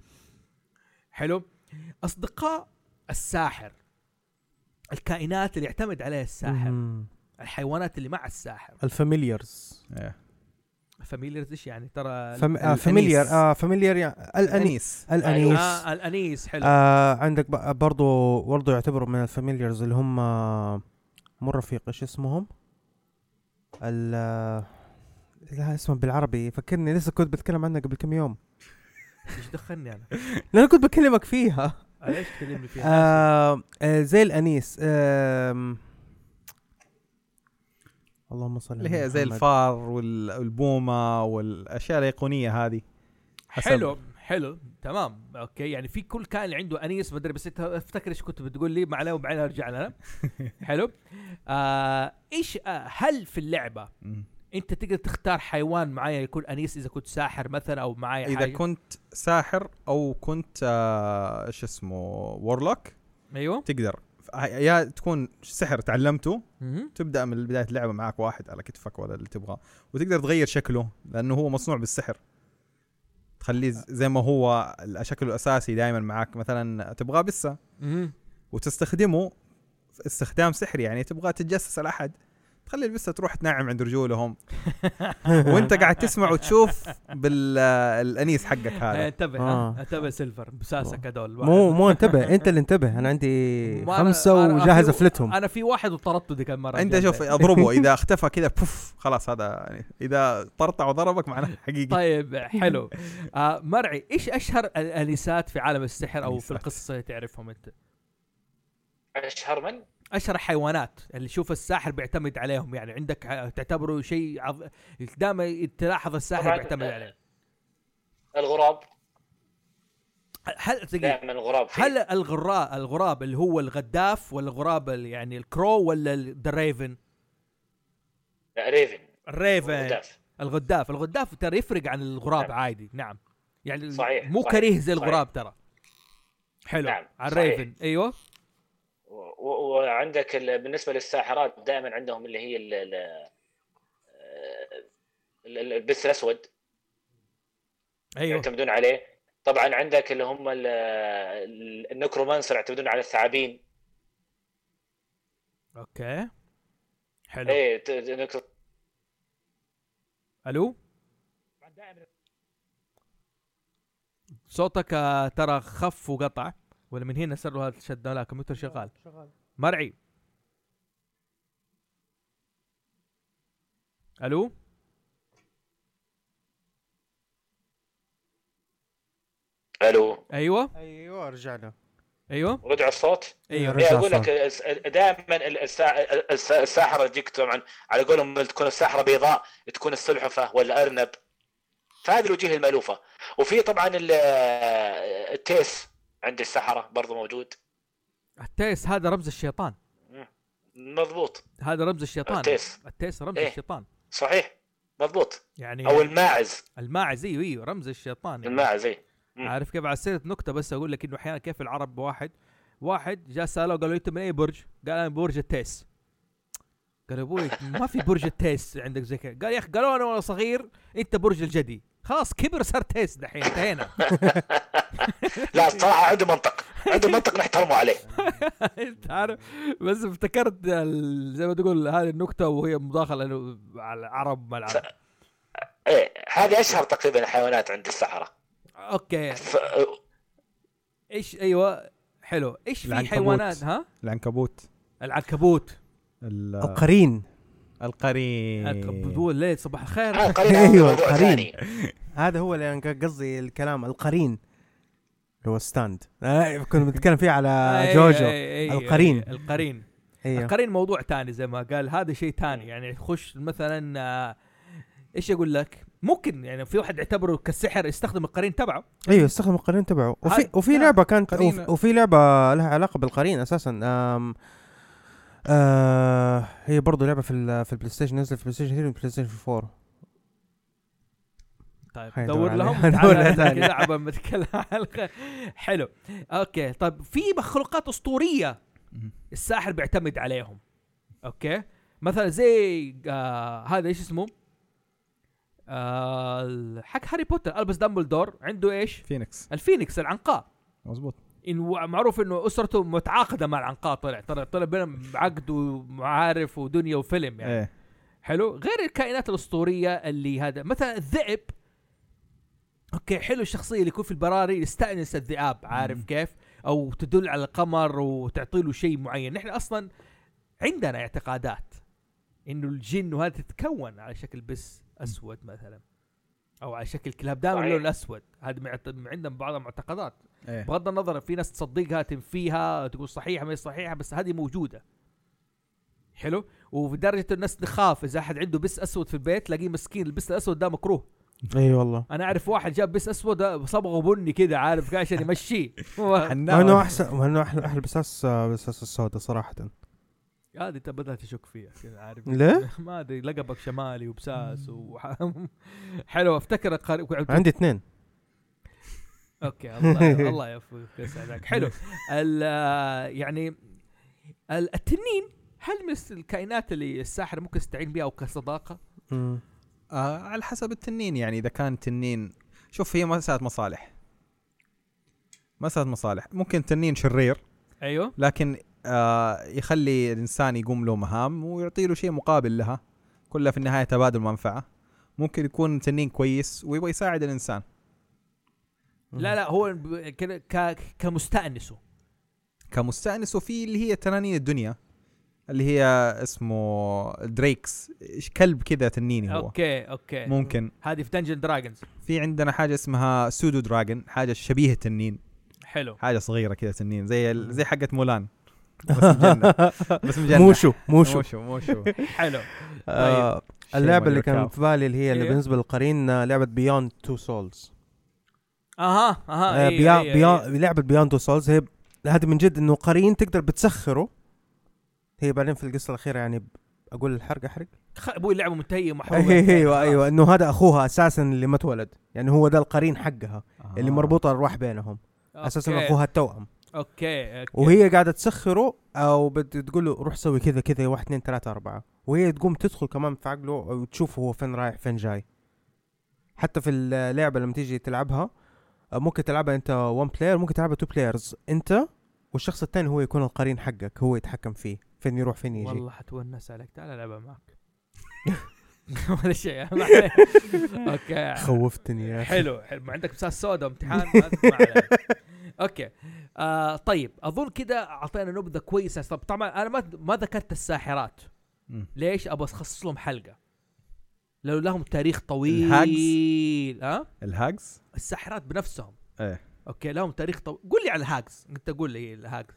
S1: حلو اصدقاء الساحر الكائنات اللي يعتمد عليها الساحر
S2: مم.
S1: الحيوانات اللي مع الساحر
S2: الفاميليارز
S3: إيه.
S1: فاميليرز ايش يعني ترى
S2: فم... آه
S3: الأنيس. أيوه.
S2: فاميليار اه فاميليار يعني الانيس
S3: انيس
S2: الانيس
S1: آه الانيس حلو آه.
S2: آه عندك ب- برضو برضو يعتبروا من الفاميليارز اللي هم آه، مو رفيق ايش اسمهم؟ ال آه، لا اسمه بالعربي فكرني لسه كنت بتكلم عنه قبل كم يوم
S1: ايش دخلني انا؟
S2: لأن انا كنت بكلمك فيها
S1: ليش تكلمني فيها؟
S2: آه آه زي الانيس آه اللهم صل
S3: اللي
S2: على
S3: هي زي
S2: محمد.
S3: الفار وال- والبومه والاشياء الايقونيه هذه حسب.
S1: حلو حلو تمام اوكي يعني في كل كائن عنده انيس مدري بس انت افتكر ايش كنت بتقول لي معليه وبعدين ارجع لنا حلو آه ايش آه هل في اللعبه
S3: مم.
S1: انت تقدر تختار حيوان معايا يكون انيس اذا كنت ساحر مثلا او معايا
S3: اذا
S1: إيه، حاجة؟
S3: كنت ساحر او كنت آه، ايش اسمه وورلوك
S1: ايوه
S3: تقدر ف- يا تكون سحر تعلمته
S1: مهم.
S3: تبدا من بدايه اللعبه معك واحد على كتفك ولا اللي تبغاه وتقدر تغير شكله لانه هو مصنوع بالسحر تخليه ز- زي ما هو ال- شكله الاساسي دائما معك مثلا تبغاه بسه
S1: مهم.
S3: وتستخدمه في استخدام سحري يعني تبغى تتجسس على احد تخلي البسه تروح تنعم عند رجولهم وانت قاعد تسمع وتشوف بالانيس حقك
S1: آه،
S3: هذا آه.
S1: انتبه
S2: آه.
S1: آه. انتبه سيلفر بساسك هذول
S2: مو مو انتبه انت اللي انتبه انا عندي
S1: ما أنا-
S2: خمسه
S1: أنا- أنا
S2: وجاهز
S1: في-
S2: افلتهم
S1: انا في واحد وطردته ذيك المره
S3: انت شوف اضربه اذا اختفى كذا بوف خلاص هذا يعني اذا طرطع وضربك معناه حقيقي
S1: طيب حلو آه مرعي ايش اشهر الانسات في عالم السحر او في
S3: الأنيسات.
S1: القصه اللي تعرفهم انت
S4: اشهر من؟
S1: اشهر حيوانات اللي شوف الساحر بيعتمد عليهم يعني عندك ح- تعتبره شيء عظ... دائما تلاحظ الساحر
S4: طبعاً،
S1: بيعتمد
S4: آه،
S1: عليه
S4: الغراب
S1: هل دقيقة،
S4: دائما الغراب فيه.
S1: هل الغراء الغراب اللي هو الغداف ولا الغراب ال- يعني الكرو ولا ذا ريفن
S4: لا، ريفن
S1: الريفن
S4: غداف.
S1: الغداف الغداف ترى يفرق عن الغراب
S4: نعم.
S1: عادي نعم يعني
S4: صحيح،
S1: مو
S4: صحيح،
S1: كريه زي
S4: صحيح.
S1: الغراب ترى حلو
S4: نعم،
S1: على
S4: صحيح.
S1: الريفن ايوه
S4: و- و- وعندك ال- بالنسبه للساحرات دائما عندهم اللي هي ال- ال- ال- ال- البس الاسود
S1: ايوه
S4: يعتمدون عليه طبعا عندك اللي هم ال- ال- النكرومانسر يعتمدون على الثعابين
S1: اوكي حلو
S4: ايه ت- ت- نكرو-
S1: الو صوتك آه، ترى خف وقطع ولا من هنا صار له هذا الشد لا الكمبيوتر شغال
S2: شغال
S1: مرعي الو
S4: الو
S1: ايوه
S2: ايوه رجعنا
S1: ايوه
S4: رجع الصوت
S1: ايوه
S4: ايه
S2: إيه، رجع
S4: اقول لك
S2: الصوت.
S4: الس- دائما ال- السا- الس- الساحره تجيك طبعا على قولهم تكون الساحره بيضاء تكون السلحفه والارنب فهذه الوجوه المالوفه وفي طبعا ال- التيس عند السحره برضو موجود
S1: التيس هذا رمز الشيطان
S4: مضبوط
S1: هذا رمز الشيطان
S4: التيس.
S1: التيس رمز
S4: إيه.
S1: الشيطان
S4: صحيح مضبوط
S1: يعني
S2: إيه.
S4: او الماعز
S1: الماعز ايوه ايوه رمز الشيطان يعني.
S4: الماعز إيه. اي مم.
S1: عارف كيف على سيره نكته بس اقول لك انه احيانا كيف العرب واحد واحد جاء ساله قالوا انت من اي برج؟ قال انا من برج التيس قال يا ابوي ما في برج التيس عندك زي كذا قال يا اخي قالوا انا وانا صغير انت برج الجدي خلاص كبر صار تيس دحين انتهينا
S4: لا الصراحه عنده منطق عنده منطق نحترمه عليه
S1: انت عارف بس افتكرت ال- زي ما تقول هذه النكته وهي مداخله إنه على العرب ما العرب
S4: ايه هذه اشهر تقريبا الحيوانات عند السحره
S1: اوكي
S4: ف...
S1: ايش ايوه حلو ايش في
S3: العنكبوت.
S1: حيوانات ها
S3: العنكبوت
S1: العنكبوت
S3: ال-
S2: القرين
S3: القرين
S1: تقول ليه صباح الخير
S4: هذا قرينا
S2: أيوة،
S4: موضوع
S2: قرين.
S4: ثاني
S2: هذا هو اللي انا قصدي الكلام القرين اللي هو ستاند أنا كنا بنتكلم فيه على
S1: أي-
S2: جوجو
S1: أي- أي-
S2: القرين.
S1: أي- أيوة، القرين
S2: ايوه
S1: القرين موضوع تاني زي ما قال هذا شيء تاني يعني خش مثلا آه، ايش اقول لك ممكن يعني في واحد يعتبره كالسحر يستخدم القرين تبعه
S2: ايوه استخدم القرين تبعه وفي
S1: هذا-
S2: وفي
S1: لا،
S2: لعبه كانت
S3: قرين-
S2: وفي, وفي لعبه لها علاقه بالقرين اساسا أم آه هي برضه لعبه في ال- في البلاي ستيشن نزلت في البلاي ستيشن 3 والبلاي ستيشن 4
S1: طيب
S2: هيدور
S1: دور لهم
S2: عليه. هدور عليه
S1: تعال
S2: تاني.
S1: لعبه متكلم حلقه حلو اوكي طيب في مخلوقات اسطوريه الساحر بيعتمد عليهم اوكي مثلا زي آه هذا ايش اسمه آه حق هاري بوتر البس دامبلدور عنده ايش
S3: فينيكس
S1: الفينيكس العنقاء
S3: مزبوط
S1: إن و- معروف انه اسرته متعاقده مع العنقاء طلع طلع طلع بينهم عقد ومعارف ودنيا وفيلم يعني
S3: ايه
S1: حلو غير الكائنات الاسطوريه اللي هذا مثلا الذئب اوكي حلو الشخصيه اللي يكون في البراري يستانس الذئاب عارف
S3: مم.
S1: كيف او تدل على القمر وتعطي له شيء معين نحن اصلا عندنا اعتقادات انه الجن وهذا تتكون على شكل بس اسود مثلا او على شكل كلاب دائما
S4: صحيح.
S1: لون اسود هذا معت- عندنا بعض المعتقدات
S3: ايه
S1: بغض النظر في ناس تصدقها تنفيها تقول صحيحه ما هي صحيحه بس هذه موجوده حلو ودرجة الناس تخاف اذا احد عنده بس اسود في البيت تلاقيه مسكين البس الاسود ده مكروه
S2: اي والله
S1: انا اعرف واحد جاب بس اسود صبغه بني كذا عارف كده عشان يمشيه هو-
S2: مع انه
S3: حنان
S2: احسن مع انه احلى احلى بساس آه، بساس السوداء صراحه
S1: هذه انت بدات تشك فيها كذا عارف
S2: ليه؟
S1: ما ادري لقبك شمالي وبساس وح... حلو افتكر قريب
S2: عندي اثنين
S1: اوكي الله الله يعفوك يسعدك حلو ال يعني ال- التنين هل من الس- الكائنات اللي الساحر ممكن يستعين بها او كصداقه؟
S2: مم.
S3: آه على حسب التنين يعني اذا كان تنين شوف هي مساله مصالح مساله مصالح ممكن تنين شرير أيوه.
S1: ايوه
S3: لكن آه يخلي الانسان يقوم له مهام ويعطي له شيء مقابل لها كلها في النهايه تبادل منفعه ممكن يكون تنين كويس ويبغى يساعد الانسان
S1: لا لا هو ب- كده ك- كمستانسه
S3: كمستانس وفي اللي هي تنانين الدنيا اللي هي اسمه دريكس إيش كلب كذا تنيني هو
S1: اوكي اوكي
S3: ممكن
S1: هذه في دنجن دراجونز
S3: في عندنا حاجه اسمها سودو دراجون حاجه شبيه التنين
S1: حلو
S3: حاجه صغيره كذا تنين زي ال- زي حقه مولان بس مجنة بس مجنة
S2: موشو موشو
S3: موشو موشو
S1: حلو
S2: آه
S3: شيء
S2: اللعبه
S3: ما
S2: اللي كانت
S3: يركب.
S2: في بالي اللي هي اللي
S1: إيه.
S2: بالنسبه للقرين آه، لعبه بيوند تو سولز
S1: اها اها
S2: آه،
S1: أيوة، أيوة، أيوة.
S2: لعبه بيوند تو سولز هي هذه من جد انه قرين تقدر بتسخره هي بعدين في القصه الاخيره يعني ب- اقول الحرق احرق
S1: خ- ابوي اللعبه منتهيه محروقه
S2: ايوه
S1: يعني خلاص.
S2: ايوه انه هذا اخوها اساسا اللي ما اتولد يعني هو ده القرين حقها اللي
S3: آه.
S2: مربوطه الارواح بينهم اساسا
S1: أوكي،
S2: اخوها التوأم
S1: اوكي أوكي.
S2: وهي قاعده تسخره او بتقول له روح سوي كذا كذا واحد اثنين ثلاثه اربعه وهي تقوم تدخل كمان في عقله وتشوف هو فين رايح فين جاي حتى في اللعبه لما تيجي تلعبها آه، ممكن تلعبها انت 1 بلاير ممكن تلعبها 2 بلايرز انت والشخص الثاني هو يكون القرين حقك هو يتحكم فيه فين يروح فين يجي
S1: والله حتونس عليك تعال العبها معك ولا شيء ما عليه. اوكي
S2: خوفتني يا اخي
S1: حلو حلو ما عندك مساس سودا امتحان ما ما عليك. اوكي آه طيب اظن كده اعطينا نبذه كويسه طب طبعا انا ما ما ذكرت الساحرات
S3: مم.
S1: ليش ابغى اخصص لهم حلقه لو لهم تاريخ
S3: الهاجز.
S1: طويل ها
S3: آه. الهاجز
S1: الساحرات بنفسهم
S3: ايه.
S1: اوكي لهم تاريخ طويل قول لي على الهاجز انت قول لي الهاجز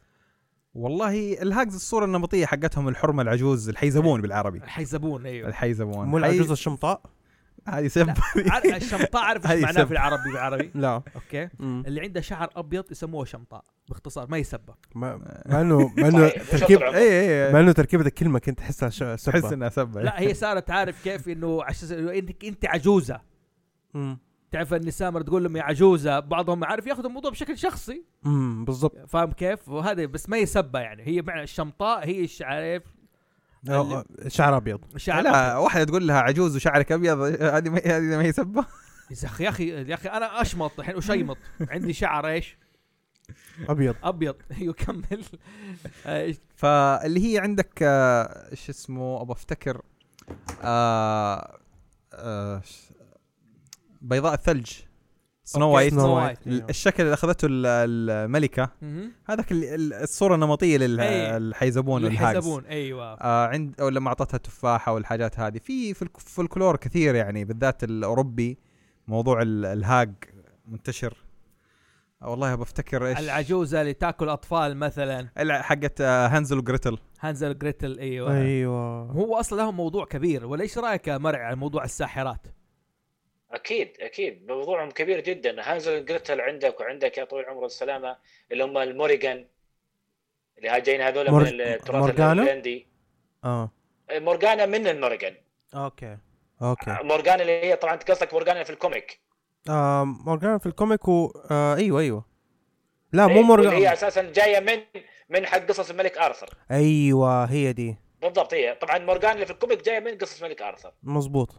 S3: والله الهاجز الصوره النمطيه حقتهم الحرمه العجوز الحيزبون بالعربي
S1: الحيزبون ايوه
S3: الحيزبون
S2: مو العجوز الشمطاء
S3: هذه إيه، سب
S1: عار- الشمطاء اعرف ايش
S3: هاي
S1: معناه
S3: سب.
S1: في العربي بالعربي
S2: لا
S1: اوكي
S2: مم.
S1: اللي عنده شعر ابيض يسموه شمطاء باختصار ما يسبه
S2: ما مع انه مع انه
S4: صحيح. وش
S2: تركيب
S4: الطعم؟
S3: اي
S2: مع
S3: اي
S2: انه تركيبه الكلمه كنت احسها ش- سبة.
S3: إيه، تحس انها سب
S1: لا هي صارت عارف كيف انه عشان انت انت عجوزه
S2: مم.
S1: تعرف النساء مرة تقول لهم يا عجوزه بعضهم عارف ياخذ الموضوع بشكل شخصي
S2: امم بالضبط
S1: فاهم كيف وهذا بس ما يسبه يعني هي معنى الشمطاء هي الش- عارف
S2: آه، شعر ابيض
S1: شعر
S3: لا واحده تقول لها عجوز وشعرك ابيض هذه ما هذه ما هي سبه
S1: يا اخي يا اخي يا اخي انا اشمط الحين وشيمط عندي شعر ايش
S2: ابيض
S1: ابيض ايوه كمل آه،
S3: فاللي هي عندك آه، شو اسمه ابى افتكر آه، آه، ش- بيضاء الثلج سنو
S1: أوكي،
S3: وايت
S1: سنو
S2: وايت.
S3: ال- الشكل اللي اخذته ال- الملكه
S1: مهم.
S3: هذاك ال- ال- الصوره النمطيه
S1: إيه.
S3: للحيزبون
S1: اللي
S3: والهاجس.
S1: يحسبون ايوه
S3: آه عند او لما اعطتها تفاحه والحاجات هذه في في الك- في الكلور كثير يعني بالذات الاوروبي موضوع ال- الهاج منتشر آه، والله بفتكر ايش
S1: العجوزه اللي تاكل اطفال مثلا
S3: الع- حقت آه، هانزل وجريتل
S1: هانزل جريتل ايوه
S2: ايوه
S1: هو اصلا لهم موضوع كبير ولا ايش رايك يا مرعي على موضوع الساحرات؟
S4: اكيد اكيد موضوعهم كبير جدا هانزل جريتل عندك وعندك يا طويل العمر والسلامه اللي هم الموريجان اللي ها جايين هذول
S2: مور-
S4: من التراث
S2: مورغانا؟
S4: الهولندي
S2: اه
S4: مورجانا من الموريجان
S2: اوكي اوكي
S4: مورجانا اللي هي طبعا انت قصدك مورجانا في الكوميك
S2: آه مورجان في الكوميك و... آه ايوه ايوه لا مو
S4: إيه، واللي هي
S2: مورجان
S4: اساسا جايه من من حق قصص الملك ارثر
S2: ايوه هي دي
S4: بالضبط هي طبعا مورجانا اللي في الكوميك جايه من قصص الملك ارثر
S2: مزبوط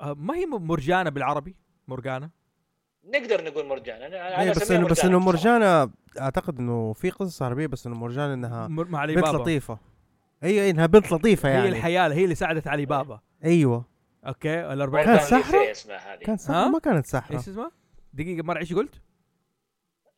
S1: آه، ما هي مرجانه بالعربي مرجانه
S4: نقدر نقول مرجانا انا أنا
S2: أيوة بس
S4: أسميها
S2: انه بس انه
S4: بصراحة.
S2: مرجانة اعتقد انه في قصص عربيه بس انه مرجانة انها
S1: مر- مع علي
S2: بنت
S1: بابا
S2: لطيفه ايوه انها بنت لطيفه
S1: هي
S2: يعني
S1: الحياله هي اللي ساعدت علي بابا
S2: ايوه
S1: اوكي ال 40
S4: مورجانا
S2: كانت ساحرة؟
S4: ليسي اسمها هذه
S2: كانت سحرة ما كانت سحرة
S1: ايش اسمها؟ دقيقه مرعي ايش قلت؟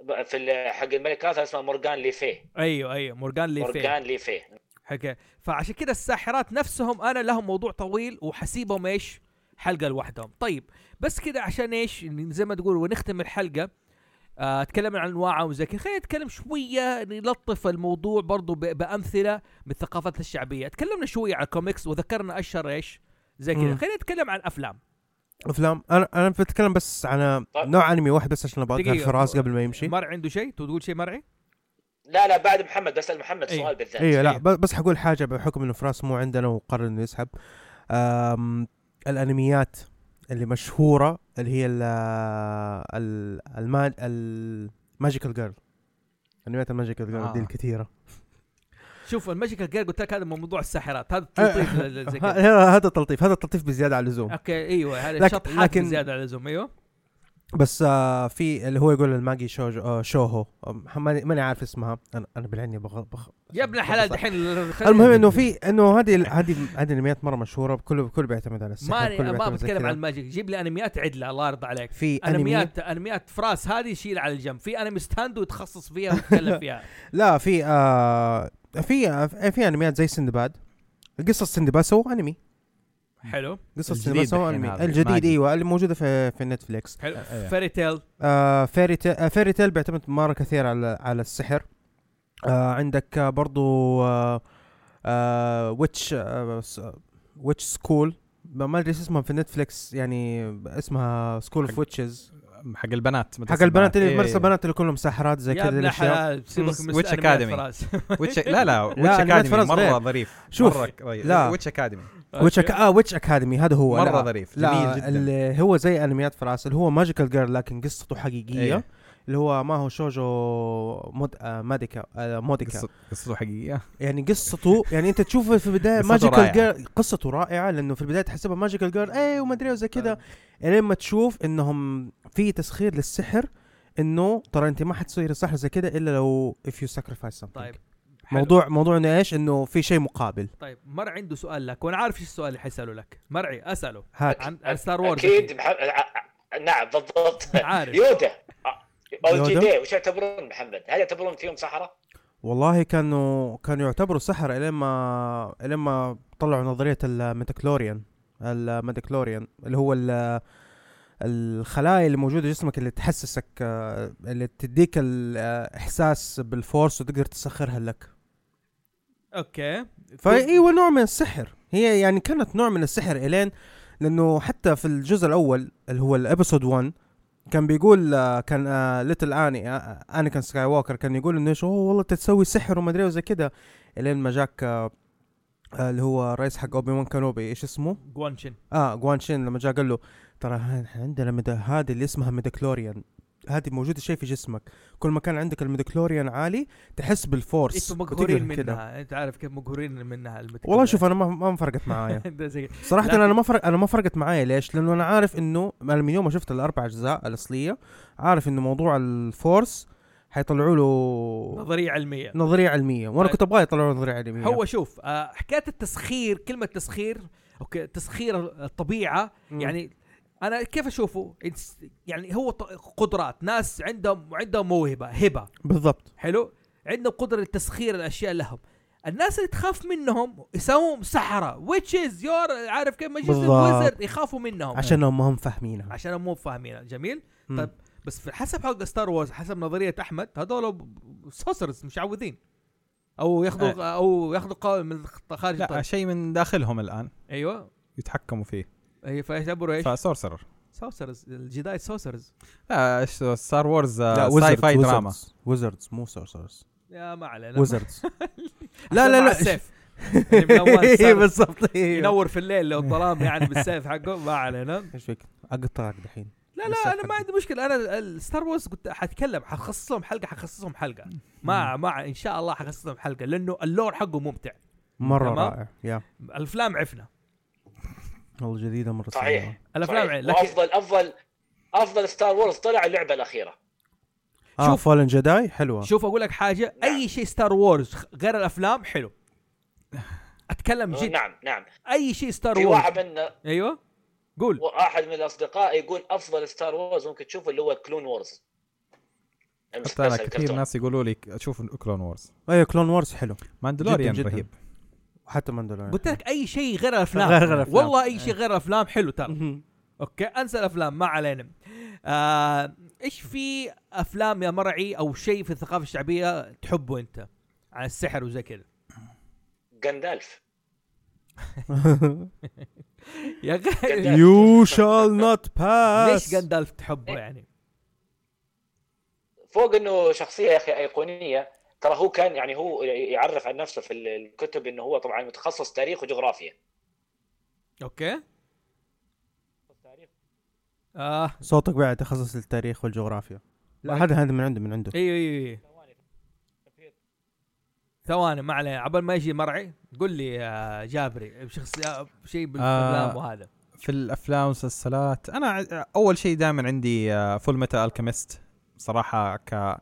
S4: ب- في ال- حق الملك ارثر اسمها مورجان ليفيه
S1: ايوه ايوه مورجان ليفي
S4: مورجان ليفيه
S1: حكي فعشان كده الساحرات نفسهم انا لهم موضوع طويل وحسيبهم ايش؟ حلقه لوحدهم طيب بس كده عشان ايش زي ما تقول ونختم الحلقه آه، تكلمنا عن انواعهم وزي كذا خلينا نتكلم شويه نلطف الموضوع برضو ب- بامثله من الثقافات الشعبيه تكلمنا شويه عن الكوميكس وذكرنا اشهر ايش زي كذا
S2: مم.
S1: خلينا نتكلم عن افلام
S2: افلام انا انا بتكلم بس عن
S4: طيب.
S2: نوع انمي واحد بس عشان بقدر
S1: دقيقة.
S2: في راس قبل ما يمشي
S1: مرعي عنده شيء تبغى تقول شيء مرعي
S4: لا لا بعد محمد بسال محمد
S1: أيوة.
S4: سؤال بالذات
S2: ايوه لا
S1: أيوة.
S2: ب- بس حقول حاجه بحكم انه فراس مو عندنا وقرر انه يسحب أم، الانميات اللي مشهوره اللي هي ال ال الما- الماجيكال جيرل انميات الماجيكال جيرل
S3: آه.
S2: دي الكثيره
S1: شوف الماجيكال جير قلت لك هذا من موضوع الساحرات هذا
S2: آه،
S1: التلطيف ل- زي كذا
S2: ه- هذا التلطيف هذا التلطيف بزياده على اللزوم
S1: اوكي ايوه هذا
S2: لكن-
S1: شط حاكم
S2: لكن-
S1: زياده على اللزوم ايوه
S2: بس آه، في اللي هو يقول الماجي شوجو آه، شوهو آه، ماني ماني عارف اسمها انا انا بالعني بغ... بغ...
S1: يا ابن الحلال دحين
S2: المهم انه في انه هذه هذه هذه انميات مره مشهوره كله كله بيعتمد على السحر
S1: ما ما
S2: كله بيعتمد زي
S1: بتكلم
S2: كذا.
S1: عن الماجيك جيب لي انميات عدله الله يرضى عليك
S2: في انميات
S1: انميات انميات فراس هذه شيل على الجنب في انمي ستاند وتخصص فيها وتتكلم فيها
S2: لا في آه في آه في انميات زي سندباد قصص سندباد سووا انمي
S1: حلو
S2: قصص
S3: الجديد
S2: سندباد سووا
S3: الحين
S2: انمي
S3: هذا،
S2: الجديد
S3: ماجي.
S2: ايوه اللي موجوده في في نتفليكس
S1: حلو
S3: إيه.
S1: فيري تيل
S2: آه فيري تيل آه فيري تيل بيعتمد مره كثير على على السحر آه عندك آه برضو آه آه ويتش آه س- ويتش سكول ما ادري إيش اسمها في نتفليكس يعني اسمها سكول اوف
S3: حق-
S2: ويتشز
S3: حق البنات مدرسة
S2: حق البنات اللي
S3: إيه.
S2: في مدرسة البنات اللي كلهم ساحرات زي
S1: يا
S2: كذا
S1: ابن
S2: الاشياء
S1: الحلال سيبك من
S3: ويتش
S1: أنميات
S3: أكاديمي.
S1: فراس
S3: ويتش لا لا ويتش
S2: أنميات
S3: اكاديمي
S2: فرنسا
S3: مره
S2: غير.
S3: ظريف
S2: شوف،
S3: مره ك-
S2: لا.
S3: ويتش اكاديمي
S2: ويتش أك... اه ويتش اكاديمي هذا هو
S3: مره
S2: لا.
S3: ظريف
S2: لا
S3: جميل جدا
S2: اللي هو زي انميات فراسل هو ماجيكال جير لكن قصته حقيقيه
S3: إيه.
S2: اللي هو ما هو شوجو مود... آه ماديكا آه موديكا
S3: قصة- قصته حقيقيه
S2: يعني قصته يعني انت تشوفه في البدايه
S3: قصته
S2: ماجيكال
S3: رائعة.
S2: جير قصته رائعه لانه في البدايه تحسبها ماجيكال جير اي وما ادري وزي كذا
S3: آه.
S2: لما تشوف انهم في تسخير للسحر انه ترى انت ما حتصير سحر زي كذا الا لو اف يو ساكريفايس
S1: طيب حلو.
S2: موضوع موضوع انه ايش انه في شيء مقابل
S1: طيب مرعي عنده سؤال لك وانا عارف ايش السؤال اللي حيساله لك مرعي اساله
S2: هات
S1: عن, عن ستار وورز
S4: اكيد مح... ع- ع- نعم بالضبط
S1: عارف.
S4: يودا او جي
S2: يودا؟
S4: دي وش يعتبرون محمد؟ هل يعتبرون فيهم سحره؟
S2: والله كانوا كانوا يعتبروا سحر الين ما الين ما طلعوا نظريه الميتاكلوريان الميتاكلوريان اللي هو ال- الخلايا اللي موجوده جسمك اللي تحسسك آه، اللي تديك الاحساس بالفورس وتقدر تسخرها لك
S1: اوكي إيه.
S2: فايوه إيوة نوع من السحر هي يعني كانت نوع من السحر الين لانه حتى في الجزء الاول اللي هو الابيسود 1 كان بيقول آه، كان آه، ليتل اني اني كان سكاي ووكر كان يقول انه ايش اوه والله أنت تسوي سحر وما ادري وزي كده الين ما جاك آه، آه، اللي هو الرئيس حق اوبي وان كانوبي ايش اسمه؟
S1: جوانشن
S2: اه جوان شين لما جاء قال له ترى ها- عندنا ميدا- هذه اللي اسمها ميداكلوريان هذه موجوده شيء في جسمك كل ما كان عندك الميداكلوريان عالي تحس بالفورس
S1: انتم
S2: وتقدر
S1: مقهورين
S2: كده.
S1: إيه، منها انت عارف كيف مقهورين منها المتكلم.
S2: والله شوف انا ما ما فرقت معايا
S1: ده زي-
S2: صراحة
S1: لكن-
S2: انا ما فرق انا ما فرقت معايا ليش؟ لانه انا عارف انه انا من يوم ما شفت الاربع اجزاء الاصلية عارف انه موضوع الفورس حيطلعوا له
S1: نظريه علميه
S2: نظرية علمية وانا
S1: طيب.
S2: كنت ابغاه يطلعوا نظرية علمية
S1: هو شوف آه، حكايه التسخير كلمه تسخير اوكي تسخير الطبيعه
S2: مم.
S1: يعني انا كيف اشوفه إنس- يعني هو ط- قدرات ناس عندهم عندهم موهبه هبه
S2: بالضبط
S1: حلو عندهم قدره لتسخير الاشياء لهم الناس اللي تخاف منهم يسوون سحره ويتشز يور عارف كيف ماجيز
S2: بالضبط.
S1: ويزرد يخافوا منهم
S2: عشان ما هم فاهمينها
S1: عشان مو فاهمينها جميل
S2: مم.
S1: طيب. بس في حسب حلقه ستار وورز حسب نظريه احمد هذول سوسرز مش عودين او ياخذوا
S2: إيه.
S1: او ياخذوا قوي من الخ- خارج
S3: لا
S2: طيب؟
S1: الطريق.
S3: شيء من داخلهم الان
S1: ايوه
S3: يتحكموا فيه
S1: اي فيعتبروا ايش؟
S3: فسورسرر
S1: سوسرز الجداي سوسرز
S3: لا ستار وورز ساي فاي دراما
S2: ويزردز مو سورسرز
S1: يا ما علينا
S2: ويزردز
S1: لا لا لا السيف يعني من أول
S2: ايه
S1: السالفة.
S2: بالضبط إيه.
S1: ينور في الليل لو الظلام يعني بالسيف حقه ما علينا
S2: ايش فيك؟ اقطعك دحين
S1: لا
S2: بالسيف
S1: لا انا ما
S2: حقه.
S1: عندي مشكله انا الستار وورز قلت حتكلم حخصصهم حلقه حخصصهم حلقه ما ما ان شاء الله حخصصهم حلقه لانه اللور حقه ممتع
S2: مرة
S1: تمام.
S2: رائع يا
S1: الافلام عفنا
S2: والله جديدة مرة
S4: صحيح.
S2: سيئة.
S1: الافلام عفنا لكن
S4: وافضل افضل افضل ستار وورز طلع اللعبه الاخيره
S2: اه
S1: شوف.
S2: فولن جداي حلوة
S1: شوف اقول لك حاجه
S4: نعم.
S1: اي شيء ستار وورز غير الافلام حلو اتكلم جد
S4: نعم نعم
S1: اي شيء ستار
S4: في
S1: وورز
S4: واحد من
S1: ايوه قول
S4: واحد من الاصدقاء يقول افضل ستار وورز ممكن تشوفه اللي هو كلون وورز
S3: حتى انا
S4: المسلسل
S3: كثير
S4: الكرتون.
S3: ناس يقولوا لي شوف كلون وورز
S2: ايوه كلون وورز حلو
S3: ماندلوريان
S2: جداً جداً.
S3: رهيب
S2: وحتى
S3: آه.
S2: ماندلوريان
S1: قلت لك اي شيء غير الافلام
S2: غير- غير الأفلام.
S1: والله اي شيء غير الافلام حلو ترى
S2: مهم.
S1: اوكي انسى الافلام ما علينا آه، ايش في افلام يا مرعي او شيء في الثقافه الشعبيه تحبه انت عن السحر وزي كذا
S4: غاندالف
S1: يا غير
S4: جندالف.
S2: You shall not pass
S1: ليش غندالف تحبه يعني
S4: فوق انه شخصيه يا اخي ايقونيه ترى هو كان يعني هو يعرف عن نفسه في الكتب انه هو طبعا متخصص تاريخ وجغرافيا
S1: اوكي اه
S2: صوتك بعد تخصص التاريخ والجغرافيا لا هذا هذا من عنده من عنده
S1: ايوه ايوه ايوه ثواني ما علينا عبال ما يجي مرعي قول لي يا جابري شخصيه شيء بالافلام
S3: آه.
S1: وهذا
S3: في الافلام والمسلسلات انا ع- اول شيء دائما عندي آه، فول ميتا الكيمست صراحه ك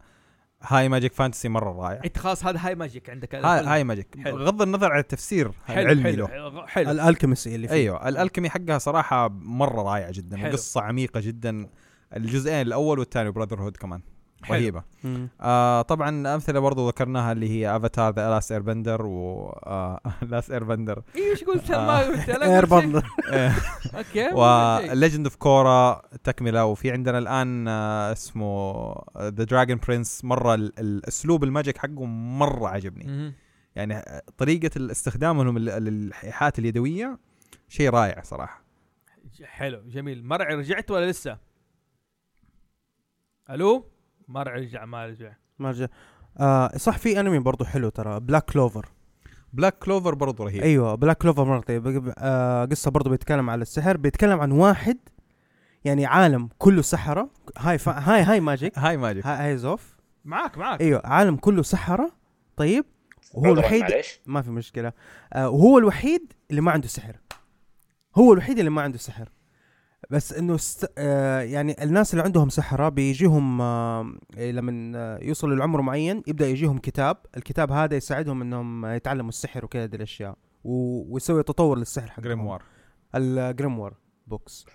S3: هاي ماجيك فانتسي مره رائع
S1: انت خلاص هذا هاي ماجيك عندك
S3: هاي هاي ماجيك
S1: حلو.
S3: بغض النظر عن التفسير
S1: حلو
S3: العلمي
S1: حلو
S3: له
S1: حلو, حلو.
S2: الالكيمسي اللي فيه
S1: أيوة.
S3: ايوه الالكيمي حقها صراحه مره رائعه جدا
S1: حلو.
S3: وقصه عميقه جدا الجزئين الاول والثاني براذر هود كمان
S1: حلو.
S3: رهيبه
S2: مم.
S3: آه طبعا امثله برضو ذكرناها اللي هي افاتار ذا لاست اير بندر و آه، لاست اير بندر
S1: ايوه ايش قلت ما
S3: آه.
S1: قلت لك
S2: اير
S1: قلت شيء.
S2: بندر
S1: اوكي ما قلت شيء.
S3: وليجند اوف كورا تكمله وفي عندنا الان آه، اسمه ذا دراجون برنس مره ال- الاسلوب الماجيك حقه مره عجبني
S1: مهم.
S3: يعني آه، طريقه ال- استخدامهم لل- للإيحاءات اليدويه شيء رائع صراحه
S1: ج- حلو جميل مرعي رجعت ولا لسه؟ الو مرعي رجع ما رجع
S2: ما رجع آه صح في انمي برضه حلو ترى بلاك كلوفر
S3: بلاك كلوفر برضو
S1: إيه.
S3: رهيب
S2: ايوه بلاك كلوفر مره طيب بق- آه قصه برضه بيتكلم على السحر بيتكلم عن واحد يعني عالم كله سحره هاي فا هاي هاي ماجيك
S3: هاي ماجيك
S1: أيوة.
S2: هاي, هاي زوف
S1: معاك معاك
S2: ايوه عالم كله سحره طيب
S1: أيوة.
S2: وهو
S4: عذراً،
S2: الوحيد
S4: معليش
S2: ما في مشكله آه وهو الوحيد اللي ما عنده سحر هو الوحيد اللي ما عنده سحر بس انه است... آه يعني الناس اللي عندهم سحره بيجيهم آه لما آه يوصلوا لعمر معين يبدا يجيهم كتاب الكتاب هذا يساعدهم انهم يتعلموا السحر وكذا دي الاشياء و... ويسوي تطور للسحر حقهم
S3: جريموار
S2: الجريموار بوكس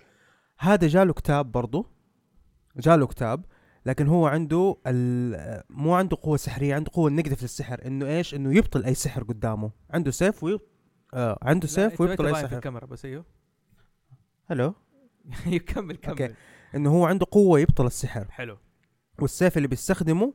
S2: هذا جاله كتاب برضه جاله كتاب لكن هو عنده ال- مو عنده قوه سحريه عنده قوه نيجاتيف للسحر انه ايش انه يبطل اي سحر قدامه عنده سيف ويب... آه عنده سيف ويبطل اي
S1: في
S2: سحر
S1: الكاميرا بس ايوه
S2: هلو
S1: يكمل كمل
S2: أوكي. انه هو عنده قوه يبطل السحر
S1: حلو
S2: والسيف اللي بيستخدمه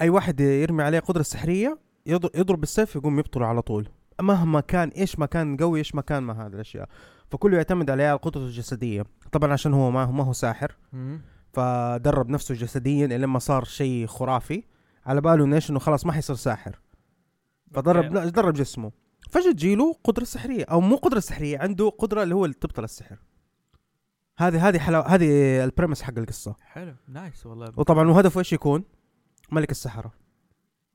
S2: اي واحد يرمي عليه قدره سحريه يض- يضرب بالسيف يقوم يبطله على طول مهما كان ايش ما كان قوي ايش ما كان ما هذه الاشياء فكله يعتمد عليه على قدرته الجسديه طبعا عشان هو ما ما هو ساحر فدرب نفسه جسديا الين ما صار شيء خرافي على باله انه ايش انه خلاص ما حيصير ساحر فدرب
S1: أوكي.
S2: لا درب جسمه فجاه تجيله قدره سحريه او مو قدره سحريه عنده قدره اللي هو اللي تبطل السحر هذه هذه حلاوه هذه البريمس حق القصه
S1: حلو نايس والله
S2: وطبعا وهدفه ايش يكون؟ ملك السحره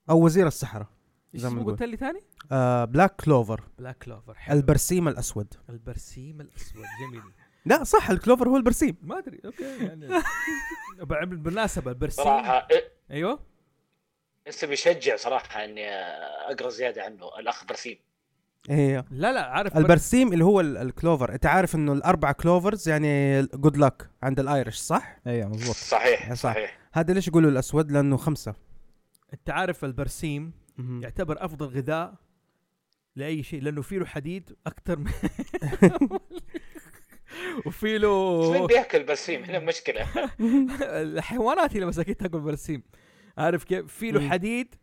S2: او وزير السحره
S1: ايش
S2: زي ما
S1: اسمه
S2: نقول.
S1: قلت لي ثاني؟
S2: آه بلاك كلوفر
S1: بلاك كلوفر حلو
S2: البرسيم الاسود
S1: البرسيم الاسود جميل
S2: لا صح الكلوفر هو البرسيم
S1: ما ادري اوكي يعني بع- بالمناسبه البرسيم
S4: صراحه إيه،
S1: ايوه
S4: لسه بيشجع صراحه اني اقرا زياده عنه الاخ برسيم
S2: ايوه
S1: لا لا عارف بر-
S2: البرسيم اللي هو ال- الكلوفر انت عارف انه الاربع كلوفرز يعني جود لك عند الايرش صح
S3: ايوه مضبوط
S4: صحيح
S2: صح.
S4: صحيح
S2: هذا ليش يقولوا الاسود لانه خمسه
S1: انت عارف البرسيم
S2: يعني
S1: يعتبر افضل غذاء لاي شيء لانه فيه له حديد اكثر من وفي
S4: بس مين
S1: له
S4: بياكل برسيم هنا مشكله
S1: الحيوانات هي اللي مساكين تاكل برسيم عارف كيف في له
S2: مم.
S1: حديد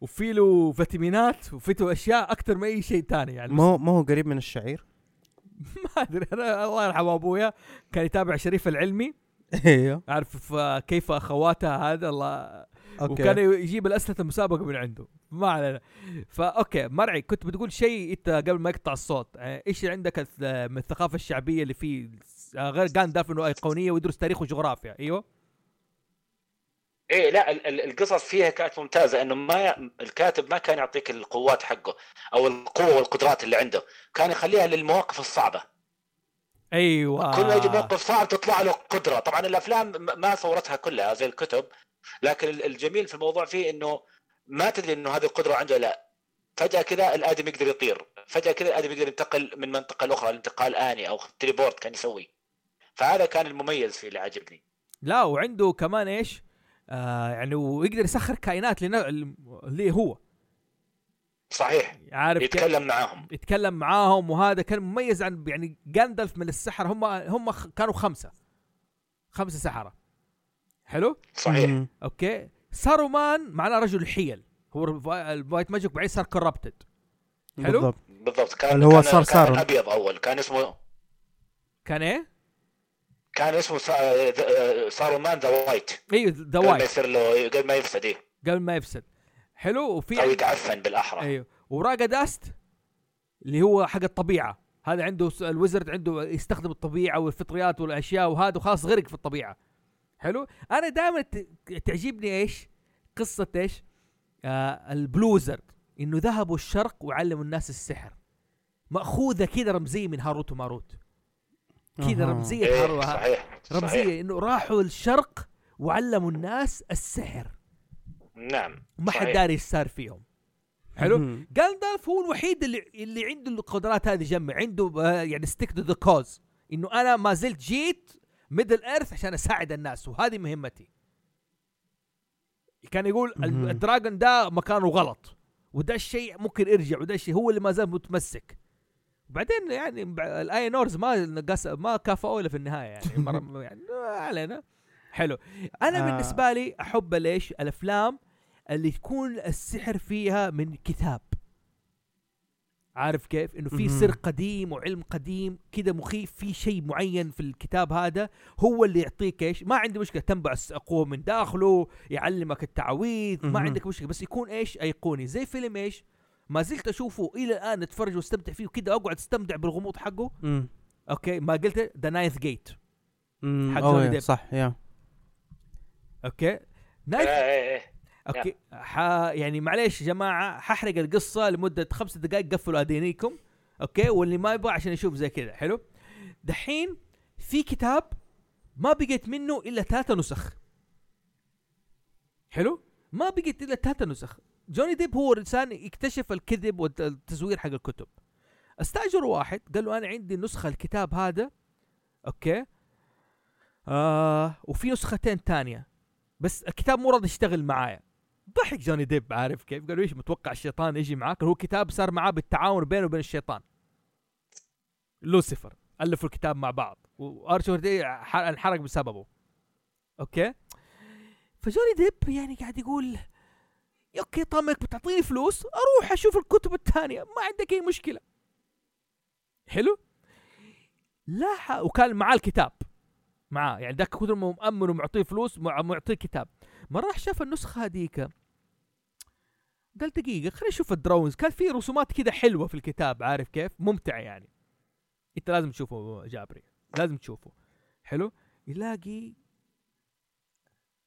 S1: وفي له فيتامينات وفي له اشياء اكثر من اي شيء ثاني يعني
S2: ما هو ما هو قريب من الشعير
S1: ما ادري انا الله يرحم ابويا كان يتابع شريف العلمي
S2: ايوه
S1: عارف ف- كيف اخواتها هذا الله
S2: اوكي
S1: وكان يجيب الاسئله المسابقه من عنده ما علينا فاوكي مرعي كنت بتقول شيء انت قبل ما يقطع الصوت آه، ايش اللي عندك الث- من الثقافه الشعبيه اللي فيه آه، غير داف انه ايقونيه ويدرس تاريخ وجغرافيا ايوه
S4: ايه لا ال- ال- القصص فيها كانت ممتازه انه ما الكاتب ما كان يعطيك القوات حقه او القوه والقدرات اللي عنده كان يخليها للمواقف الصعبه
S1: ايوه
S4: كل ما
S2: آه.
S4: يجي موقف صعب تطلع له قدره طبعا الافلام م- ما صورتها كلها زي الكتب لكن ال- الجميل في الموضوع فيه انه ما تدري انه هذه القدره عنده ولا لا فجاه كذا الادمي يقدر يطير فجاه كذا الادمي يقدر ينتقل من منطقه لاخرى الانتقال اني او تليبورت كان يسوي فهذا كان المميز فيه اللي عجبني
S1: لا وعنده كمان ايش آه يعني ويقدر يسخر كائنات لنا- اللي هو
S4: صحيح
S2: طيب،
S1: عارف كيف؟
S4: يتكلم معاهم
S1: يتكلم معاهم وهذا كان مميز عن يعني جاندلف من السحر هم هم خ- كانوا خمسه خمسه سحره حلو
S4: صحيح
S2: مم.
S1: اوكي سارومان معناه رجل الحيل هو الف- الوايت ماجيك بعدين صار كربتد حلو؟
S2: بالضبط
S4: بالضبط كان
S2: اللي هو
S4: كان-
S2: صار
S4: كان
S2: صار.
S4: ابيض اول كان اسمه
S1: كان ايه؟
S4: كان اسمه آه، سا- ذا- سارومان ذا وايت
S1: ايوه ذا
S4: قبل ما
S1: وايت
S4: يصير له قبل ما يفسد إيه.
S1: قبل ما يفسد حلو وفي
S4: او يتعفن بالاحرى
S2: إيه.
S1: ايوه وراجا داست اللي هو حق الطبيعه هذا عنده س- الوزرد عنده يستخدم الطبيعه والفطريات والاشياء وهذا وخلاص غرق في الطبيعه حلو انا دائما تعجبني ايش قصه ايش آه البلوزرد انه ذهبوا الشرق وعلموا الناس السحر ماخوذه كذا رمزيه من هاروت وماروت كذا
S2: أها.
S1: رمزيه
S4: إيه
S1: هارو-
S4: صحيح صحيح
S1: رمزيه انه راحوا الشرق وعلموا الناس السحر
S4: نعم
S1: ما حد
S4: صحيح.
S1: داري ايش صار فيهم حلو
S2: مم.
S1: جاندالف هو الوحيد اللي اللي عنده القدرات هذه جمع عنده آه، يعني ستيك تو ذا كوز انه انا ما زلت جيت ميدل ايرث عشان اساعد الناس وهذه مهمتي كان يقول ال-
S2: مهم.
S1: الدراجون ده مكانه غلط وده الشيء ممكن يرجع وده الشيء هو اللي ما زال متمسك بعدين يعني بع- الاينورز ما نقص ما كافئوا الا في النهايه يعني مره يعني ما علينا حلو انا
S2: آه.
S1: آه. بالنسبه لي احب ليش الافلام اللي تكون السحر فيها من كتاب عارف كيف انه في
S2: مهم.
S1: سر قديم وعلم قديم كذا مخيف في شيء معين في الكتاب هذا هو اللي يعطيك ايش ما عندي مشكله تنبع الس- قوه من داخله يعلمك التعويذ ما
S2: مهم.
S1: عندك مشكله بس يكون ايش ايقوني زي فيلم ايش ما زلت اشوفه الى الان اتفرج واستمتع فيه وكذا اقعد استمتع بالغموض حقه
S2: امم
S1: اوكي ما قلت ذا نايث جيت حق
S2: أوه،
S1: جوني ديب.
S2: صح يا
S1: اوكي نايث
S4: ايه ايه ايه
S1: اوكي ح... يعني معليش يا جماعه ححرق القصه لمده خمس دقائق قفلوا ادينيكم اوكي واللي ما يبغى عشان يشوف زي كذا حلو دحين في كتاب ما بقيت منه الا ثلاثة نسخ حلو ما بقيت الا ثلاثة نسخ جوني ديب هو الانسان يكتشف الكذب والتزوير حق الكتب استاجر واحد قال له انا عندي نسخه الكتاب هذا اوكي آه وفي نسختين تانية بس الكتاب مو راضي يشتغل معايا ضحك جوني ديب عارف كيف قالوا ايش متوقع الشيطان يجي معاك هو كتاب صار معاه بالتعاون بينه وبين الشيطان لوسيفر الفوا الكتاب مع بعض وارشفورد انحرق بسببه اوكي فجوني ديب يعني قاعد يقول "يا اوكي طمك بتعطيني فلوس اروح اشوف الكتب الثانيه ما عندك اي مشكله حلو لا ح- وكان معاه الكتاب معاه يعني ذاك كثر ما هو مأمن ومعطيه فلوس مع- معطيه كتاب ما راح شاف النسخه هذيك قال دقيقه خليني اشوف الدراونز كان في رسومات كذا حلوه في الكتاب عارف كيف ممتعه يعني انت لازم تشوفه جابري لازم تشوفه حلو يلاقي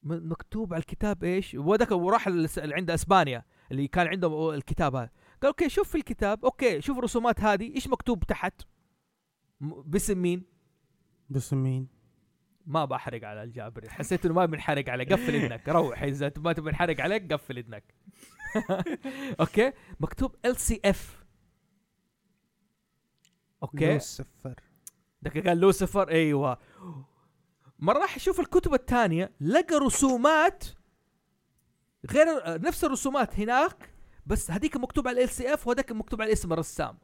S1: م- مكتوب على الكتاب ايش وذاك وراح لس- اللي عند اسبانيا اللي كان عنده الكتاب هذا قال اوكي شوف في الكتاب اوكي شوف الرسومات هذه ايش مكتوب تحت م- باسم مين
S2: بس مين
S1: ما بحرق على الجابري حسيت انه ما بنحرق على قفل اذنك روح اذا أنت ما تبي نحرق عليك قفل اذنك اوكي مكتوب ال سي اف اوكي
S2: صفر
S1: دقيقة قال لوسيفر ايوه مرة راح يشوف الكتب الثانية لقى رسومات غير آه، نفس الرسومات هناك بس هذيك مكتوب على ال سي اف وهذاك مكتوب على اسم الرسام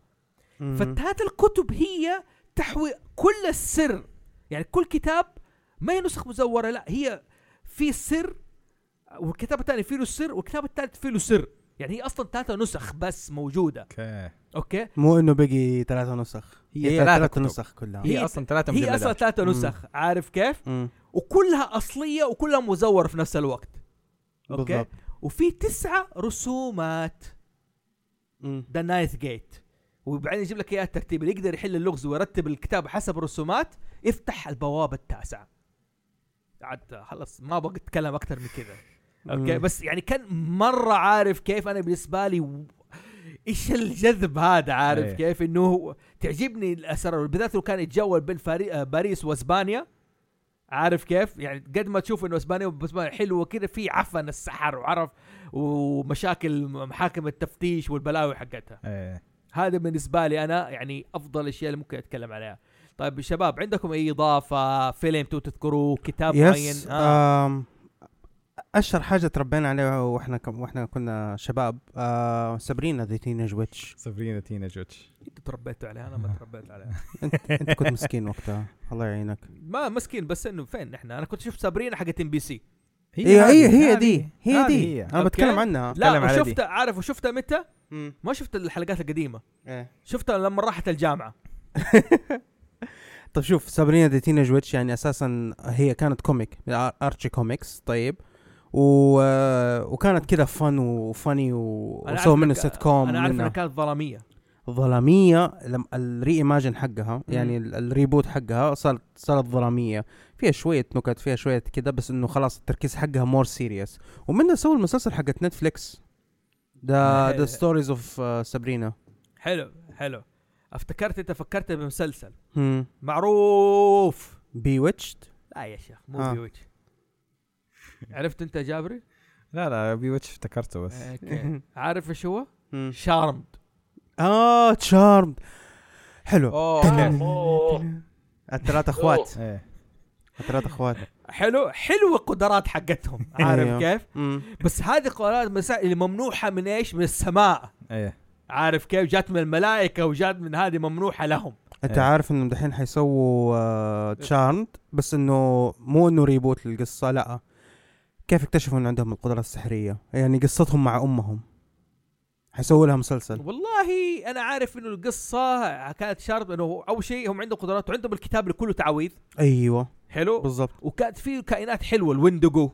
S1: فتات الكتب هي تحوي كل السر يعني كل كتاب ما هي نسخ مزوره لا هي في سر والكتاب الثاني فيه له سر والكتاب الثالث فيه له سر يعني هي اصلا ثلاثه نسخ بس موجوده
S3: اوكي
S1: اوكي
S2: مو انه بقي ثلاثة نسخ إيه،
S3: هي ثلاثة
S2: ثلاثة
S3: كتب.
S2: نسخ كلها
S1: هي
S3: هي اصلا ثلاثه
S1: هي اصلا
S3: مجلدات
S1: ثلاثه
S2: مم.
S1: نسخ عارف كيف
S2: مم.
S1: وكلها اصليه وكلها مزوره في نفس الوقت اوكي
S2: بالضبط
S1: وفي تسعه رسومات
S2: مم.
S1: ذا نايث جيت وبعدين يجيب لك اياها الترتيب اللي يقدر يحل اللغز ويرتب الكتاب حسب الرسومات افتح البوابه التاسعه عاد خلص ما ابغى اتكلم اكثر من كذا اوكي
S2: مم.
S1: بس يعني كان مره عارف كيف انا بالنسبه لي و- ايش الجذب هذا عارف
S3: إيه.
S1: كيف انه هو- تعجبني الاسرار بالذات لو كان يتجول بين فاري- آه، باريس واسبانيا عارف كيف يعني قد ما تشوف انه اسبانيا واسبانيا حلوه كذا في عفن السحر وعرف ومشاكل محاكم التفتيش والبلاوي حقتها
S3: ايه
S1: هذا بالنسبه لي انا يعني افضل الاشياء اللي ممكن اتكلم عليها طيب شباب عندكم اي اضافه فيلم تو تذكروه كتاب معين آه.
S2: يس آم، اشهر حاجه تربينا عليها واحنا كم واحنا كنا شباب آه سابرينا ذا تينيج ويتش
S3: سابرينا تينا جوتش
S1: انتوا تربيتوا عليه انا ما
S2: آه.
S1: تربيت عليه
S2: انت انت كنت مسكين وقتها الله يعينك
S1: ما مسكين بس انه فين احنا انا كنت شفت سابرينا حقت ام بي سي
S2: هي
S3: هذه-
S2: إيه، هي هي
S3: هذه-
S2: دي هي
S3: هذه
S2: دي
S3: هي.
S2: انا
S1: أوكي.
S2: بتكلم عنها
S1: لا
S3: أتكلم على دي.
S1: وشفتها عارف وشفتها متى؟
S2: مم.
S1: ما شفت الحلقات القديمه
S2: إيه.
S1: شفتها لما راحت الجامعه
S2: طيب شوف سابرينا ذا تينيج ويتش يعني اساسا هي كانت كوميك من آر- ارشي كوميكس طيب و... آه، وكانت كذا فن وفاني و-
S1: أنا
S2: وسووا
S1: عارف
S2: منه
S1: إنك-
S2: سيت كوم
S1: انا عارف انها
S2: منه.
S1: كانت ظلاميه
S2: ظلاميه لم الري ايماجن حقها يعني
S1: مم.
S2: ال- الريبوت حقها صارت صارت ظلاميه فيها شويه نكت فيها شويه كده بس انه خلاص التركيز حقها مور سيريس ومنها سووا المسلسل حقت نتفليكس ذا
S1: آه.
S2: ذا ستوريز اوف سابرينا
S1: حلو حلو افتكرت انت فكرت بمسلسل
S2: امم
S1: معروف
S2: بي ويتشد
S1: لا يا شيخ مو
S2: آه.
S1: بيوتش عرفت انت يا جابري؟
S3: لا لا بي ويتش افتكرته بس
S1: اوكي عارف ايش هو؟ شارمد
S2: اه تشارمد حلو
S3: اوه
S4: اوه
S2: الثلاث اخوات
S3: ايه
S2: الثلاث اخوات
S1: حلو حلوه القدرات حقتهم عارف
S2: أيوه.
S1: كيف؟ بس هذه قدرات مسا- اللي ممنوحه من ايش؟ من السماء
S3: ايه
S1: عارف كيف؟ جات من الملائكه وجات من هذه ممنوحه لهم
S2: انت
S3: إيه.
S2: عارف انهم دحين حيسووا آه، تشارمد بس انه مو انه ريبوت للقصه لا كيف اكتشفوا ان عندهم القدره السحريه يعني قصتهم مع امهم حيسووا لها مسلسل
S1: والله انا عارف انه القصه كانت شارب انه اول شيء هم عندهم قدرات وعندهم الكتاب اللي كله تعاويذ
S2: ايوه
S1: حلو
S2: بالضبط
S1: وكانت في كائنات حلوه الويندوجو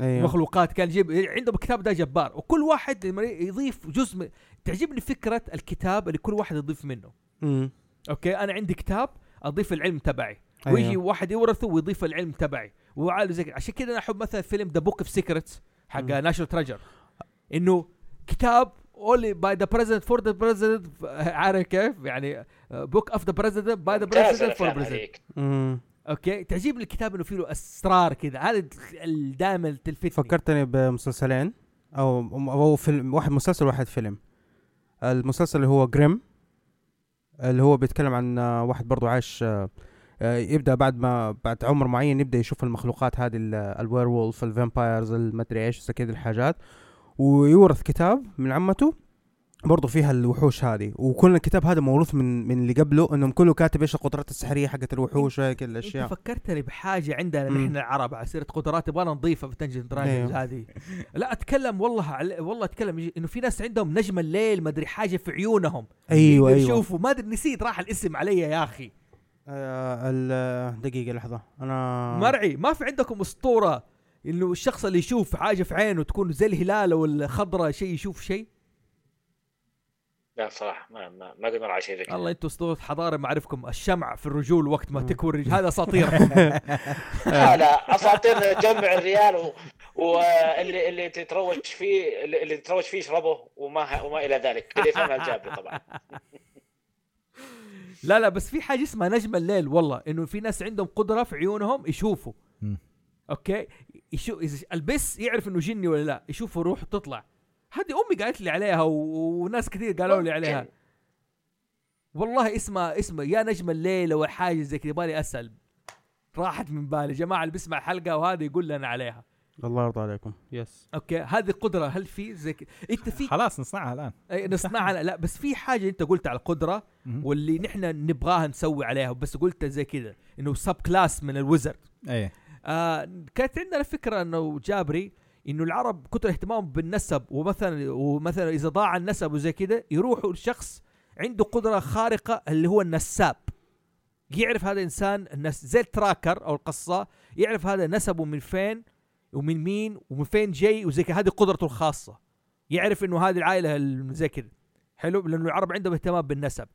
S2: ايوه
S1: مخلوقات كان يجيب عندهم كتاب ده جبار وكل واحد لما يضيف جزء من... تعجبني فكره الكتاب اللي كل واحد يضيف منه
S2: مم.
S1: اوكي انا عندي كتاب اضيف العلم تبعي
S2: أيوه.
S1: ويجي واحد يورثه ويضيف العلم تبعي وعلى زي عشان كذا انا احب مثلا فيلم ذا بوك اوف سيكرتس حق
S2: مم.
S1: ناشونال تريجر انه كتاب اولي باي ذا بريزدنت فور ذا بريزدنت عارف كيف يعني بوك اوف ذا بريزدنت باي ذا
S4: ممتاز
S1: بريزدنت فور
S4: الافلام
S1: بريزدنت
S4: هذيك
S2: مم.
S1: اوكي تعجبني الكتاب انه فيه له اسرار كذا هذا ال- ال- دائما تلفتني
S2: فكرتني بمسلسلين او او فيلم واحد مسلسل واحد فيلم المسلسل اللي هو جريم اللي هو بيتكلم عن آه، واحد برضو عاش آه، آه، يبدا بعد ما بعد عمر معين يبدا يشوف المخلوقات هذه ال- الوير وولف الفامبايرز المدري ايش زي كذا الحاجات ويورث كتاب من عمته برضو فيها الوحوش هذه وكل الكتاب هذا موروث من من اللي قبله انهم كله كاتب ايش القدرات السحريه حقت الوحوش وهيك
S1: انت
S2: الاشياء
S1: فكرتني بحاجه عندنا
S2: مم.
S1: نحن العرب على سيره قدرات يبغانا نضيفها في دنجن دراجونز
S2: أيوه.
S1: هذه لا اتكلم والله على والله اتكلم يجي- انه في ناس عندهم نجم الليل ما ادري حاجه في عيونهم
S2: ايوه
S1: يقدر
S2: ايوه
S1: يشوفوا ما ادري نسيت راح الاسم علي يا اخي
S2: آه، ال- دقيقه لحظه انا
S1: مرعي ما في عندكم اسطوره انه الشخص اللي يشوف حاجه في عينه تكون زي الهلال او الخضره شيء يشوف شيء
S4: لا صراحه ما ما, ما قد مر على شيء زي كذا
S1: الله انتم اسطوره حضاره معرفكم الشمع في الرجول وقت ما تكوي الرجل هذا اساطير
S4: لا لا اساطير تجمع الريال و... واللي اللي تتروج فيه اللي اللي تتروج فيه يشربه وما وما الى ذلك اللي يفهمها الجابر طبعا
S1: لا لا بس في حاجه اسمها نجم الليل والله انه في ناس عندهم قدره في عيونهم يشوفوا
S3: مم.
S1: اوكي يشو إذا البس يعرف انه جني ولا لا يشوفوا روح تطلع هذه امي قالت لي عليها و... وناس كثير قالوا لي عليها والله اسمها اسمه يا نجم الليل او حاجه زي كذا بالي اسال راحت من بالي جماعه اللي بيسمع الحلقه وهذا يقول لنا عليها
S2: الله يرضى عليكم
S3: يس
S1: اوكي هذه قدره هل في زي كذا انت في
S3: خلاص نصنعها الان
S1: أي نصنعها لا بس في حاجه انت قلت على القدره
S3: مم.
S1: واللي نحن نبغاها نسوي عليها بس قلت زي كذا انه سب كلاس من الوزر
S3: ايه
S1: آه كانت عندنا فكره انه جابري انه العرب كثر اهتمامهم بالنسب ومثلا ومثلا اذا ضاع النسب وزي كذا يروحوا لشخص عنده قدره خارقه اللي هو النساب يعرف هذا الانسان النس زي التراكر او القصه يعرف هذا نسبه من فين ومن مين ومن فين جاي وزي كذا هذه قدرته الخاصه يعرف انه هذه العائله ال- زي كذا حلو لانه العرب عندهم اهتمام بالنسب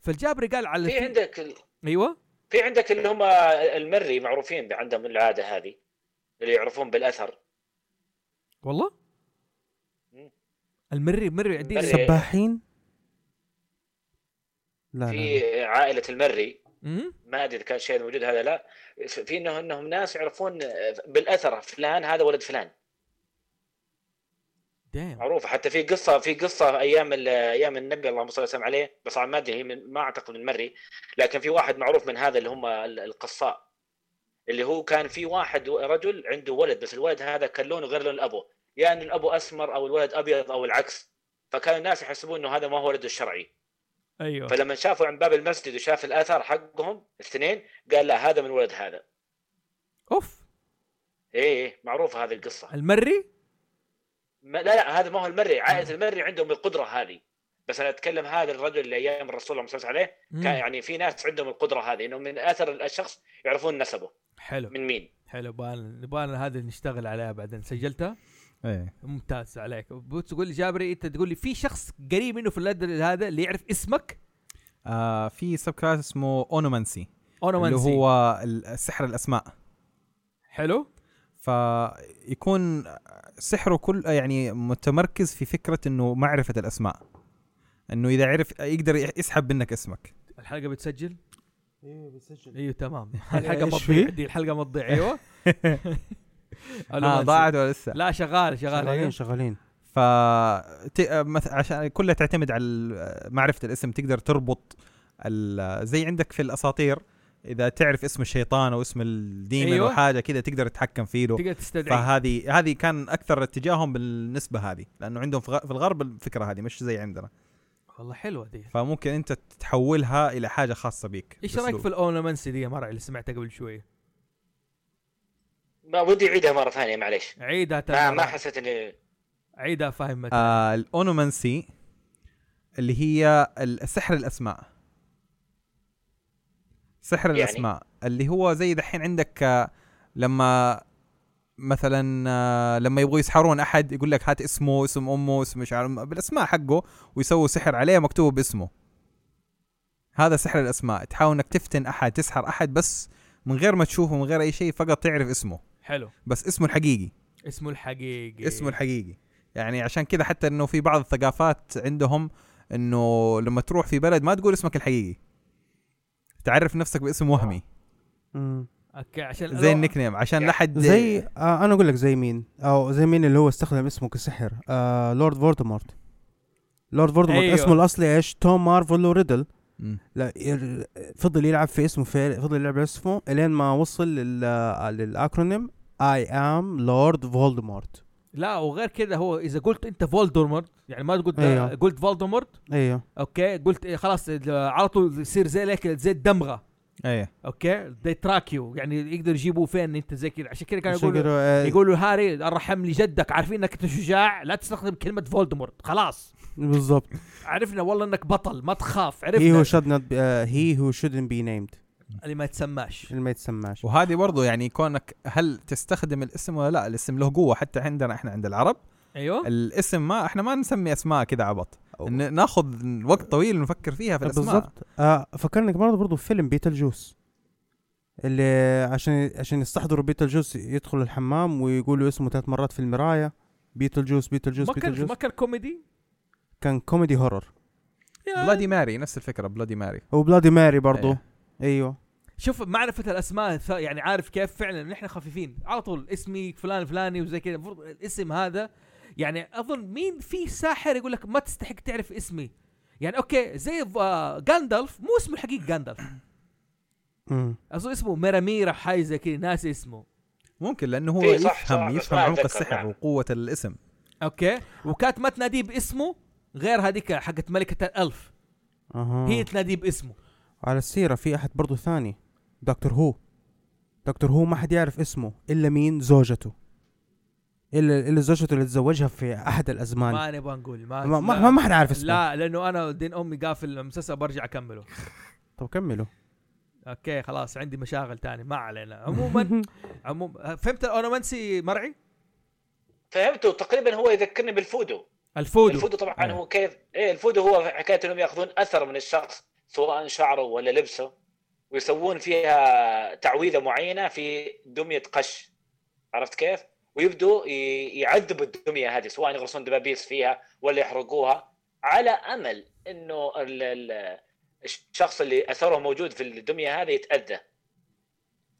S1: فالجابري قال على
S4: في عندك ال-
S1: ايوه
S4: في عندك اللي هم المري معروفين عندهم العاده هذه اللي يعرفون بالاثر
S1: والله
S4: مم.
S1: المري مري عندي
S4: المري.
S1: سب-
S2: سباحين لا لا
S4: في عائله المري
S1: مم؟
S4: ما ادري اذا كان شيء موجود هذا لا في انه انهم ناس يعرفون بالاثر فلان هذا ولد فلان
S1: دايم
S4: معروفه حتى في قصه في قصه ايام ال- ايام النبي اللهم صل وسلم عليه بس ما ادري هي من ما اعتقد من مري لكن في واحد معروف من هذا اللي هم ال- القصاء اللي هو كان في واحد و- رجل عنده ولد بس الولد هذا كان لونه غير لون الابو يا يعني ان الابو اسمر او الولد ابيض او العكس فكانوا الناس يحسبون انه هذا ما هو ولده الشرعي
S1: ايوه
S4: فلما شافوا عن باب المسجد وشاف الاثر حقهم الاثنين قال لا هذا من ولد هذا
S1: اوف
S4: ايه إيه، معروفه هذه القصه
S1: المري
S4: ما لا لا هذا ما هو المري عائله المري عندهم القدره هذه بس انا اتكلم هذا الرجل اللي ايام الرسول اللهم صل وسلم عليه
S1: مم.
S4: كان يعني في ناس عندهم القدره هذه انه من اثر الشخص يعرفون نسبه
S1: حلو
S4: من مين
S1: حلو بان بان هذا نشتغل عليها بعدين سجلتها
S3: ايه
S1: ممتاز عليك بتقول لي جابري انت تقول لي في شخص قريب منه في اللد هذا اللي يعرف اسمك
S3: آه في سب كلاس اسمه اونومانسي
S1: اونومانسي
S3: اللي هو ال- سحر الاسماء
S1: حلو
S3: فيكون سحره كل يعني متمركز في فكره انه معرفه الاسماء انه اذا عرف يقدر يسحب منك اسمك
S1: الحلقه بتسجل
S2: ايوه بسجل
S1: ايوه تمام الحلقه
S2: إيش
S1: ما تضيع
S2: في؟
S1: دي الحلقه ما تضيع ايوه
S3: آه
S1: أونومانسي.
S3: ضاعت ولا لسه
S1: لا شغال شغال
S2: شغالين
S1: أيوه.
S2: شغالين
S3: ف ت- مث- عشان كلها تعتمد على ال- معرفه الاسم تقدر تربط ال- زي عندك في الاساطير اذا تعرف اسم الشيطان او اسم الديمن
S1: أيوه.
S3: أيوه. وحاجه كذا تقدر تتحكم فيه له
S1: تقدر تستدعي
S3: فهذه هذه كان اكثر اتجاههم بالنسبه هذه لانه عندهم في غ- في الغرب الفكره هذه مش زي عندنا
S1: والله حلوه دي
S3: فممكن انت تحولها الى حاجه خاصه بيك
S1: ايش رايك
S3: بأسلوب.
S1: في الاونومانسي دي يا مرعي اللي سمعتها قبل شويه
S4: ما ودي اعيدها مره ثانيه معليش
S1: عيدها
S4: ما ما
S1: ترى.
S4: حسيت اني
S1: عيدها فاهم متى
S3: آه الاونومانسي اللي هي ال- سحر الاسماء سحر
S4: يعني؟
S3: الاسماء اللي هو زي دحين عندك آه، لما مثلا آه، لما يبغوا يسحرون احد يقول لك هات اسمه اسم امه اسم مش عارف بالاسماء حقه ويسووا سحر عليه مكتوب باسمه هذا سحر الاسماء تحاول انك تفتن احد تسحر احد بس من غير ما تشوفه من غير اي شيء فقط تعرف اسمه
S1: حلو
S3: بس اسمه الحقيقي
S1: اسمه الحقيقي
S2: إيه.
S3: اسمه الحقيقي يعني عشان كذا حتى انه في بعض الثقافات عندهم انه لما تروح في بلد ما تقول اسمك الحقيقي تعرف نفسك باسم وهمي
S2: مم.
S1: اوكي عشان
S3: زي النيك نيم عشان لا حد
S2: آه. يعني زي آه انا اقول لك زي مين او زي مين اللي هو استخدم اسمه كسحر آه لورد فولدمورت لورد فولدمورت
S1: أيوه.
S2: أيوه. اسمه الاصلي ايش توم مارفلو ريدل
S3: مم.
S2: لا ير- فضل يلعب في اسمه في فضل يلعب على اسمه الين ما وصل لل آه، للاكرونيم اي ام لورد فولدمورت
S1: لا وغير كذا هو اذا قلت انت فولدمورت يعني ما قلت
S2: أيوه.
S1: قلت فولدمورت
S2: ايوه
S1: اوكي قلت إيه، خلاص ال- على طول يصير زي لك زي الدمغه
S3: ايه
S1: اوكي they track you يعني يقدر يجيبوه فين انت زي كذا عشان كذا كانوا
S2: عشان
S1: يقولوا
S2: كده، آه،
S1: يقولوا هاري ارحم لي جدك عارفين انك انت شجاع لا تستخدم كلمه فولدمورت خلاص
S2: بالضبط
S1: عرفنا والله انك بطل ما تخاف
S2: هي
S1: عرفنا
S2: إيه، هو شود نوت هي هو شودنت بي نيمد
S1: اللي ما يتسماش
S2: اللي ما يتسماش
S3: وهذه برضو يعني كونك هل تستخدم الاسم ولا لا الاسم له قوه حتى عندنا احنا عند العرب
S2: أيوه.
S1: ايوه
S3: الاسم ما احنا ما نسمي اسماء كذا عبط
S2: أو-
S3: ن- ناخذ وقت طويل نفكر فيها في الاسماء
S2: Uh, بالضبط آه فكرني برضه برضه فيلم بيتل جوس اللي عشان عشان يستحضروا بيتل جوس يدخلوا الحمام ويقولوا اسمه ثلاث مرات في المرايه بيتل جوس بيتل جوس
S1: ما
S2: بيتل
S1: كان
S2: جوس
S1: ما كان كوميدي
S2: كان كوميدي هورر
S1: يا-
S3: بلادي ماري نفس الفكره بلادي ماري
S2: وبلادي ماري برضه
S1: أيوه.
S3: إيه.
S2: ايوه
S1: شوف معرفه الاسماء ث- يعني عارف كيف فعلا نحن خفيفين على طول اسمي فلان فلاني وزي كذا المفروض الاسم هذا يعني اظن مين في ساحر يقول لك ما تستحق تعرف اسمي يعني اوكي زي جاندالف مو اسمه الحقيقي جاندالف
S2: مم.
S1: اظن اسمه ميراميرا حاجه زي كذا ناسي اسمه
S3: ممكن لانه هو
S4: إيه، صح،
S3: يفهم
S4: صح، بس
S3: يفهم
S4: ما
S3: عمق
S4: أتذكر،
S3: السحر
S4: نعم.
S3: وقوه الاسم
S1: اوكي وكانت ما تناديه باسمه غير هذيك حقت ملكه الالف
S2: اها
S1: هي تناديه باسمه
S2: على السيره في احد برضه ثاني دكتور هو دكتور هو ما حد يعرف اسمه الا مين زوجته الا الا زوجته اللي تزوجها في احد الازمان ما
S1: ما نبغى نقول ما
S2: ما,
S1: لا.
S2: ما, ما حد عارف اسمه
S1: لا
S2: لا.
S1: لانه انا دين امي قافل المسلسل برجع اكمله
S2: طب كملوا
S1: اوكي خلاص عندي مشاغل تاني ما علينا عموما عموما فهمت الاونومنسي مرعي
S4: فهمته تقريبا هو يذكرني بالفودو
S1: الفودو
S4: الفودو طبعا
S3: آه.
S4: هو كيف ايه الفودو هو حكايه انهم ياخذون اثر من الشخص سواء شعره ولا لبسه ويسوون فيها تعويذه معينه في دميه قش عرفت كيف؟ ويبدوا ي- يعذبوا الدميه هذه سواء يغرسون دبابيس فيها ولا يحرقوها على امل انه ال- ال- الشخص اللي اثره موجود في الدميه هذه يتاذى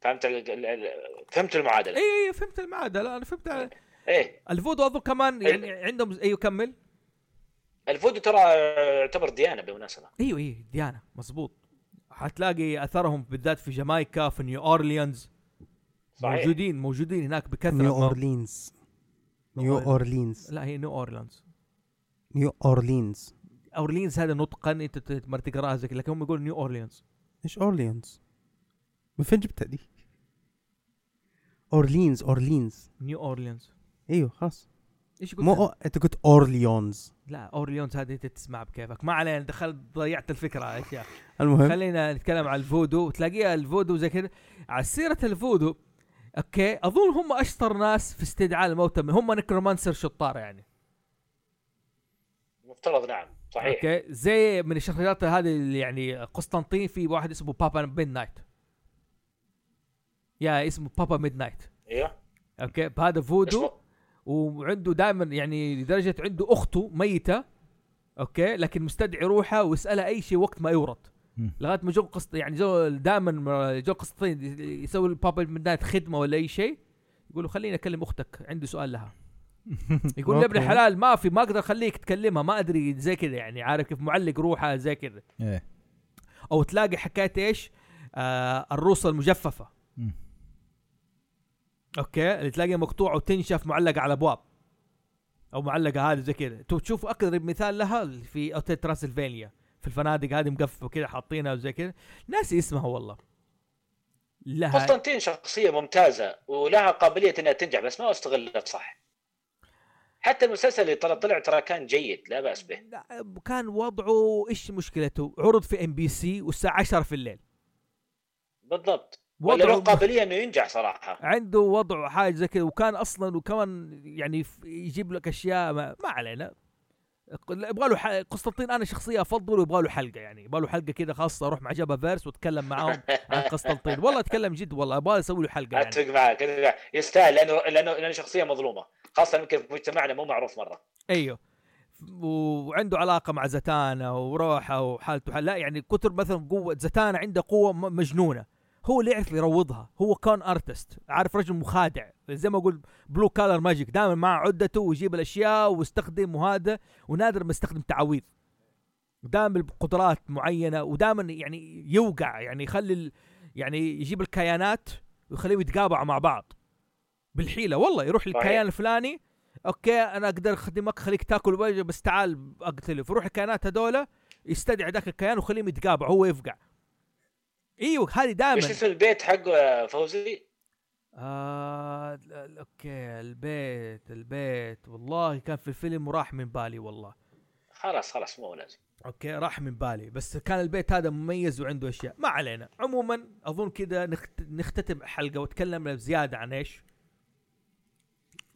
S4: فهمت ال- ال- ال- فهمت المعادله
S1: اي اي فهمت المعادله لا، انا فهمت على-
S4: ايه
S1: الفودو اظن كمان يعني عندهم ايوه كمل
S4: الفودو ترى يعتبر ديانه بالمناسبه
S1: ايوه
S2: أيوة،
S1: ايوه ديانا مظبوط حتلاقي اثرهم بالذات في جامايكا في نيو اورليانز
S4: صحيح.
S1: موجودين موجودين هناك بكثره
S2: نيو
S1: ما-
S2: اورلينز نيو اورلينز
S1: لا هي نيو اورليانز
S2: نيو اورلينز
S1: اورليانز هذا نطقا انت ت- ما تقراها زي كده، لكن هم يقولوا نيو اورليانز
S2: ايش اورلينز من فين جبتها دي اورلينز اورلينز
S1: نيو اورليانز
S2: ايوه خلاص
S1: ايش قلت
S2: مو أو... انت قلت اورليونز
S1: لا اورليونز هذه انت تسمع بكيفك ما علينا دخلت ضيعت الفكره يا شيخ
S2: المهم
S1: خلينا نتكلم على الفودو تلاقيها الفودو زي كذا على سيره الفودو اوكي اظن هم اشطر ناس في استدعاء الموتى هم نكرومانسر شطار يعني
S4: مفترض نعم صحيح
S1: اوكي زي من الشخصيات هذه اللي يعني قسطنطين في واحد اسمه بابا ميد نايت يا اسمه بابا ميد نايت
S4: ايوه
S1: اوكي هذا فودو
S4: اسمه
S1: وعنده دائما يعني لدرجه عنده اخته ميته اوكي لكن مستدعي روحها ويسالها اي شيء وقت ما يورط
S3: مم.
S1: لغايه ما جو قسط يعني جو دائما جو قسطين يسوي البابا ميدنايت خدمه ولا اي شيء يقولوا خليني اكلم اختك عندي سؤال لها يقول يا ابن
S2: أوكي.
S1: الحلال ما في ما اقدر اخليك تكلمها ما ادري زي كذا يعني عارف كيف معلق روحها زي كذا
S2: إيه.
S3: ايه
S1: او تلاقي حكايه ايش آه الروسه المجففه
S3: مم.
S1: اوكي اللي تلاقيها مقطوعه وتنشف معلقه على ابواب او معلقه هذه زي كذا تو- تشوف اقرب مثال لها في اوتيل ترانسلفانيا في الفنادق هذه مقففه كذا حاطينها وزي كذا ناسي اسمها والله لها
S4: قسطنطين شخصيه ممتازه ولها قابليه انها تنجح بس ما استغلت صح حتى المسلسل اللي ترى طلع ترى كان جيد لا باس به
S1: لا، كان وضعه ايش مشكلته عرض في ام بي سي والساعه 10 في الليل
S4: بالضبط ولا له
S1: وضعه
S4: قابليه انه ينجح صراحه
S1: عنده وضع حاجه زي كذا وكان اصلا وكمان يعني ف- يجيب لك اشياء ما, ما علينا يبغى له ح- قسطنطين انا شخصيه افضل ويبغى له حلقه يعني يبغى له حلقه كذا خاصه اروح مع جبهه فيرس واتكلم معاهم عن قسطنطين والله اتكلم جد والله ابغى اسوي له حلقه يعني
S4: اتفق معك أتفق معك. يستاهل لانه لانه لانه شخصيه مظلومه خاصه يمكن في مجتمعنا مو معروف مره
S1: ايوه وعنده علاقه مع زتانا وروحه وحالته حال- لا يعني كتر مثلا قوه زتانا عنده قوه م- مجنونه هو اللي يعرف يروضها هو كان ارتست عارف رجل مخادع زي ما اقول بلو كالر ماجيك دائما مع عدته ويجيب الاشياء ويستخدم وهذا ونادر ما يستخدم تعاويذ دائما بقدرات معينه ودائما يعني يوقع يعني يخلي ال- يعني يجيب الكيانات ويخليهم يتقابعوا مع بعض بالحيله والله يروح
S4: صحيح.
S1: للكيان الفلاني اوكي انا اقدر اخدمك خليك تاكل وجه بس تعال اقتله فيروح الكيانات هذولا يستدعي ذاك الكيان وخليهم يتقابع هو يفقع ايوه هذه
S4: ايش
S1: دائما
S4: اسم البيت حقه يا فوزي؟
S1: آه ال- ال- اوكي البيت البيت والله كان في الفيلم وراح من بالي والله
S4: خلاص خلاص مو لازم
S1: اوكي راح من بالي بس كان البيت هذا مميز وعنده اشياء ما علينا عموما اظن كذا نخت... نختتم الحلقه وتكلمنا بزياده عن ايش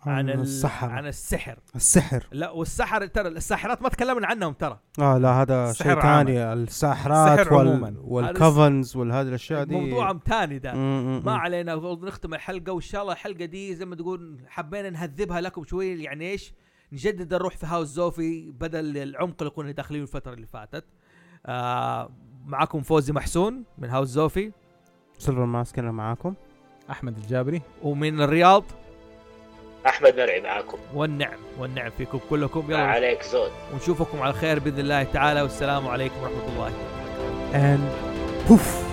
S2: آه،
S1: عن ال-
S2: السحر
S1: عن السحر
S2: السحر
S1: لا والسحر ترى الساحرات ما تكلمنا عنهم ترى
S2: اه لا هذا
S3: السحر
S2: شيء
S3: عامة.
S2: ثاني الساحرات
S3: السحر
S2: وال...
S3: عموماً.
S2: والكفنز والهذه الاشياء دي
S1: موضوع تاني ده ما
S2: ما
S1: علينا المفروض نختم الحلقه وان شاء الله الحلقه دي زي ما تقول حبينا نهذبها لكم شويه يعني ايش نجدد الروح في هاوس زوفي بدل العمق اللي كنا داخلين الفتره اللي فاتت آه معكم فوزي محسون من هاوس زوفي
S2: سيلفر ماسك انا معاكم
S3: احمد الجابري
S1: ومن الرياض
S4: احمد مرعي معاكم
S1: والنعم والنعم فيكم كلكم يلا
S4: عليك زود
S1: ونشوفكم على خير باذن الله تعالى والسلام عليكم ورحمه الله
S2: and poof